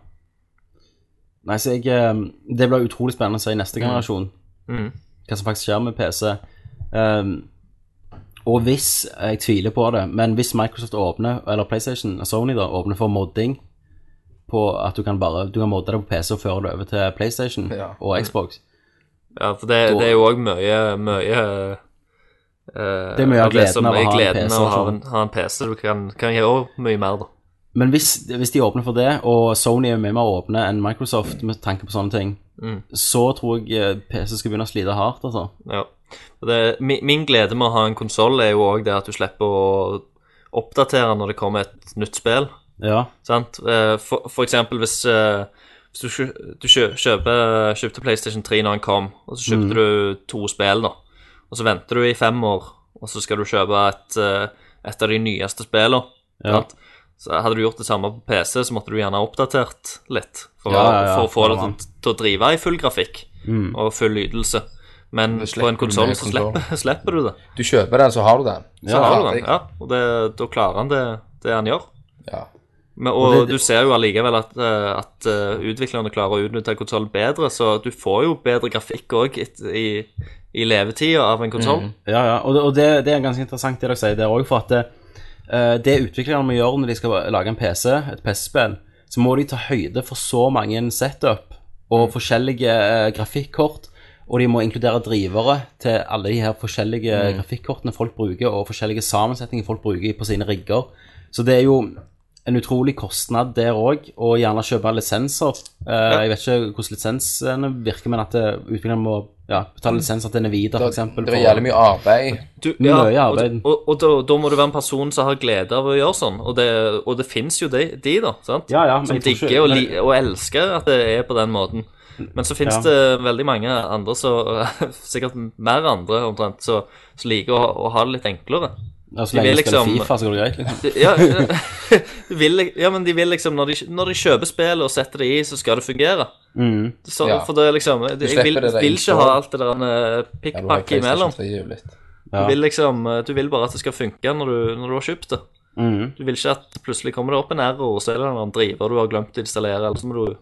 Speaker 6: Nei, så jeg eh, Det blir utrolig spennende å se i neste generasjon
Speaker 8: Mm.
Speaker 6: hva som faktisk skjer med PC. Ehm, og hvis Jeg tviler på det, men hvis Microsoft åpner, eller PlayStation, Sony da, åpner for modding på at du kan bare Du kan modde det på PC og føre det over til PlayStation
Speaker 7: Ja.
Speaker 6: og Xbox.
Speaker 8: Ja, for det,
Speaker 6: Da-
Speaker 8: det er jo òg mye, mye eh,
Speaker 6: Det er mye av
Speaker 8: det som
Speaker 6: gleden av å
Speaker 8: er
Speaker 6: ha en
Speaker 8: gleden av å ha en,
Speaker 6: PC-versjon.
Speaker 8: ha en PC. Du kan, kan gjøre mye mer, da.
Speaker 6: Men hvis, hvis de åpner for det, og Sony er mye mer åpne enn Microsoft med tanke på sånne ting,
Speaker 8: Mm.
Speaker 6: så tror jeg eh, PC skal begynne å slite hardt, altså.
Speaker 8: Ja. Og Det, min, min glede med å ha en konsoll er jo òg det at du slipper å oppdatere når det kommer et nytt spill.
Speaker 6: Ja.
Speaker 8: Sant? Eh, For, for eksempel hvis, eh, hvis du, kjø- du kjø, kjøper, kjøpte PlayStation 3 når den kom, og så kjøpte du to spill, da. Og så venter du i fem år, og så skal du kjøpe et, eh, et av de nyeste spillene.
Speaker 6: Ja.
Speaker 8: sant? Så hadde du gjort det samme på PC, så måtte du gjerne ha oppdatert litt for,
Speaker 6: Ja, ja, ja,
Speaker 8: for å få
Speaker 6: for
Speaker 8: det
Speaker 6: man.
Speaker 8: til, til å drive i full grafikk
Speaker 6: Mm.
Speaker 8: og full ytelse. Men
Speaker 7: Det
Speaker 8: på en
Speaker 7: slipper du
Speaker 8: konsoll
Speaker 7: med
Speaker 8: så
Speaker 7: konsoll.
Speaker 8: slipper, (laughs) slipper du det.
Speaker 7: Du kjøper den, så har du den.
Speaker 8: Så
Speaker 7: Så
Speaker 8: har du
Speaker 7: ferdig.
Speaker 8: den, ja. Og det, da klarer han det, det han gjør.
Speaker 7: Ja.
Speaker 8: Men, og
Speaker 6: Og det-
Speaker 8: du ser jo allikevel at, eh, at eh, utviklerne klarer å utnytte konsollen bedre, så du får jo bedre grafikk òg i, i levetida av en konsoll.
Speaker 6: Ja, ja, og, det, og det, det er ganske interessant det dere sier der òg, for at eh, det utviklerne må gjøre når de skal lage en PC, et PC-spill, så må de ta høyde for så mange setup
Speaker 7: Mm.
Speaker 6: og forskjellige eh, grafikkort, og de må inkludere drivere til alle de her forskjellige
Speaker 7: Mm.
Speaker 6: grafikkortene folk bruker, og forskjellige sammensetninger folk bruker på sine rigger. Så det er jo en utrolig kostnad der òg, og gjerne kjøpe lisenser. Eh, Jeg vet ikke hvordan lisensene virker, men at eh, utviklerne må ja, betale lisenser til Nvidia, f.eks.
Speaker 7: Mm. Det er jævlig mye arbeid.
Speaker 8: Du,
Speaker 6: Mye arbeid.
Speaker 8: Og, og, og da, da må du være en person som har glede av å gjøre sånn, og det, og det fins jo de, de, da. sant?
Speaker 6: Ja, ja, men
Speaker 8: som
Speaker 6: jeg tror ikke-
Speaker 8: digger og,
Speaker 6: men-
Speaker 8: li, og elsker at det er på den måten. Men så fins
Speaker 6: Ja.
Speaker 8: det veldig mange andre, som- (laughs) sikkert mer andre omtrent, som som liker å, å ha det litt enklere.
Speaker 6: Ja, så
Speaker 8: De
Speaker 6: lenge
Speaker 8: vil
Speaker 6: du spiller
Speaker 8: liksom-
Speaker 6: Fifa, så går det greit. Liksom.
Speaker 8: Ja, (laughs) de vil, ja men de vil liksom Når de, når de kjøper spill og setter det i, så skal det fungere.
Speaker 6: (laughs) Mm.
Speaker 8: Så,
Speaker 7: Ja.
Speaker 8: For det er liksom Jeg vil,
Speaker 7: slipper det der
Speaker 8: vil ikke
Speaker 7: install.
Speaker 8: ha alt det der eh,
Speaker 7: Ja, du har
Speaker 8: pikkpakk
Speaker 7: PlayStation
Speaker 8: imellom.
Speaker 7: 3 jo litt.
Speaker 6: Ja.
Speaker 8: Du vil liksom eh, Du vil bare at det skal funke når du, når du har kjøpt det.
Speaker 6: Mm.
Speaker 8: Du vil ikke at plutselig kommer det opp en error, og så er det en eller annen driver du har glemt å installere, eller så må du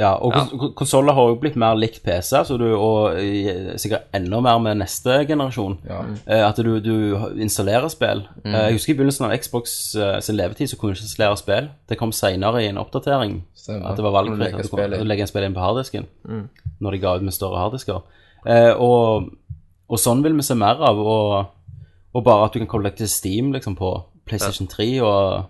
Speaker 6: ja, og kons konsoller har jo blitt mer likt PC, så du, og eh, sikkert enda mer med neste generasjon.
Speaker 7: Ja.
Speaker 6: Eh, at du, du installerer spill.
Speaker 8: Mm.
Speaker 6: Eh, jeg husker i begynnelsen av Xbox eh, sin levetid så kunne du ikke installere spill. Det kom senere i en oppdatering
Speaker 7: Stemmer.
Speaker 6: at det var
Speaker 7: Kunne
Speaker 6: valgfritt
Speaker 7: legge
Speaker 6: at du kunne
Speaker 7: spillet i.
Speaker 6: legge en spill inn på harddisken
Speaker 8: Mm.
Speaker 6: når de ga ut med større harddisker. Eh, og, og sånn vil vi se mer av, og, og bare at du kan koble deg til Steam liksom, på PlayStation 3 og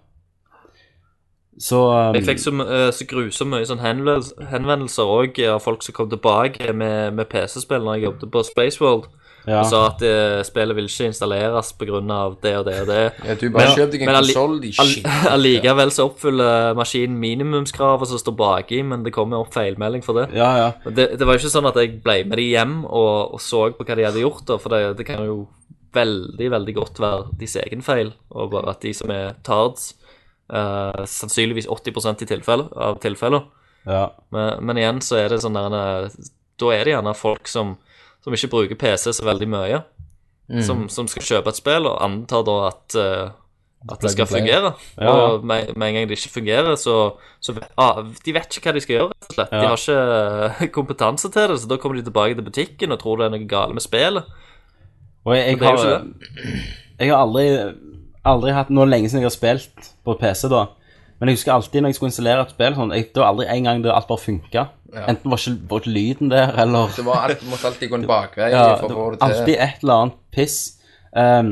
Speaker 6: så um,
Speaker 8: Jeg fikk så, m- eh, så grusomt mye sånn eh, henvendels- henvendelser òg av folk som kom tilbake med, med PC-spill når jeg jobbet på Spaceworld.
Speaker 6: Ja.
Speaker 8: og sa at eh, spillet vil ikke installeres pga. det og det og det.
Speaker 7: Ja, du bare
Speaker 8: Men-
Speaker 7: kjøp deg en
Speaker 8: men alli-
Speaker 7: konsoll, de
Speaker 8: All-
Speaker 7: shit.
Speaker 8: (laughs) Allikevel så oppfyller maskinen minimumskravet som står baki, men det kommer opp feilmelding for det.
Speaker 6: Ja, ja.
Speaker 8: Men Det, det var jo ikke sånn at jeg ble med de hjem og, og så på hva de hadde gjort, da, for det, det kan jo veldig, veldig godt være deres egen feil, og bare at de som er tards, eh, sannsynligvis 80 i tilfelle, av tilfeller.
Speaker 6: ja.
Speaker 8: Men, men igjen så er det sånn der eh, Da er det gjerne folk som, som ikke bruker PC så veldig mye,
Speaker 6: Mm.
Speaker 7: Mm.
Speaker 8: som, som skal kjøpe et spill og antar da at eh, at det skal
Speaker 7: play.
Speaker 8: fungere.
Speaker 6: Ja, ja.
Speaker 8: Og med, med en gang det ikke fungerer, så, så vet- ah, De vet ikke hva de skal gjøre, rett og slett.
Speaker 6: Ja.
Speaker 8: De har ikke (laughs) eh, kompetanse til det, så da kommer de tilbake til butikken og tror det er noe galt med spillet.
Speaker 6: Og jeg, jeg
Speaker 8: det er jo
Speaker 6: har Jeg har aldri, aldri hatt Nå er det lenge siden jeg har spilt på PC, da. Men jeg husker alltid når jeg skulle installere et spill, sånn, jeg, det var aldri en gang der alt bare funka. Enten var ikke, var ikke lyden der, eller
Speaker 7: Det var alt, måtte alltid gå en bakvei
Speaker 6: ja,
Speaker 7: for
Speaker 6: det
Speaker 7: å få
Speaker 6: var
Speaker 7: det til.
Speaker 6: Alltid et eller annet piss. Ehm,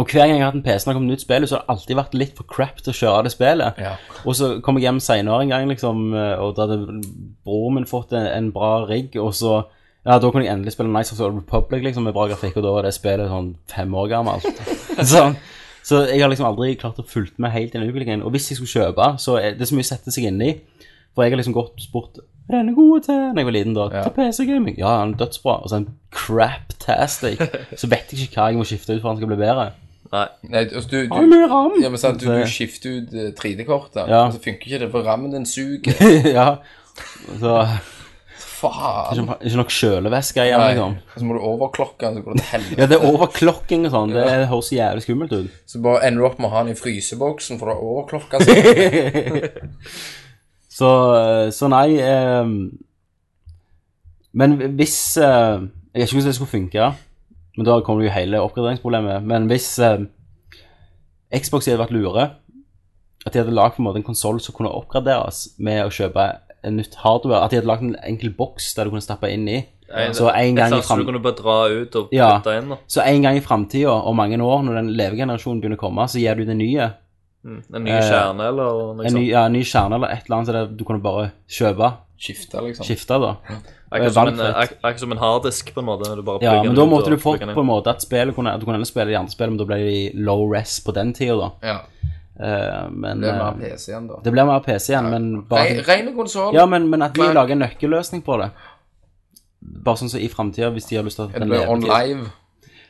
Speaker 6: og hver gang jeg har hatt en PC når det kommer nytt spill, så har det alltid vært litt for crap til å kjøre det spillet.
Speaker 7: Ja.
Speaker 6: Og så kom jeg hjem senere en gang, liksom, og da hadde broren min fått en, en bra rigg, og så Ja, da kunne jeg endelig spille Nice of the Old Republic liksom, med bra grafikk, og da var det spillet sånn fem år gammelt.
Speaker 7: (laughs)
Speaker 6: sånn. Så jeg har liksom aldri klart å fulgt med helt i den utviklingen. Og hvis jeg skulle kjøpe, så er det så mye å sette seg inn i. For jeg har liksom gått og spurt Hva er denne gode til når jeg var liten, da. Til PC-gaming. Ja, han er dødsbra. Og så en
Speaker 7: (laughs)
Speaker 6: craptastic. Så vet jeg ikke hva jeg må skifte ut for han skal bli bedre.
Speaker 8: Nei.
Speaker 7: Nei, altså, du,
Speaker 6: Har
Speaker 7: du,
Speaker 6: du mye ram?
Speaker 7: ja, men sant, du,
Speaker 6: Så-
Speaker 7: du skifter ut eh, 3D-kortet,
Speaker 6: Ja.
Speaker 7: og så funker ikke det, for rammen din suger.
Speaker 6: (laughs) ja. Så
Speaker 7: Faen.
Speaker 6: ikke, ikke nok kjølevæske igjen,
Speaker 7: Nei.
Speaker 6: liksom.
Speaker 7: Og så må du overklokke den, så går det til helvete.
Speaker 6: Ja, det er overklokking og sånn. Det er- det høres så jævlig skummelt
Speaker 8: (laughs)
Speaker 6: ut.
Speaker 7: Så bare ender du opp med å ha den i fryseboksen, for du har
Speaker 6: (laughs)
Speaker 7: overklokka seg.
Speaker 6: Så, så nei eh, Men hvis eh, Jeg vet ikke hvordan det skulle funke, men da kommer det jo hele oppgraderingsproblemet. Men hvis eh, Xbox hadde vært lure, at de hadde lagd på en måte en konsoll som kunne oppgraderes med å kjøpe en nytt hardware At de hadde lagd en enkel boks der du kunne stappe inn i. Så en gang i
Speaker 8: det første
Speaker 6: fram-
Speaker 8: du kunne bare dra ut og putte
Speaker 6: Ja.
Speaker 8: inn, da.
Speaker 6: Så en gang i framtida, om mange år, når den levegenerasjonen begynner å komme, så gir du den nye.
Speaker 8: Mm. En ny kjerne eller
Speaker 6: Eh,
Speaker 8: noe
Speaker 6: En ny,
Speaker 8: sånt.
Speaker 6: ja, en ny kjerne eller et eller annet, så det, du kunne bare kjøpe,
Speaker 7: Skifte, liksom.
Speaker 6: skifte, da.
Speaker 8: Akkurat som, en,
Speaker 6: valgfritt.
Speaker 8: ak akkurat som en harddisk, på en måte. når Du bare
Speaker 6: eh, Ja,
Speaker 8: plugger
Speaker 6: men
Speaker 8: den
Speaker 6: da
Speaker 8: ut
Speaker 6: måtte
Speaker 8: og
Speaker 6: du fått
Speaker 8: plugger den inn.
Speaker 6: på en måte at spillet kunne, at du kunne heller spille de andre spillene, men da ble de low res på den tida, da.
Speaker 7: Ja,
Speaker 6: Eh, men
Speaker 7: det er mer
Speaker 6: eh,
Speaker 7: PC igjen, da.
Speaker 6: det ble mer PC igjen, men
Speaker 7: Re-
Speaker 6: bare sånn-
Speaker 7: Reine konsoll.
Speaker 6: Ja, men, men at de
Speaker 7: Men-
Speaker 6: lager en nøkkelløsning på det. Bare sånn som i framtida, hvis de har lyst til at
Speaker 7: det
Speaker 6: den
Speaker 7: ble
Speaker 6: lever.
Speaker 7: on live.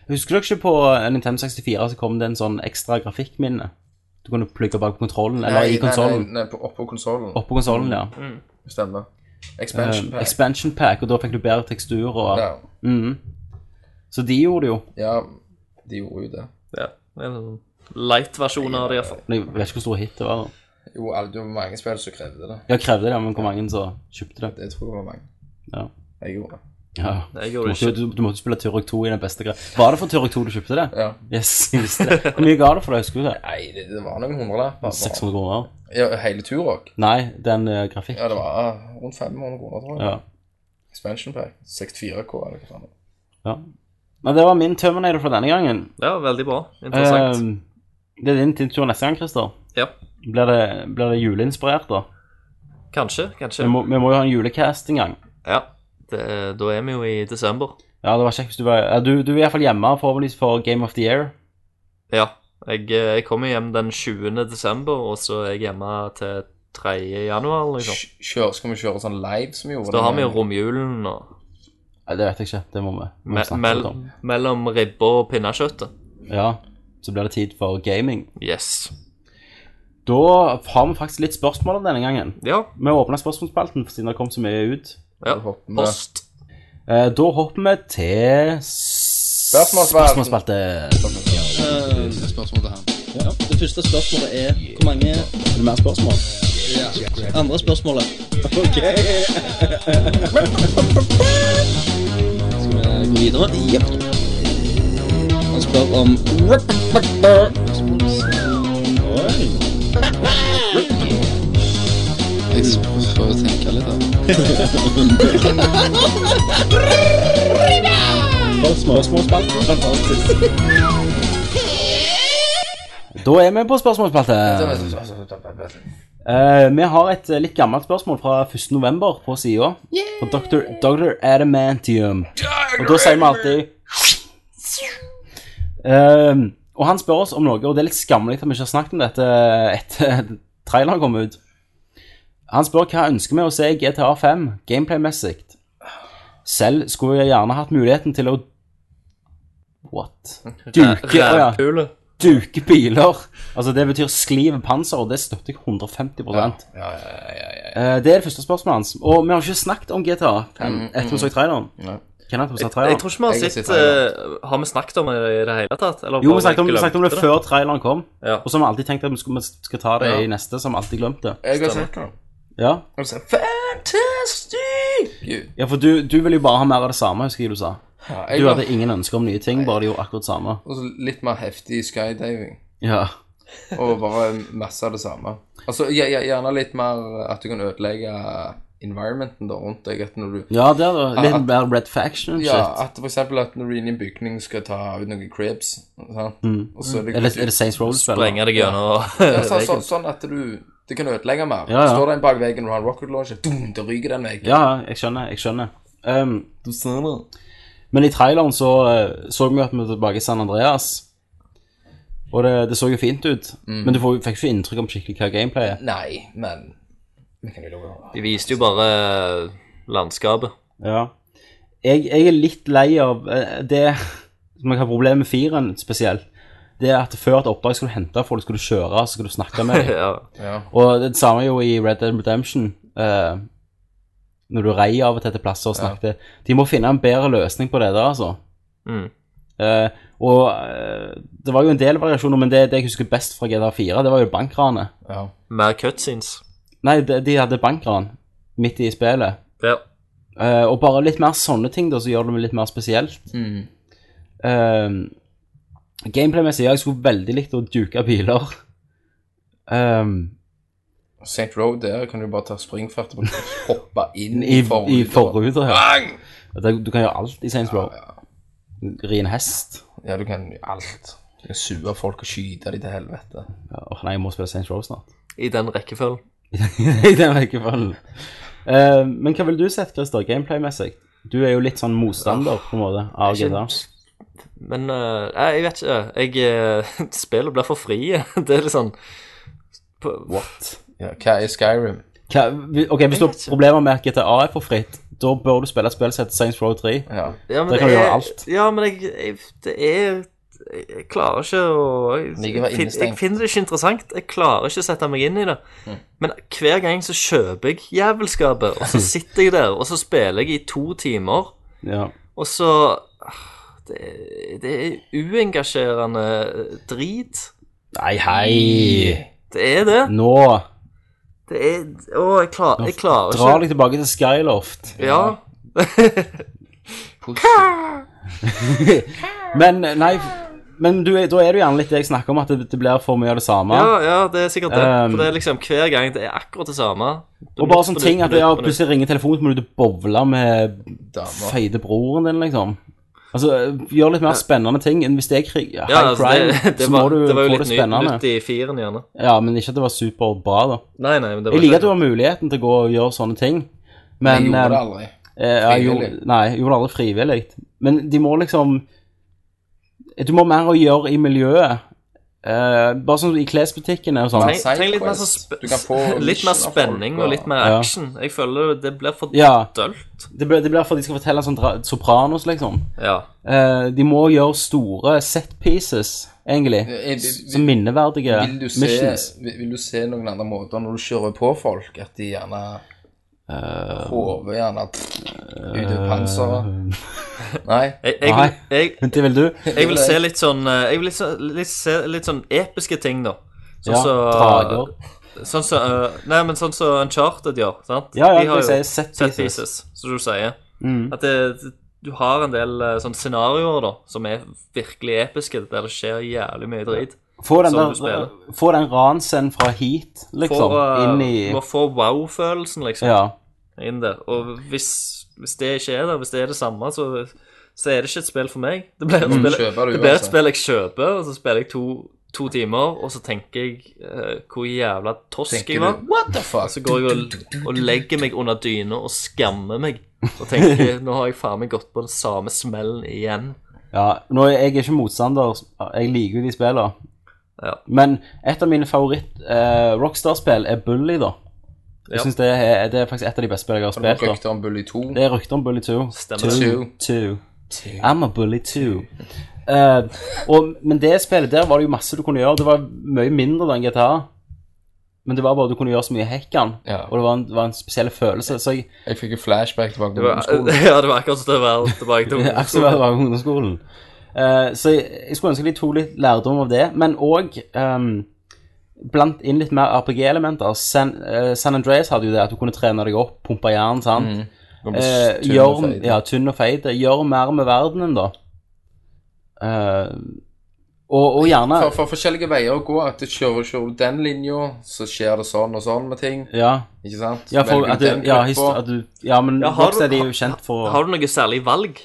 Speaker 6: Husker dere ikke på eh, Nintendo 64 så kom det en sånn ekstra grafikkminne? Du kunne plugge bak på kontrollen, eller i konsollen.
Speaker 7: Nei, nei, på- oppå konsollen.
Speaker 6: Oppå konsollen, ja.
Speaker 7: Stemmer.
Speaker 6: Eh,
Speaker 7: Expansion pack.
Speaker 6: expansion pack, og da fikk du bedre tekstur og
Speaker 7: Ja.
Speaker 6: Mhm. Så de gjorde det jo.
Speaker 7: ja, de gjorde jo det.
Speaker 8: Ja, det er en sånn light-versjon av det, iallfall.
Speaker 6: Men Jeg vet ikke hvor stor hit det var. da.
Speaker 7: Jo, alle- det var mange spill som krevde det.
Speaker 6: Ja, krevde det, men hvor mange som kjøpte det?
Speaker 7: Jeg tror det var mange.
Speaker 6: Ja.
Speaker 7: Jeg gjorde det.
Speaker 6: ja.
Speaker 8: Jeg
Speaker 6: Du
Speaker 8: gjorde
Speaker 6: måtte,
Speaker 8: ikke
Speaker 6: jo- du, du måtte spille Turok 2 i den beste greia. Var det for Turok 2 du kjøpte det?
Speaker 7: Ja.
Speaker 6: Yes, jeg visste det. Hvor mye ga du for det, husker du det?
Speaker 7: Nei, det, det var noen hundrelapper. bare.
Speaker 6: 600 kroner?
Speaker 7: Ja, hele Turok.
Speaker 6: Nei, den uh, grafikk.
Speaker 7: Ja, det var ah, rundt 500 kroner, tror jeg.
Speaker 6: Ja.
Speaker 7: Expansion pack. 64K eller hva faen. det var.
Speaker 6: ja. Men det var min Terminator for denne gangen.
Speaker 8: Ja, veldig bra. Interessant.
Speaker 6: Eh, det er din tur neste gang, Christer.
Speaker 8: ja.
Speaker 6: Blir det, blir det juleinspirert, da?
Speaker 8: Kanskje, kanskje.
Speaker 6: Vi må, vi må jo ha en julecast en gang.
Speaker 8: Ja. Det, er- da er vi jo i desember.
Speaker 6: Ja, det var kjekt hvis du var ja, Du, du er iallfall hjemme, forhåpentligvis, for Game of the Year.
Speaker 8: Ja. Jeg, eh, jeg kommer hjem den 20. desember, og så er jeg hjemme til 3. januar, liksom.
Speaker 7: Kj- Kjør, skal vi kjøre sånn live som vi gjorde?
Speaker 8: Så da har vi jo
Speaker 7: den gangen?
Speaker 8: romjulen og
Speaker 6: Nei, det vet jeg ikke. Det må vi, må vi
Speaker 8: me
Speaker 6: snakke
Speaker 8: mell
Speaker 6: litt om.
Speaker 8: mellom ribba og pinnekjøttet.
Speaker 6: Ja, så blir det tid for gaming.
Speaker 8: Yes.
Speaker 6: Da har vi faktisk litt spørsmål om denne gangen.
Speaker 8: Ja.
Speaker 6: Vi åpner spørsmålspalten for siden det kom så mye ut.
Speaker 8: ja.
Speaker 7: Da hopper vi.
Speaker 8: Post.
Speaker 6: Eh, da hopper vi til s-
Speaker 7: Spørsmålsspalten.
Speaker 6: spørsmålsspalten.
Speaker 1: Det første spørsmålet er hvor mange
Speaker 6: Er det mer spørsmål?
Speaker 1: andre spørsmålet? Ok. Skal vi gå videre? Jepp. Han spør om Oi. Jeg får tenke litt, da.
Speaker 6: Da er vi på
Speaker 7: Altså,
Speaker 6: spørsmålsspalten. Eh, vi har et eh, litt gammelt spørsmål fra 1. november på sida. Fra Dr. Dr. Adamantium. Og da sier vi alltid Ehm, og han spør oss om noe, og det er litt skammelig at vi ikke har snakket om dette etter (laughs) traileren kom ut. Han spør hva ønsker vi å se i GTA 5 gameplay-messig. Selv skulle jeg gjerne hatt muligheten til å What? Duke, å ja.
Speaker 8: Rævpule.
Speaker 6: duke biler. Altså Det betyr sklive panser, og det støtter jeg 150 Eh, Det er det første spørsmålet hans. Og vi har ikke snakket om GTA 5 etter vi så traileren. Kan jeg, jeg,
Speaker 8: Jeg tror ikke vi
Speaker 7: Jeg har
Speaker 8: har
Speaker 7: sett
Speaker 8: sett eh, Har vi snakket om det i det hele tatt? Eller
Speaker 6: Jo,
Speaker 8: bare
Speaker 6: vi snakket, om, vi
Speaker 8: glemte
Speaker 6: snakket om det før traileren kom,
Speaker 8: Ja.
Speaker 6: og så har vi alltid tenkt at vi skal, vi skal ta det
Speaker 7: Ja.
Speaker 6: i neste, så har vi alltid glemt det.
Speaker 7: Jeg har sett den.
Speaker 6: Ja,
Speaker 7: Og så Fantastic! You-
Speaker 6: ja for du, du ville jo bare ha mer av det samme, husker jeg du sa.
Speaker 7: Ja, jeg
Speaker 6: Du
Speaker 7: har-
Speaker 6: hadde ingen ønsker om nye ting, bare de gjorde akkurat samme.
Speaker 7: Og så litt mer heftig skydiving.
Speaker 6: Ja.
Speaker 7: Og bare masse av det samme. Altså, gje- gje- Gjerne litt mer at du kan ødelegge environmenten da rundt deg. At når du
Speaker 6: Ja, det er det. Litt mer Red Faction shit.
Speaker 7: Ja, at for eksempel at når du er inne i en bygning skal ta ut noen cribs. Sant? Og så er det,
Speaker 6: Eller er det Saints Row du spiller?
Speaker 8: Sprenge deg gjennom (laughs)
Speaker 7: ja, så, så,
Speaker 8: veggen.
Speaker 7: sånn at du det kan ødelegge mer.
Speaker 6: Ja, ja.
Speaker 7: Står det en bak veggen og du har en rocket launcher, dum, det ryker den veggen.
Speaker 6: Ja, jeg skjønner, jeg skjønner. Um,
Speaker 7: Du ser det.
Speaker 6: men i traileren så eh, så vi jo at vi var tilbake i San Andreas, og det, det så jo fint ut, men du får, fikk ikke inntrykk om skikkelig hva gameplay er.
Speaker 7: Nei, men vi kan jo love
Speaker 8: De viste jo bare landskapet. (laughs)
Speaker 6: Ja. Jeg, jeg er litt lei av eh, det som jeg har problemer med fireren spesielt. Det er at før et oppdrag skulle du hente folk, skulle du kjøre, så skulle du snakke med dem.
Speaker 8: Ja.
Speaker 6: Og det samme er jo i Red Dead Redemption. eh, når du rei av og til til plasser og snakket. De må finne en bedre løsning på det der, altså.
Speaker 8: Mm.
Speaker 6: Eh, og eh, det var jo en del variasjoner, men det, det jeg husker best fra GTA4, det var jo bankranet.
Speaker 7: Ja.
Speaker 8: Mer cutscenes.
Speaker 6: Nei, de, de hadde bankran midt i spillet.
Speaker 8: Ja.
Speaker 6: Eh, og bare litt mer sånne ting, da, så gjør det litt mer spesielt. Ehm, Gameplay-messig, ja, jeg skulle veldig likt å duke biler. Ehm,
Speaker 7: St. Road der kan du bare ta springfart og bare
Speaker 6: (laughs)
Speaker 7: hoppe inn
Speaker 6: I,
Speaker 7: i Ah,
Speaker 6: i
Speaker 7: forruden.
Speaker 6: forruta, ja. Det- Du kan gjøre alt i Saints Row. Ri en hest.
Speaker 7: Ja, du kan gjøre alt. Du kan sue folk og skyte dem til helvete.
Speaker 6: Ja, Åh nei, jeg må spille Saints Row
Speaker 8: (laughs)
Speaker 6: snart.
Speaker 8: I den rekkefølgen.
Speaker 6: I den rekkefølgen. Eh, men hva ville du sett, Christer, gameplay-messig? Du er jo litt sånn motstander, på en måte, av GTA.
Speaker 8: Men eh, nei, jeg vet ikke. Jeg, eh, (laughs) spillet blir for fri. (laughs) Det er litt sånn på-
Speaker 6: What?
Speaker 7: Ja, hva er Skyrim?
Speaker 6: Hva, ok, Hvis du har
Speaker 8: vet ikke.
Speaker 6: problemer med at GTA er for fritt, da bør du spille et spill som heter Saints Row 3.
Speaker 7: Ja.
Speaker 8: ja, men
Speaker 6: Der kan du
Speaker 8: jeg-
Speaker 6: gjøre alt.
Speaker 8: Ja, men jeg, jeg Det er jeg klarer ikke å jeg,
Speaker 7: Ligger bare
Speaker 8: fin- jeg
Speaker 7: innestengt.
Speaker 8: finner det ikke interessant. Jeg klarer ikke å sette meg inn i det.
Speaker 6: Mm.
Speaker 8: Men hver gang så kjøper jeg jævelskapet, og
Speaker 6: (laughs)
Speaker 8: så sitter jeg der, og så spiller jeg i to timer,
Speaker 6: Ja.
Speaker 8: og så Ah, Det, det er uengasjerende drit.
Speaker 6: Nei, hei!
Speaker 8: Det er det.
Speaker 6: Nå
Speaker 8: Det er Å, jeg, klar, jeg klarer ikke
Speaker 6: drar deg tilbake til Skyloft.
Speaker 8: Ja.
Speaker 6: Men nei, men du, er- da er det jo gjerne litt det jeg snakker om, at det, det blir for mye av det samme.
Speaker 8: ja, ja, det er sikkert det.
Speaker 6: Um,
Speaker 8: For det er liksom hver gang det er akkurat det samme.
Speaker 6: og bare sånne ting at ja, plutselig ringer telefonen, så må du bowle med feite broren din, liksom. Altså, gjør litt mer spennende ting. enn Hvis det er krig, high
Speaker 8: Ja, altså,
Speaker 6: crime,
Speaker 8: det, (laughs) det,
Speaker 6: så må
Speaker 8: var,
Speaker 6: du
Speaker 8: det var
Speaker 6: få
Speaker 8: jo litt
Speaker 6: det
Speaker 8: nytt,
Speaker 6: spennende.
Speaker 8: nytt i firen, gjerne.
Speaker 6: Ja, men ikke at det var superbra, da.
Speaker 8: Nei, nei, men det var
Speaker 6: Jeg liker at du har muligheten til å gå og gjøre sånne ting, men
Speaker 7: Jeg gjorde det
Speaker 6: eh,
Speaker 7: aldri.
Speaker 6: Eh, ja, jeg gjorde,
Speaker 7: Frivillig.
Speaker 6: nei, jeg gjorde det aldri frivillig. Men de må liksom Du må mer å gjøre i miljøet. Eh, bare sånn i klesbutikkene og sånn.
Speaker 8: Tenk, tenk litt, mer sånn
Speaker 7: Sidequest.
Speaker 8: sp
Speaker 7: Du kan få
Speaker 8: litt mer
Speaker 7: missioner,
Speaker 8: spenning
Speaker 7: folk,
Speaker 8: og litt mer
Speaker 6: ja.
Speaker 8: action. Jeg føler det blir for
Speaker 6: Ja.
Speaker 8: dølt.
Speaker 6: Det blir det blir for at de skal fortelle en sånn dra- Sopranos, liksom.
Speaker 8: Ja.
Speaker 6: Eh, de må gjøre store set pieces, egentlig,
Speaker 7: Eh, eh,
Speaker 6: s- som minneverdige
Speaker 7: Vil du, se,
Speaker 6: missions.
Speaker 7: vil, vil du se noen andre måter når du kjører på folk, at de gjerne
Speaker 6: Eh,
Speaker 7: Hodet gjerne pff, ut i panseret?
Speaker 6: eh, (laughs)
Speaker 7: Nei?
Speaker 8: Jeg, jeg,
Speaker 6: Nei.
Speaker 8: jeg,
Speaker 6: Det
Speaker 8: (laughs)
Speaker 6: vil du?
Speaker 8: jeg vil se litt sånn eh, Jeg vil litt, så- litt, se litt sånn episke ting, da. Sånn
Speaker 6: Ja.
Speaker 8: så-
Speaker 6: Drager.
Speaker 8: Sånn som eh, Nei, men sånn som Uncharted gjør, sant?
Speaker 6: Ja, ja,
Speaker 8: De
Speaker 6: det
Speaker 8: har
Speaker 6: vil si
Speaker 8: jo
Speaker 6: set
Speaker 8: set
Speaker 6: pieces.
Speaker 8: pieces, som du sier.
Speaker 6: Mm.
Speaker 8: At det, det- du har en del eh, sånne scenarioer da, som er virkelig episke, der det skjer jævlig mye drit.
Speaker 6: Få den,
Speaker 8: Som du
Speaker 6: der,
Speaker 8: spiller.
Speaker 6: få den ranscenen fra Heat, liksom,
Speaker 8: Får, eh,
Speaker 6: inn i
Speaker 8: Du må få wow-følelsen, liksom,
Speaker 6: Ja.
Speaker 8: inn der. Og hvis, hvis det ikke er der, hvis det er det samme, så, så er det ikke et spill for meg. Det blir et spill,
Speaker 7: Mm, kjøper du
Speaker 8: det blir et
Speaker 7: uansett.
Speaker 8: spill jeg kjøper, og så spiller jeg to, to timer, og så tenker jeg eh, hvor jævla tosk jeg
Speaker 7: Tenker
Speaker 8: var.
Speaker 7: du What the fuck?
Speaker 8: Så går jeg og, og legger meg under
Speaker 7: (laughs)
Speaker 8: dyna og skammer meg. Og tenker nå har jeg faen meg gått på den samme smellen igjen.
Speaker 6: Ja, nå er jeg ikke motstander, jeg liker jo de spillene.
Speaker 8: Ja.
Speaker 6: Men et av mine favoritt-Rockstar-spill er Bully, da. Jeg
Speaker 8: Ja.
Speaker 6: synes det, er, det er faktisk et av de beste spillene jeg har
Speaker 7: Og det var
Speaker 6: spilt.
Speaker 7: rykter om Bully 2.
Speaker 6: da Det er rykter om Bully 2.
Speaker 8: Stemmer.
Speaker 7: Two.
Speaker 6: Two. I'm a bully too. Eh, og, men det spillet der var det jo masse du kunne gjøre. Det var mye mindre enn GTA. Men det var bare du kunne gjøre så mye hekkan,
Speaker 7: Ja.
Speaker 6: og det var en, det var en spesiell følelse. Så jeg (laughs)
Speaker 7: Jeg fikk jo flashback tilbake
Speaker 8: Det
Speaker 7: til
Speaker 8: var, (laughs)
Speaker 7: ungdomsskolen.
Speaker 8: ja, det var akkurat som det var tilbake
Speaker 7: (laughs)
Speaker 8: til
Speaker 6: akkurat som jeg var på ungdomsskolen. Eh, så jeg, jeg skulle ønske de tok litt lærdom av det, men òg blant inn litt mer RPG-elementer. San, eh, San Andreas hadde jo det at du kunne trene deg opp, pumpe jern, sant.
Speaker 7: Mm. Du ble
Speaker 6: Eh,
Speaker 7: tynn
Speaker 6: gjør,
Speaker 7: og feit.
Speaker 6: ja, tynn og feit. Gjør mer med verdenen, da. Eh, og, og gjerne
Speaker 7: for, for forskjellige veier å gå. At du kjører, kjører du den linja, så skjer det sånn og sånn med ting.
Speaker 6: Ja,
Speaker 7: Ikke sant?
Speaker 6: ja, for,
Speaker 7: Velger
Speaker 6: at
Speaker 7: du
Speaker 6: du,
Speaker 7: den
Speaker 6: ja,
Speaker 7: gruppa,
Speaker 6: hist- at du, ja men
Speaker 8: Ja,
Speaker 6: ja,
Speaker 8: har du-
Speaker 6: er jo
Speaker 8: har-
Speaker 6: kjent for
Speaker 8: Har du noe særlig valg?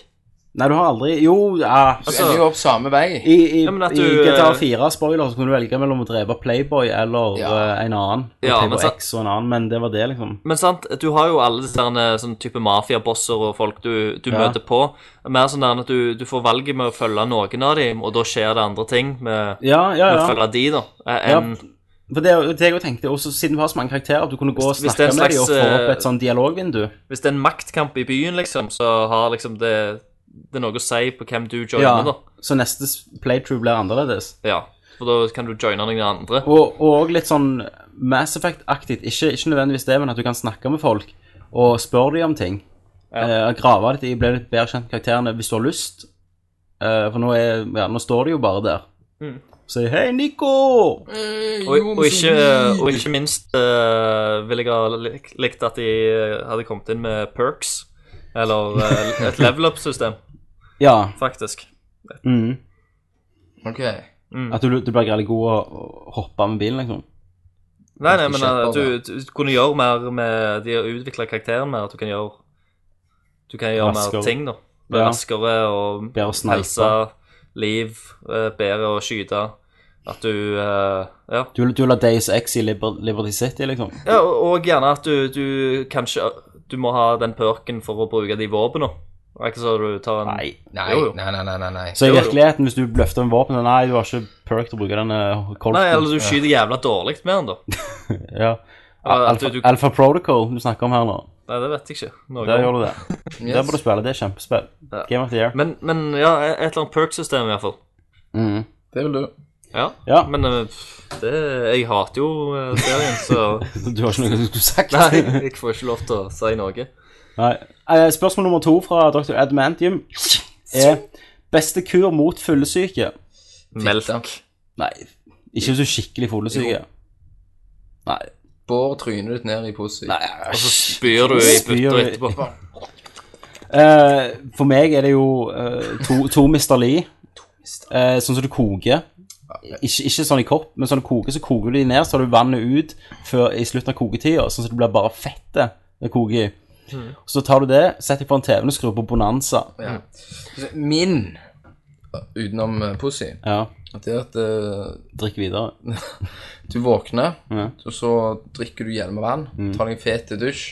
Speaker 6: Nei, du har aldri Jo, ja,
Speaker 7: så ender jo opp samme vei.
Speaker 6: i, i,
Speaker 8: Altså, Ja, men at
Speaker 6: i
Speaker 8: du,
Speaker 6: GTA
Speaker 8: eh,
Speaker 6: 4 spoiler så kunne du velge mellom å drepe Playboy eller
Speaker 7: Ja.
Speaker 6: eh, en annen.
Speaker 8: Ja, men
Speaker 6: Playboy
Speaker 8: så-
Speaker 6: X og en annen, men det var det, liksom.
Speaker 8: Men sant, du har jo alle disse derne, sånn type mafiabosser og folk du, du
Speaker 6: Ja.
Speaker 8: møter på. Mer sånn der at du, du får valget med å følge noen av dem, og da skjer det andre ting med,
Speaker 6: Ja, ja,
Speaker 8: med å
Speaker 6: ja.
Speaker 8: følge de, da. eh,
Speaker 6: Ja,
Speaker 8: enn-
Speaker 6: For det, er jo- det jeg jo tenkte, også siden du har så mange karakterer, at du kunne gå og
Speaker 8: Hvis- hvis det er
Speaker 6: snakke med
Speaker 8: en
Speaker 6: dem og
Speaker 8: slags,
Speaker 6: få opp
Speaker 8: eh,
Speaker 6: et sånn dialogvindu.
Speaker 8: Hvis det er en maktkamp i byen, liksom, så har liksom det, det er noe å si på hvem du
Speaker 6: Ja,
Speaker 8: joiner, da.
Speaker 6: så neste s- playthrough blir annerledes.
Speaker 8: Ja, for da kan du joine noen andre.
Speaker 6: Og og også litt sånn Mass Effect-aktig. Ikke, ikke nødvendigvis det, men at du kan snakke med folk og spørre dem om ting.
Speaker 8: Ja.
Speaker 6: Eh, grave litt i, bli litt bedre kjent med karakterene hvis du har lyst. Eh, for nå, er, ja, nå står de jo bare der.
Speaker 8: Mm.
Speaker 6: Så hei, Nico!
Speaker 8: Og, og, ikke, og ikke minst eh, ville jeg ha lik- likt at de eh, hadde kommet inn med perks, eller eh, et level up-system,
Speaker 6: Ja.
Speaker 8: faktisk. Mm.
Speaker 6: Mm.
Speaker 7: Ok.
Speaker 6: At du, du blir veldig god å å hoppe med bilen, liksom.
Speaker 8: Nei, nei, men
Speaker 7: Ikke
Speaker 8: eh,
Speaker 7: kjøpere.
Speaker 8: du, du kunne gjøre mer med De har utvikla karakteren mer. At du kan gjøre Du kan gjøre
Speaker 6: Raskere.
Speaker 8: mer ting, da. Bli
Speaker 6: Ja.
Speaker 8: raskere og
Speaker 6: Bedre å snipe.
Speaker 8: helse, liv, eh, bedre å skyte. At du eh, Ja.
Speaker 6: Du, du la Days X i Liber, Liberty City, liksom.
Speaker 8: ja og, og gjerne at du, du kanskje Du må ha den perken for å bruke de våpnene. Det er Ikke så du tar en
Speaker 7: Nei,
Speaker 8: Jo, jo.
Speaker 7: nei, nei, nei, nei, nei.
Speaker 6: Så i
Speaker 8: Jo, jo.
Speaker 6: virkeligheten, hvis du bløfter med våpen Nei, du har ikke perk til å bruke denne kolten.
Speaker 8: Nei, eller du skyter jævla dårlig med den, da.
Speaker 6: ja.
Speaker 8: Eller at
Speaker 6: Alpha,
Speaker 8: du, du
Speaker 6: Alpha Protocol du snakker om her nå.
Speaker 8: Nei, det vet jeg ikke. Noe
Speaker 6: Der
Speaker 8: om.
Speaker 6: gjør du det. Der bør du spille. Det er kjempespill.
Speaker 8: Ja.
Speaker 6: Game of the year.
Speaker 8: Men, men ja, et eller annet perk-system, i hvert fall.
Speaker 6: Mm.
Speaker 7: Det vil du.
Speaker 8: Ja.
Speaker 6: Ja,
Speaker 8: Men eh, det, jeg hater jo eh, serien,
Speaker 6: (laughs)
Speaker 8: så
Speaker 6: du har ikke noe du skulle sagt.
Speaker 8: Nei, jeg får ikke lov til å si noe.
Speaker 6: (laughs) Nei. Eh, Spørsmål nummer to fra dr. Admantium er beste kur mot fyllesyke.
Speaker 8: Melk.
Speaker 6: Nei, ikke hvis du er skikkelig fyllesyke. Nei.
Speaker 7: Bår trynet ditt ned i pussy.
Speaker 6: Nei.
Speaker 8: Og så spyr du i
Speaker 6: Spyr
Speaker 8: bøtta
Speaker 6: i-
Speaker 8: etterpå.
Speaker 6: Eh, for meg er det jo eh, to, to Mr. Lee. Eh, sånn som du koker. Ikke, ikke sånn i kopp, men sånn du koker, så koker du de ned, så tar du vannet ut før, i slutten av koketida, sånn at det blir bare fettet det koker i. Så tar du det, setter det foran TV-en og skrur på Bonanza.
Speaker 7: Ja. Min, utenom eh, pussy,
Speaker 6: Ja,
Speaker 7: det er at eh,
Speaker 6: drikk videre.
Speaker 7: Du våkner,
Speaker 6: Ja.
Speaker 7: og så drikker du gjerne med vann.
Speaker 8: Mm.
Speaker 7: Tar deg en fet dusj.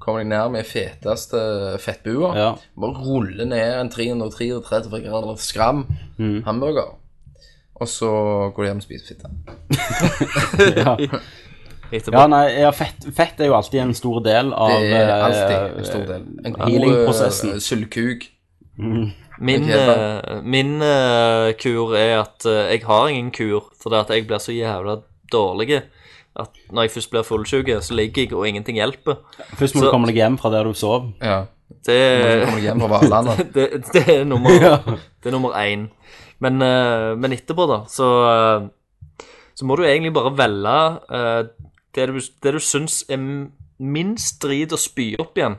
Speaker 7: Kommer deg ned med feteste eh, fettbua.
Speaker 6: Ja.
Speaker 7: Bare ruller ned en 333 grader skram
Speaker 8: Mm.
Speaker 7: hamburger. Og så går du hjem og spiser fitte.
Speaker 6: Ja, ja
Speaker 8: Etterpå.
Speaker 6: nei, ja, fett, fett er jo alltid en stor del av
Speaker 7: Det er
Speaker 6: eh,
Speaker 7: alltid en stor del. En god
Speaker 6: healing-prosessen.
Speaker 7: eh, sylkuk.
Speaker 8: Min,
Speaker 7: Ok, da.
Speaker 8: eh, min eh, kur er at eh, jeg har ingen kur, fordi at jeg blir så jævla dårlig at når jeg først blir fullsjuk, så ligger jeg og ingenting hjelper.
Speaker 6: Først må
Speaker 8: Så-
Speaker 6: du komme deg hjem fra der du sov.
Speaker 7: Ja.
Speaker 8: Det,
Speaker 7: Kommer deg hjem fra
Speaker 8: (laughs)
Speaker 7: Valandet.
Speaker 8: det, det er nummer Det er nummer én. Men, eh, men etterpå, da, så eh, Så må du egentlig bare velge eh, det, du, det du syns er m- minst drit å spy opp igjen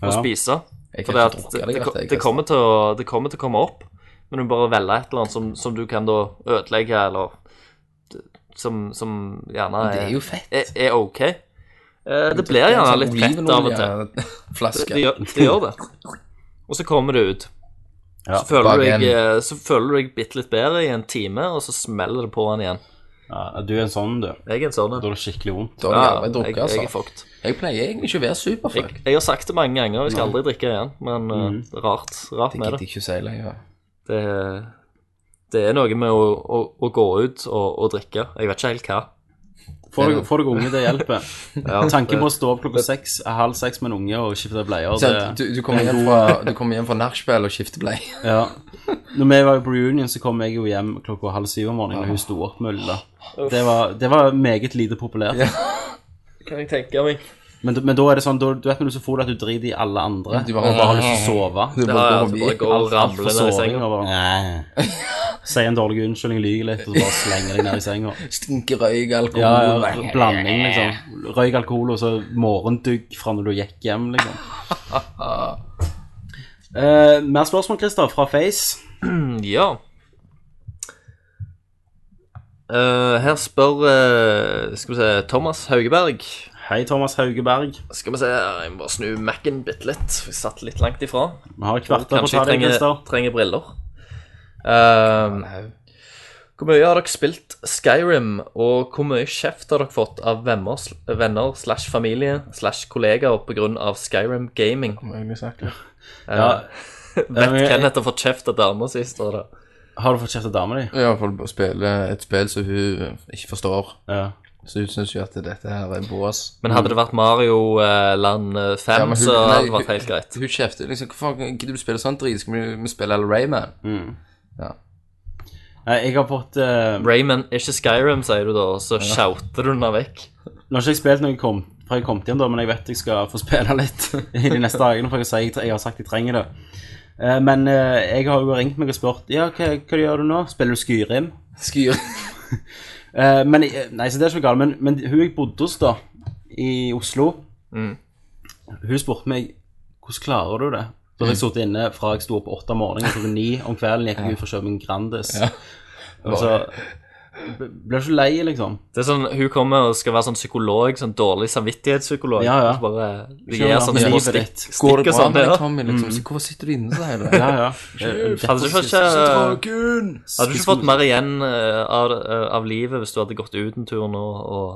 Speaker 8: og
Speaker 6: Ja.
Speaker 8: spise.
Speaker 7: Jeg
Speaker 8: For
Speaker 7: kan
Speaker 8: det,
Speaker 7: ikke
Speaker 8: at,
Speaker 7: drukke
Speaker 8: det,
Speaker 7: deg,
Speaker 8: det,
Speaker 7: vet jeg.
Speaker 8: det, kommer til å, det kommer til å komme opp, men du må bare velge et eller annet som, som du kan da ødelegge, eller d- som, som gjerne
Speaker 7: Det er
Speaker 8: er,
Speaker 7: jo fett.
Speaker 8: er, er OK. Eh, Det blir gjerne
Speaker 7: sånn
Speaker 8: litt fett av og til. Det,
Speaker 7: Flaske.
Speaker 8: det, gjør, det gjør det. Og så kommer det ut.
Speaker 6: Ja,
Speaker 8: så, føler du
Speaker 7: bak
Speaker 8: deg,
Speaker 7: en-
Speaker 8: eh, så føler du deg bitte litt bedre i en time, og så smeller det på han igjen.
Speaker 6: Ja, du er en sånn, du. Da
Speaker 8: Jeg er en sånn en.
Speaker 6: er det skikkelig vondt.
Speaker 7: Da har jeg aldri drukket,
Speaker 8: jeg, jeg er
Speaker 7: altså.
Speaker 8: fucked.
Speaker 7: Jeg pleier egentlig ikke å være
Speaker 8: Jeg,
Speaker 7: superfuck.
Speaker 6: Mhm.
Speaker 8: jeg har sagt det mange ganger, jeg skal aldri drikke igjen, men eh, rart, rart
Speaker 7: Det
Speaker 8: med
Speaker 7: gidder
Speaker 8: det.
Speaker 7: jeg ikke å si lenger.
Speaker 8: Det, det er noe med å, å, å gå ut og, og drikke. Jeg vet ikke helt hva.
Speaker 6: Får dere, får dere unge, det
Speaker 7: (laughs)
Speaker 6: hjelper.
Speaker 8: Ja,
Speaker 6: Tanken
Speaker 8: det-
Speaker 6: på å stå opp klokka seks, halv seks med en unge og skifte bleier,
Speaker 7: Så
Speaker 6: det
Speaker 7: Sånn, Du, du kommer hjem fra, du kommer hjem fra nachspiel og skifter blei.
Speaker 6: ja. Når vi var på reunion, så kom jeg jo hjem klokka halv syv om morgenen, og hun sto opp med Ulla. Det var, det var meget lite populært.
Speaker 8: Kan jeg tenke meg.
Speaker 6: Men, men da er det sånn, da, du vet når du er så får det at du driter i alle andre
Speaker 7: Du
Speaker 6: Du bare,
Speaker 7: bare-
Speaker 6: og bare har lyst til å sove
Speaker 7: Du
Speaker 8: Ja, ja, så
Speaker 7: bare går
Speaker 8: altså bare
Speaker 7: forbi.
Speaker 8: gå og
Speaker 6: alt
Speaker 8: ramle
Speaker 6: for
Speaker 8: ned i
Speaker 6: såring
Speaker 8: senga.
Speaker 6: og
Speaker 7: (laughs)
Speaker 6: bare Si en dårlig unnskyldning, lyge litt Og så bare slenger deg ned i senga
Speaker 7: (laughs) Stinker røyk, alkohol
Speaker 6: Ja, ja, blanding liksom Røyk alkohol og så morgendugg Fra når du gikk hjem liksom (laughs) Eh, Mer spørsmål, Kristian, fra Face
Speaker 8: Ja. Eh, her spør eh, Skal vi se Thomas Haugeberg.
Speaker 6: Hei Thomas Haugeberg
Speaker 8: Skal vi se, her, Jeg må bare snu Mac-en bitte litt. for Jeg satt litt langt ifra.
Speaker 6: Vi har
Speaker 8: Kanskje
Speaker 6: kvarter på å ta
Speaker 8: jeg
Speaker 6: deg,
Speaker 8: trenger,
Speaker 6: Kristian
Speaker 8: trenger briller. Eh, hvor mye har dere spilt Skyrim, og hvor mye kjeft har dere fått av venner, venner slash familie slash kollegaer pga. Skyrim gaming? Eh,
Speaker 6: ja,
Speaker 8: vet
Speaker 6: men jeg-
Speaker 8: Kenneth har fått kjeft av dama sist. og det-
Speaker 6: Har du fått kjeft av damen din?
Speaker 7: I hvert fall spille et spill som hun ikke forstår.
Speaker 6: Ja
Speaker 7: Så hun syns jo at dette her er bås.
Speaker 8: Men hadde det vært Mario eh, Land eh, 5,
Speaker 7: Ja, men hun-
Speaker 8: så hadde det
Speaker 7: nei,
Speaker 8: vært helt greit.
Speaker 7: Hun kjefter liksom Hvorfor gidder du spille sånn drit? Skal vi, vi spille eller Rayman?
Speaker 6: Nei, Jeg har fått eh,
Speaker 8: Rayman, ikke Skyrim, sier du da, og så shouter du den vekk.
Speaker 6: Nå har ikke jeg spilt når jeg kom, fra jeg kom hjem, da, men jeg vet jeg skal få spille litt (laughs) i de neste dagene. For jeg, sier, jeg, tre- jeg har sagt jeg trenger det. Eh, Men eh, jeg har jo ringt meg og spurt ja, hva, hva gjør du nå. Spiller du Skyrim?
Speaker 7: Skyr.
Speaker 6: Eh, men, jeg- nei, så det er ikke galt, men, men hun jeg bodde hos da, i Oslo,
Speaker 7: Mm.
Speaker 6: hun spurte meg hvordan klarer du det? Da
Speaker 7: Mm.
Speaker 6: hadde jeg sittet inne fra jeg sto opp åtte om morgenen til ni om kvelden, gikk jeg ut for å kjøpe en Grandis. Og så ble jeg så lei, liksom.
Speaker 8: Det er sånn, Hun kommer og skal være sånn psykolog, sånn dårlig samvittighetspsykolog.
Speaker 6: Ja, ja.
Speaker 8: og så Bare, de
Speaker 6: Skjønner
Speaker 8: gir
Speaker 6: at
Speaker 8: sånne
Speaker 6: livet
Speaker 8: små
Speaker 6: ditt
Speaker 8: stikk,
Speaker 7: Går
Speaker 8: stikk og
Speaker 7: det bra
Speaker 8: sånn.
Speaker 7: med deg,
Speaker 8: Ja.
Speaker 7: Tommy? Liksom, så, Hvorfor sitter du inne så hele
Speaker 6: Ja, ja. Eh,
Speaker 8: Hadde du ikke,
Speaker 7: Dragen!
Speaker 8: hadde du ikke fått mer igjen eh, av, eh, av livet hvis du hadde gått ut en tur nå og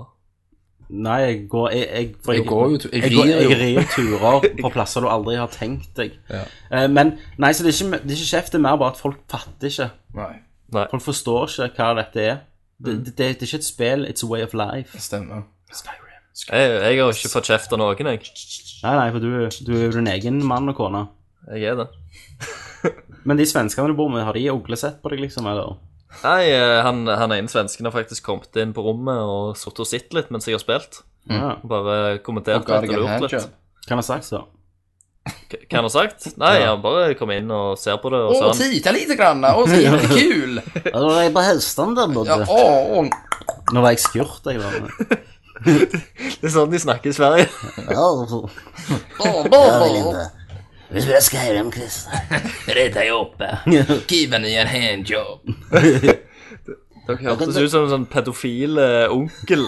Speaker 6: Nei, jeg går Jeg, jeg, for
Speaker 7: Jeg går jo tu- jeg
Speaker 6: jeg, går-
Speaker 7: rir jo.
Speaker 6: jeg rir turer på plasser du aldri har tenkt deg.
Speaker 7: Ja.
Speaker 6: Eh, men nei, så det er, ikke, det er ikke kjeft, det er mer bare at folk fatter ikke.
Speaker 7: Nei,
Speaker 8: Nei.
Speaker 6: Folk forstår ikke hva dette er. Det, det, det er ikke et spill, it's a way of life.
Speaker 7: Mm. det stemmer.
Speaker 8: Jeg, jeg har ikke fått kjeft av noen, jeg.
Speaker 6: Nei, nei, for du, du er jo din egen mann og kone.
Speaker 8: Jeg er det.
Speaker 6: Men de svenskene du bor med, har de uglesett på deg, liksom? Eller?
Speaker 8: Nei, eh, han, han ene svensken har faktisk kommet inn på rommet og sittet og sett litt mens jeg har spilt.
Speaker 7: Mm.
Speaker 6: Ja.
Speaker 8: Bare kommentert
Speaker 7: Og ga
Speaker 8: litt
Speaker 7: deg
Speaker 8: og
Speaker 7: en
Speaker 8: lurt litt.
Speaker 7: handjob.
Speaker 6: Kan jeg sagt så?
Speaker 8: K- Hva han har sagt? Nei, han bare kom inn og ser på det, og sånn?
Speaker 7: Å,
Speaker 8: så han
Speaker 7: titta lite grann! Å,
Speaker 8: (laughs)
Speaker 7: så himla kul!
Speaker 6: Ja, da var jeg på hestene der,
Speaker 7: Ja, å, å.
Speaker 6: Nå var jeg skurt, jeg. Da.
Speaker 8: Det er sånn de snakker i Sverige.
Speaker 6: Ja,
Speaker 7: Å, å, å.
Speaker 6: Vi spiller Skyrim, Chris.
Speaker 7: Redd deg oppe. Give me a handjob.
Speaker 8: Dere hørtes ut som en sånn pedofil eh, onkel.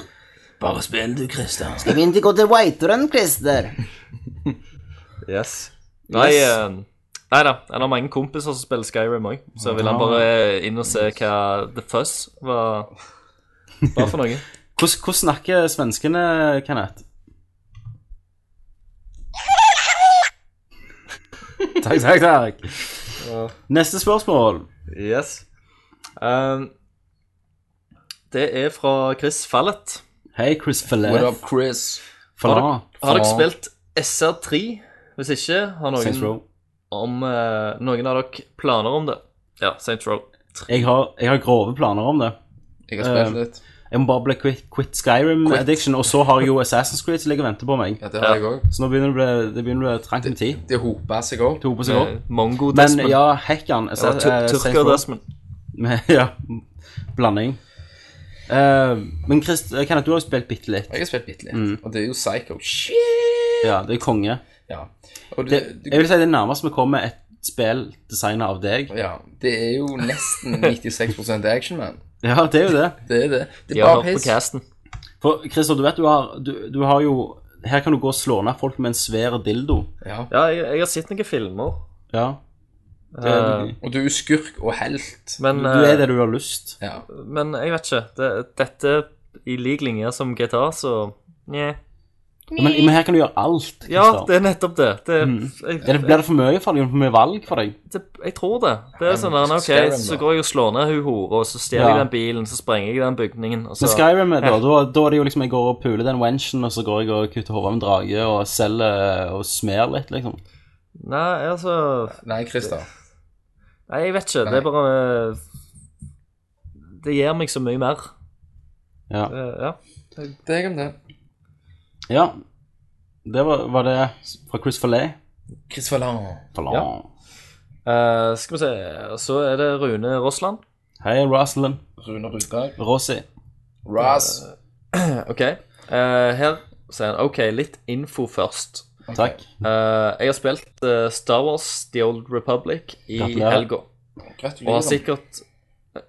Speaker 7: Bare spill, du, Christian.
Speaker 6: Skal vi ikke gå til Whiterun, Christer?
Speaker 8: Yes. Nei, eh, nei da. Han har mange kompiser som spiller Skyrim òg, så vil han bare inn og se hva The Fuzz var, var for noe.
Speaker 6: Hvordan, hvordan snakker svenskene, Kenneth?
Speaker 7: (laughs)
Speaker 6: takk, takk, takk. Neste spørsmål.
Speaker 8: (laughs) Yes. Um, det er fra Chris Fallet.
Speaker 6: Hei, Chris
Speaker 7: What
Speaker 6: Fillet.
Speaker 7: up, Chris?
Speaker 8: Har
Speaker 6: Falla.
Speaker 8: dere, har dere
Speaker 7: Faen.
Speaker 8: spilt SR3? Hvis ikke, har
Speaker 6: Saints
Speaker 8: noen,
Speaker 6: Row.
Speaker 8: om, eh, noen av dere planer om det? Ja, Saints Row.
Speaker 6: Jeg har, jeg har grove planer om det.
Speaker 7: Jeg har spilt litt.
Speaker 6: Jeg må bare bli quit, quit Skyrim
Speaker 7: Quit.
Speaker 6: Addiction, og så har jeg jo Assassin's Creed som ligger og venter på meg.
Speaker 7: Ja, det har jeg òg.
Speaker 6: Så nå begynner det å bli, det begynner å bli trangt med tid.
Speaker 7: Det hopa seg opp.
Speaker 6: Det hoper seg opp.
Speaker 8: Eh, Mongo
Speaker 6: Men
Speaker 8: Desmond.
Speaker 6: ja, eh, hekkan
Speaker 8: Eller tu- Turker
Speaker 6: (laughs)
Speaker 8: Desmond.
Speaker 6: Ja, blanding. Eh, men Chris, Kenneth, du har jo spilt bitte litt.
Speaker 7: Jeg har spilt bitte litt. Og det er jo psycho. Shit!
Speaker 6: Ja, det er konge.
Speaker 7: Ja. Og
Speaker 6: Det,
Speaker 7: det,
Speaker 6: jeg vil si det nærmeste vi kommer et spill designet av deg. (laughs)
Speaker 7: ja, det er jo nesten 96 action, man.
Speaker 6: Ja, det er jo det.
Speaker 7: Det er det. Det
Speaker 8: De
Speaker 7: er
Speaker 8: har
Speaker 7: bare
Speaker 8: hørt på
Speaker 7: piss.
Speaker 8: casten.
Speaker 6: For Christer, du vet du har, du, du har jo Her kan du gå og slå ned folk med en svær dildo.
Speaker 7: Ja.
Speaker 8: Ja, jeg, jeg har sett noen filmer.
Speaker 6: Ja. Det,
Speaker 8: Eh,
Speaker 7: Og du er skurk og helt.
Speaker 8: Men,
Speaker 6: du er
Speaker 8: eh,
Speaker 6: det du har lyst.
Speaker 7: Ja.
Speaker 8: men jeg vet ikke. Det, dette i lik linje som GTA, så Nja.
Speaker 6: Ja, Men, men her kan du gjøre alt.
Speaker 8: Ja,
Speaker 6: Christer.
Speaker 8: det er nettopp det. det
Speaker 6: Ja,
Speaker 8: jeg,
Speaker 6: Mm. det blir det for mye for deg? For mye valg for deg?
Speaker 8: det, jeg tror det. Det er sånn der,
Speaker 7: Skyrim,
Speaker 8: ok,
Speaker 7: da.
Speaker 8: så går jeg og slår ned hun hora, og så stjeler
Speaker 6: Ja.
Speaker 8: jeg den bilen, så sprenger jeg den bygningen, og så
Speaker 6: Men Skyrim, eh, da, da, da er det jo liksom jeg går og puler den wenchen, og så går jeg og kutter hodet av en drage og selger eh, og smer litt, liksom.
Speaker 8: Nei, altså
Speaker 7: Nei, Christer.
Speaker 8: Nei, jeg vet ikke. Det er bare Det gir meg så mye mer.
Speaker 6: Ja.
Speaker 8: Det, ja.
Speaker 7: Deg om det.
Speaker 6: ja. Det var, var det fra Chris Fallet.
Speaker 7: Chris Valland.
Speaker 6: Fallet.
Speaker 8: Ja. Eh, skal vi se Så er det Rune Rossland.
Speaker 6: Hei, Rosalind.
Speaker 7: Rune Rudberg.
Speaker 6: Rossi.
Speaker 7: Ras.
Speaker 8: OK. Eh, her sier han OK, litt info først.
Speaker 6: Takk.
Speaker 8: Eh, jeg har spilt eh, Star Wars The Old Republic i
Speaker 6: Gratulerer.
Speaker 8: helga. Og har
Speaker 7: Gratulerer.
Speaker 8: sikkert,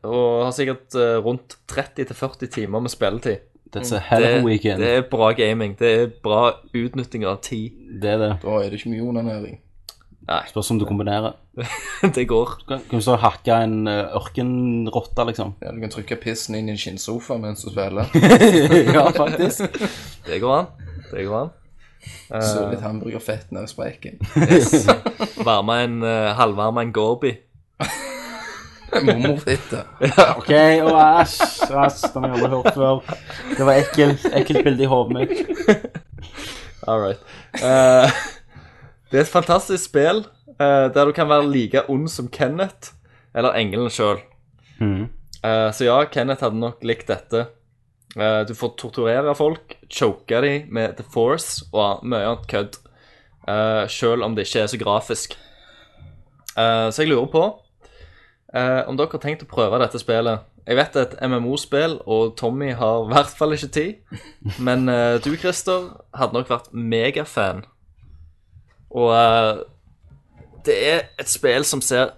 Speaker 8: og har sikkert eh, rundt 30-40 timer med spilletid.
Speaker 6: That's a hell of a
Speaker 8: det,
Speaker 6: weekend.
Speaker 8: det er bra gaming. Det er bra utnytting av tid. (laughs)
Speaker 6: Det er det.
Speaker 7: Da er det ikke mye onanering.
Speaker 6: Spørs om du kombinerer.
Speaker 8: det går.
Speaker 6: Kan, kan du så hakke en eh, ørkenrotte,
Speaker 8: (laughs)
Speaker 6: liksom?
Speaker 7: Ja, du kan trykke pissen inn i en skinnsofa mens du spiller.
Speaker 6: ja, faktisk.
Speaker 8: Det går an. Det går an. Eh.
Speaker 7: Så litt hamburgerfett ned i (laughs) spreken.
Speaker 8: Varme en uh, halvvarme en Gorby.
Speaker 7: Mormorfitte.
Speaker 6: OK, og æsj, æsj, det har vi aldri hørt før. Det var ekkelt, ekkelt bilde i hodet mitt.
Speaker 8: All right. Eh, (laughs) det er et fantastisk spill eh, der du kan være like ond som Kenneth eller engelen sjøl.
Speaker 6: Mhm.
Speaker 8: så ja, Kenneth hadde nok likt dette. Eh, du får torturere folk, choke dem med The Force og mye annet kødd. Uh, sjøl om det ikke er så grafisk. Eh, så jeg lurer på eh, om dere har tenkt å prøve dette spillet. Jeg vet det er et MMO-spill, og Tommy har i hvert fall ikke tid. Men eh, du, Christer, hadde nok vært megafan. Og eh, det er et spill som ser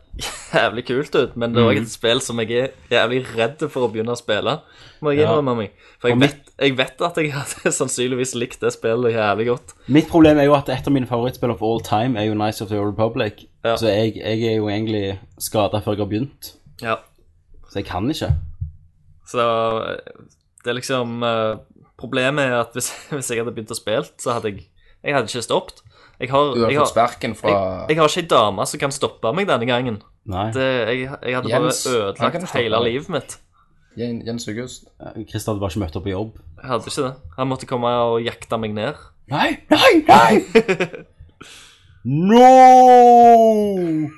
Speaker 8: jævlig kult ut, men det er
Speaker 6: Mm.
Speaker 8: òg et spill som jeg er jævlig redd for å begynne å spille. Må jeg
Speaker 6: Ja.
Speaker 8: innrømme meg. For
Speaker 6: Og
Speaker 8: jeg
Speaker 6: mitt-
Speaker 8: vet, jeg vet at jeg hadde (laughs) sannsynligvis likt det spillet jævlig godt.
Speaker 6: Mitt problem er jo at et av mine favorittspill of all time er jo Nice of the Old Republic.
Speaker 8: Ja.
Speaker 6: Så jeg, jeg er jo egentlig skada før jeg har begynt.
Speaker 8: Ja.
Speaker 6: Så jeg kan ikke.
Speaker 8: Så eh, det er liksom eh, Problemet er at hvis, (laughs) hvis jeg hadde begynt å spille, så hadde jeg Jeg hadde ikke stoppet. Jeg har,
Speaker 7: Du har
Speaker 8: jeg
Speaker 7: fått
Speaker 8: har,
Speaker 7: sparken
Speaker 8: jeg,
Speaker 7: fra
Speaker 8: jeg har ikke ei dame som kan stoppe meg denne gangen.
Speaker 6: Nei.
Speaker 8: Det, jeg, jeg hadde bare
Speaker 7: Jens, han kan
Speaker 8: ødelagt
Speaker 7: stoppe
Speaker 8: hele
Speaker 7: deg.
Speaker 8: livet mitt.
Speaker 7: Jen- Jens August.
Speaker 6: Christer hadde bare ikke møtt opp på jobb.
Speaker 8: Jeg hadde ikke det. Han måtte komme og jakte meg ned.
Speaker 6: Nei, nei, nei! no!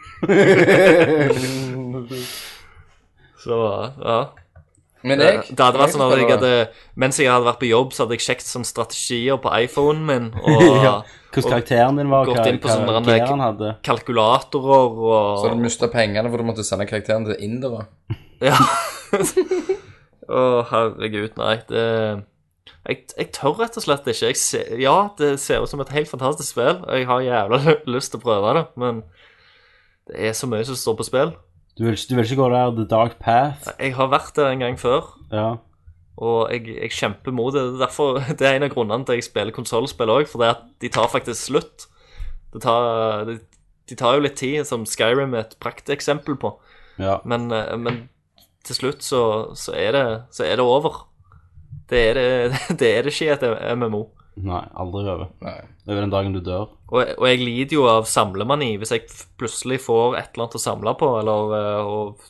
Speaker 8: Så ja.
Speaker 7: Men
Speaker 8: Det,
Speaker 7: jeg
Speaker 8: det hadde vært sånn at jeg
Speaker 7: spiller-
Speaker 8: hadde, mens jeg hadde vært på jobb, så hadde jeg sjekket sånn strategier på iPhonen min,
Speaker 7: (laughs)
Speaker 8: og
Speaker 6: Ja. Hvordan karakteren din var,
Speaker 8: Gått
Speaker 6: hva
Speaker 8: inn på sånn
Speaker 6: hva
Speaker 8: der-
Speaker 6: gear han hadde.
Speaker 8: kalkulatorer
Speaker 7: Så hadde
Speaker 8: og
Speaker 7: du mista pengene for du måtte sende karakteren til indere.
Speaker 8: Ja. (laughs) Å, herregud, nei. Det jeg, jeg tør rett og slett ikke. Jeg ser, ja, det ser ut som et helt fantastisk spill. og Jeg har jævla (laughs) ly- lyst til å prøve det, men det er så mye som står på spill.
Speaker 6: Du vil, ikke- du vil ikke gå der the dark path?
Speaker 8: Jeg har vært der en gang før,
Speaker 6: Ja.
Speaker 8: og jeg, jeg kjemper mot det. Det er Derfor, (laughs) det er en av grunnene til at jeg spiller konsollspill òg, for det er at de tar faktisk slutt. Det tar, de, de tar jo litt tid, som Skyrim er et prakteksempel på,
Speaker 6: ja.
Speaker 8: men, eh, men til slutt så, så, er det, så er det over. Det er det, (laughs) det er det ikke i et MMO.
Speaker 6: Nei, aldri over.
Speaker 7: Nei.
Speaker 6: Over den dagen du dør.
Speaker 8: Og, og jeg lider jo av samlemani hvis jeg f- plutselig får et eller annet å samle på, eller eh, og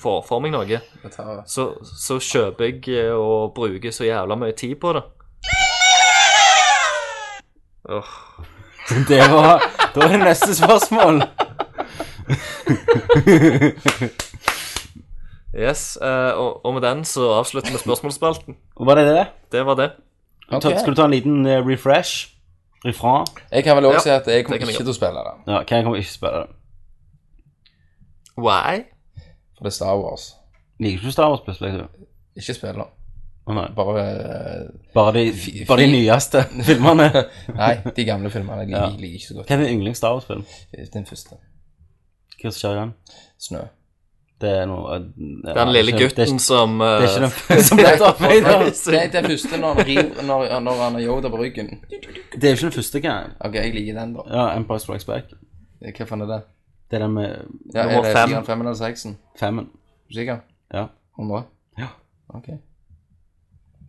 Speaker 8: får for meg noe.
Speaker 7: Jeg tar
Speaker 8: så, så kjøper jeg eh, og bruker så jævla mye tid på det. Åh,
Speaker 6: Det var Da er det neste spørsmål.
Speaker 8: Yes, eh, og, og med den så avslutter vi spørsmålsspalten.
Speaker 6: Var det det?
Speaker 8: Det var det.
Speaker 7: Ok.
Speaker 6: Ta, skal du ta en liten eh, refresh? Refrain?
Speaker 7: Jeg kan vel
Speaker 8: Ja,
Speaker 7: også si at jeg kommer
Speaker 8: det kan jeg
Speaker 7: ikke til å spille det.
Speaker 6: Ja, ok, jeg kommer ikke til å spille det.
Speaker 8: Why?
Speaker 7: For det er Star Wars.
Speaker 6: Liker ikke du Star Wars plutselig? du?
Speaker 7: Ikke spille det.
Speaker 6: Å nei.
Speaker 7: Bare eh,
Speaker 6: Bare de,
Speaker 7: Fy-
Speaker 6: bare de
Speaker 7: fy- (laughs)
Speaker 6: nyeste filmene.
Speaker 7: Nei, de gamle filmene jeg liker,
Speaker 6: (laughs) Ja.
Speaker 7: liker ikke så godt.
Speaker 6: Hva er din yndlings Star Wars-film?
Speaker 7: Den første.
Speaker 6: Hva som skjer igjen?
Speaker 8: (laughs)
Speaker 7: Snø.
Speaker 6: Det er noe eh, ja,
Speaker 8: Den lille
Speaker 6: det er ikke-
Speaker 8: gutten (laughs) som
Speaker 6: Det er ikke
Speaker 8: eh,
Speaker 6: den som (laughs) ble tatt av
Speaker 7: Nei,
Speaker 6: Vader.
Speaker 7: det er den første når han river når, når han har Yoda på ryggen.
Speaker 6: Det er jo ikke den første, hva?
Speaker 7: OK, jeg liker den, da.
Speaker 6: Ja, Empire Strikes Back.
Speaker 7: Hva faen er det?
Speaker 6: Det er den med
Speaker 7: Ja,
Speaker 8: Nummer
Speaker 7: er det
Speaker 8: fem.
Speaker 7: 4, 5 eller 6? Er
Speaker 6: femmen.
Speaker 7: du sikker?
Speaker 6: Ja.
Speaker 7: 100?
Speaker 6: Ja.
Speaker 7: OK.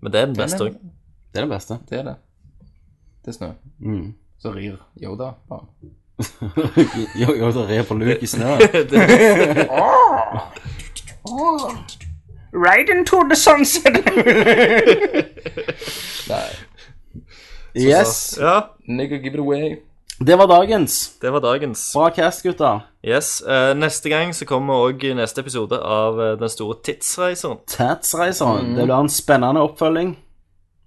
Speaker 8: Men det er den beste òg.
Speaker 6: Det er den beste. (laughs)
Speaker 7: Det er det. Det er snø.
Speaker 6: Mm.
Speaker 7: Så rir Yoda på han.
Speaker 6: Jo, jo, det rer på luk i
Speaker 7: (laughs)
Speaker 6: snø.
Speaker 7: Nei.
Speaker 6: Yes.
Speaker 8: Ja,
Speaker 7: Nigga, give it away.
Speaker 6: Det var dagens.
Speaker 8: det var dagens.
Speaker 6: Bra cast, gutter.
Speaker 8: Yes, eh, Neste gang så kommer òg neste episode av eh, Den store tidsreiseren.
Speaker 7: Mm.
Speaker 6: Tatsreiseren. Det blir en spennende oppfølging.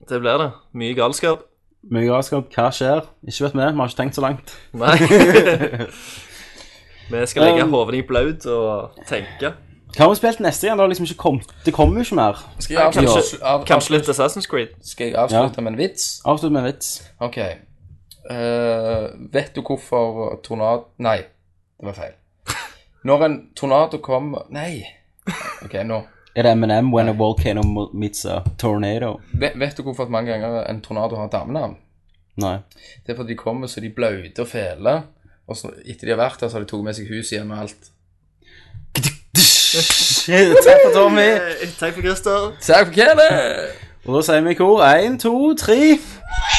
Speaker 8: Det blir det. Mye galskap.
Speaker 6: Mye galskap. Hva skjer? Ikke vet vi. Vi har ikke tenkt så langt.
Speaker 8: (laughs) Nei. Vi skal legge
Speaker 6: Um.
Speaker 8: hodet i blaut og tenke.
Speaker 6: Hva har vi spilt neste igjen? Det, har liksom ikke kommet- det kommer jo ikke mer.
Speaker 7: Skal jeg avslutte,
Speaker 8: Kanskje,
Speaker 7: av,
Speaker 8: kanskje litt Assassin's Creed.
Speaker 7: skal jeg avslutte med en vits?
Speaker 6: Avslutt med en vits.
Speaker 7: Ok. Eh, vet du hvorfor tornado... Nei, det var feil. Når en tornado kommer... Nei. Ok, nå.
Speaker 6: Er det M&M when a volcano meets a tornado?
Speaker 7: Vet, vet du hvorfor at mange ganger en tornado har damenavn?
Speaker 6: Nei. (laughs)
Speaker 7: Det er fordi de kommer så de blaute og fele, og så etter de har vært der, så har de tatt med seg hus igjen og alt.
Speaker 6: Takk for Tommy.
Speaker 8: Eh, Takk for Christer.
Speaker 7: Takk for kjære!
Speaker 6: Og da sier vi i kor én, to, tre.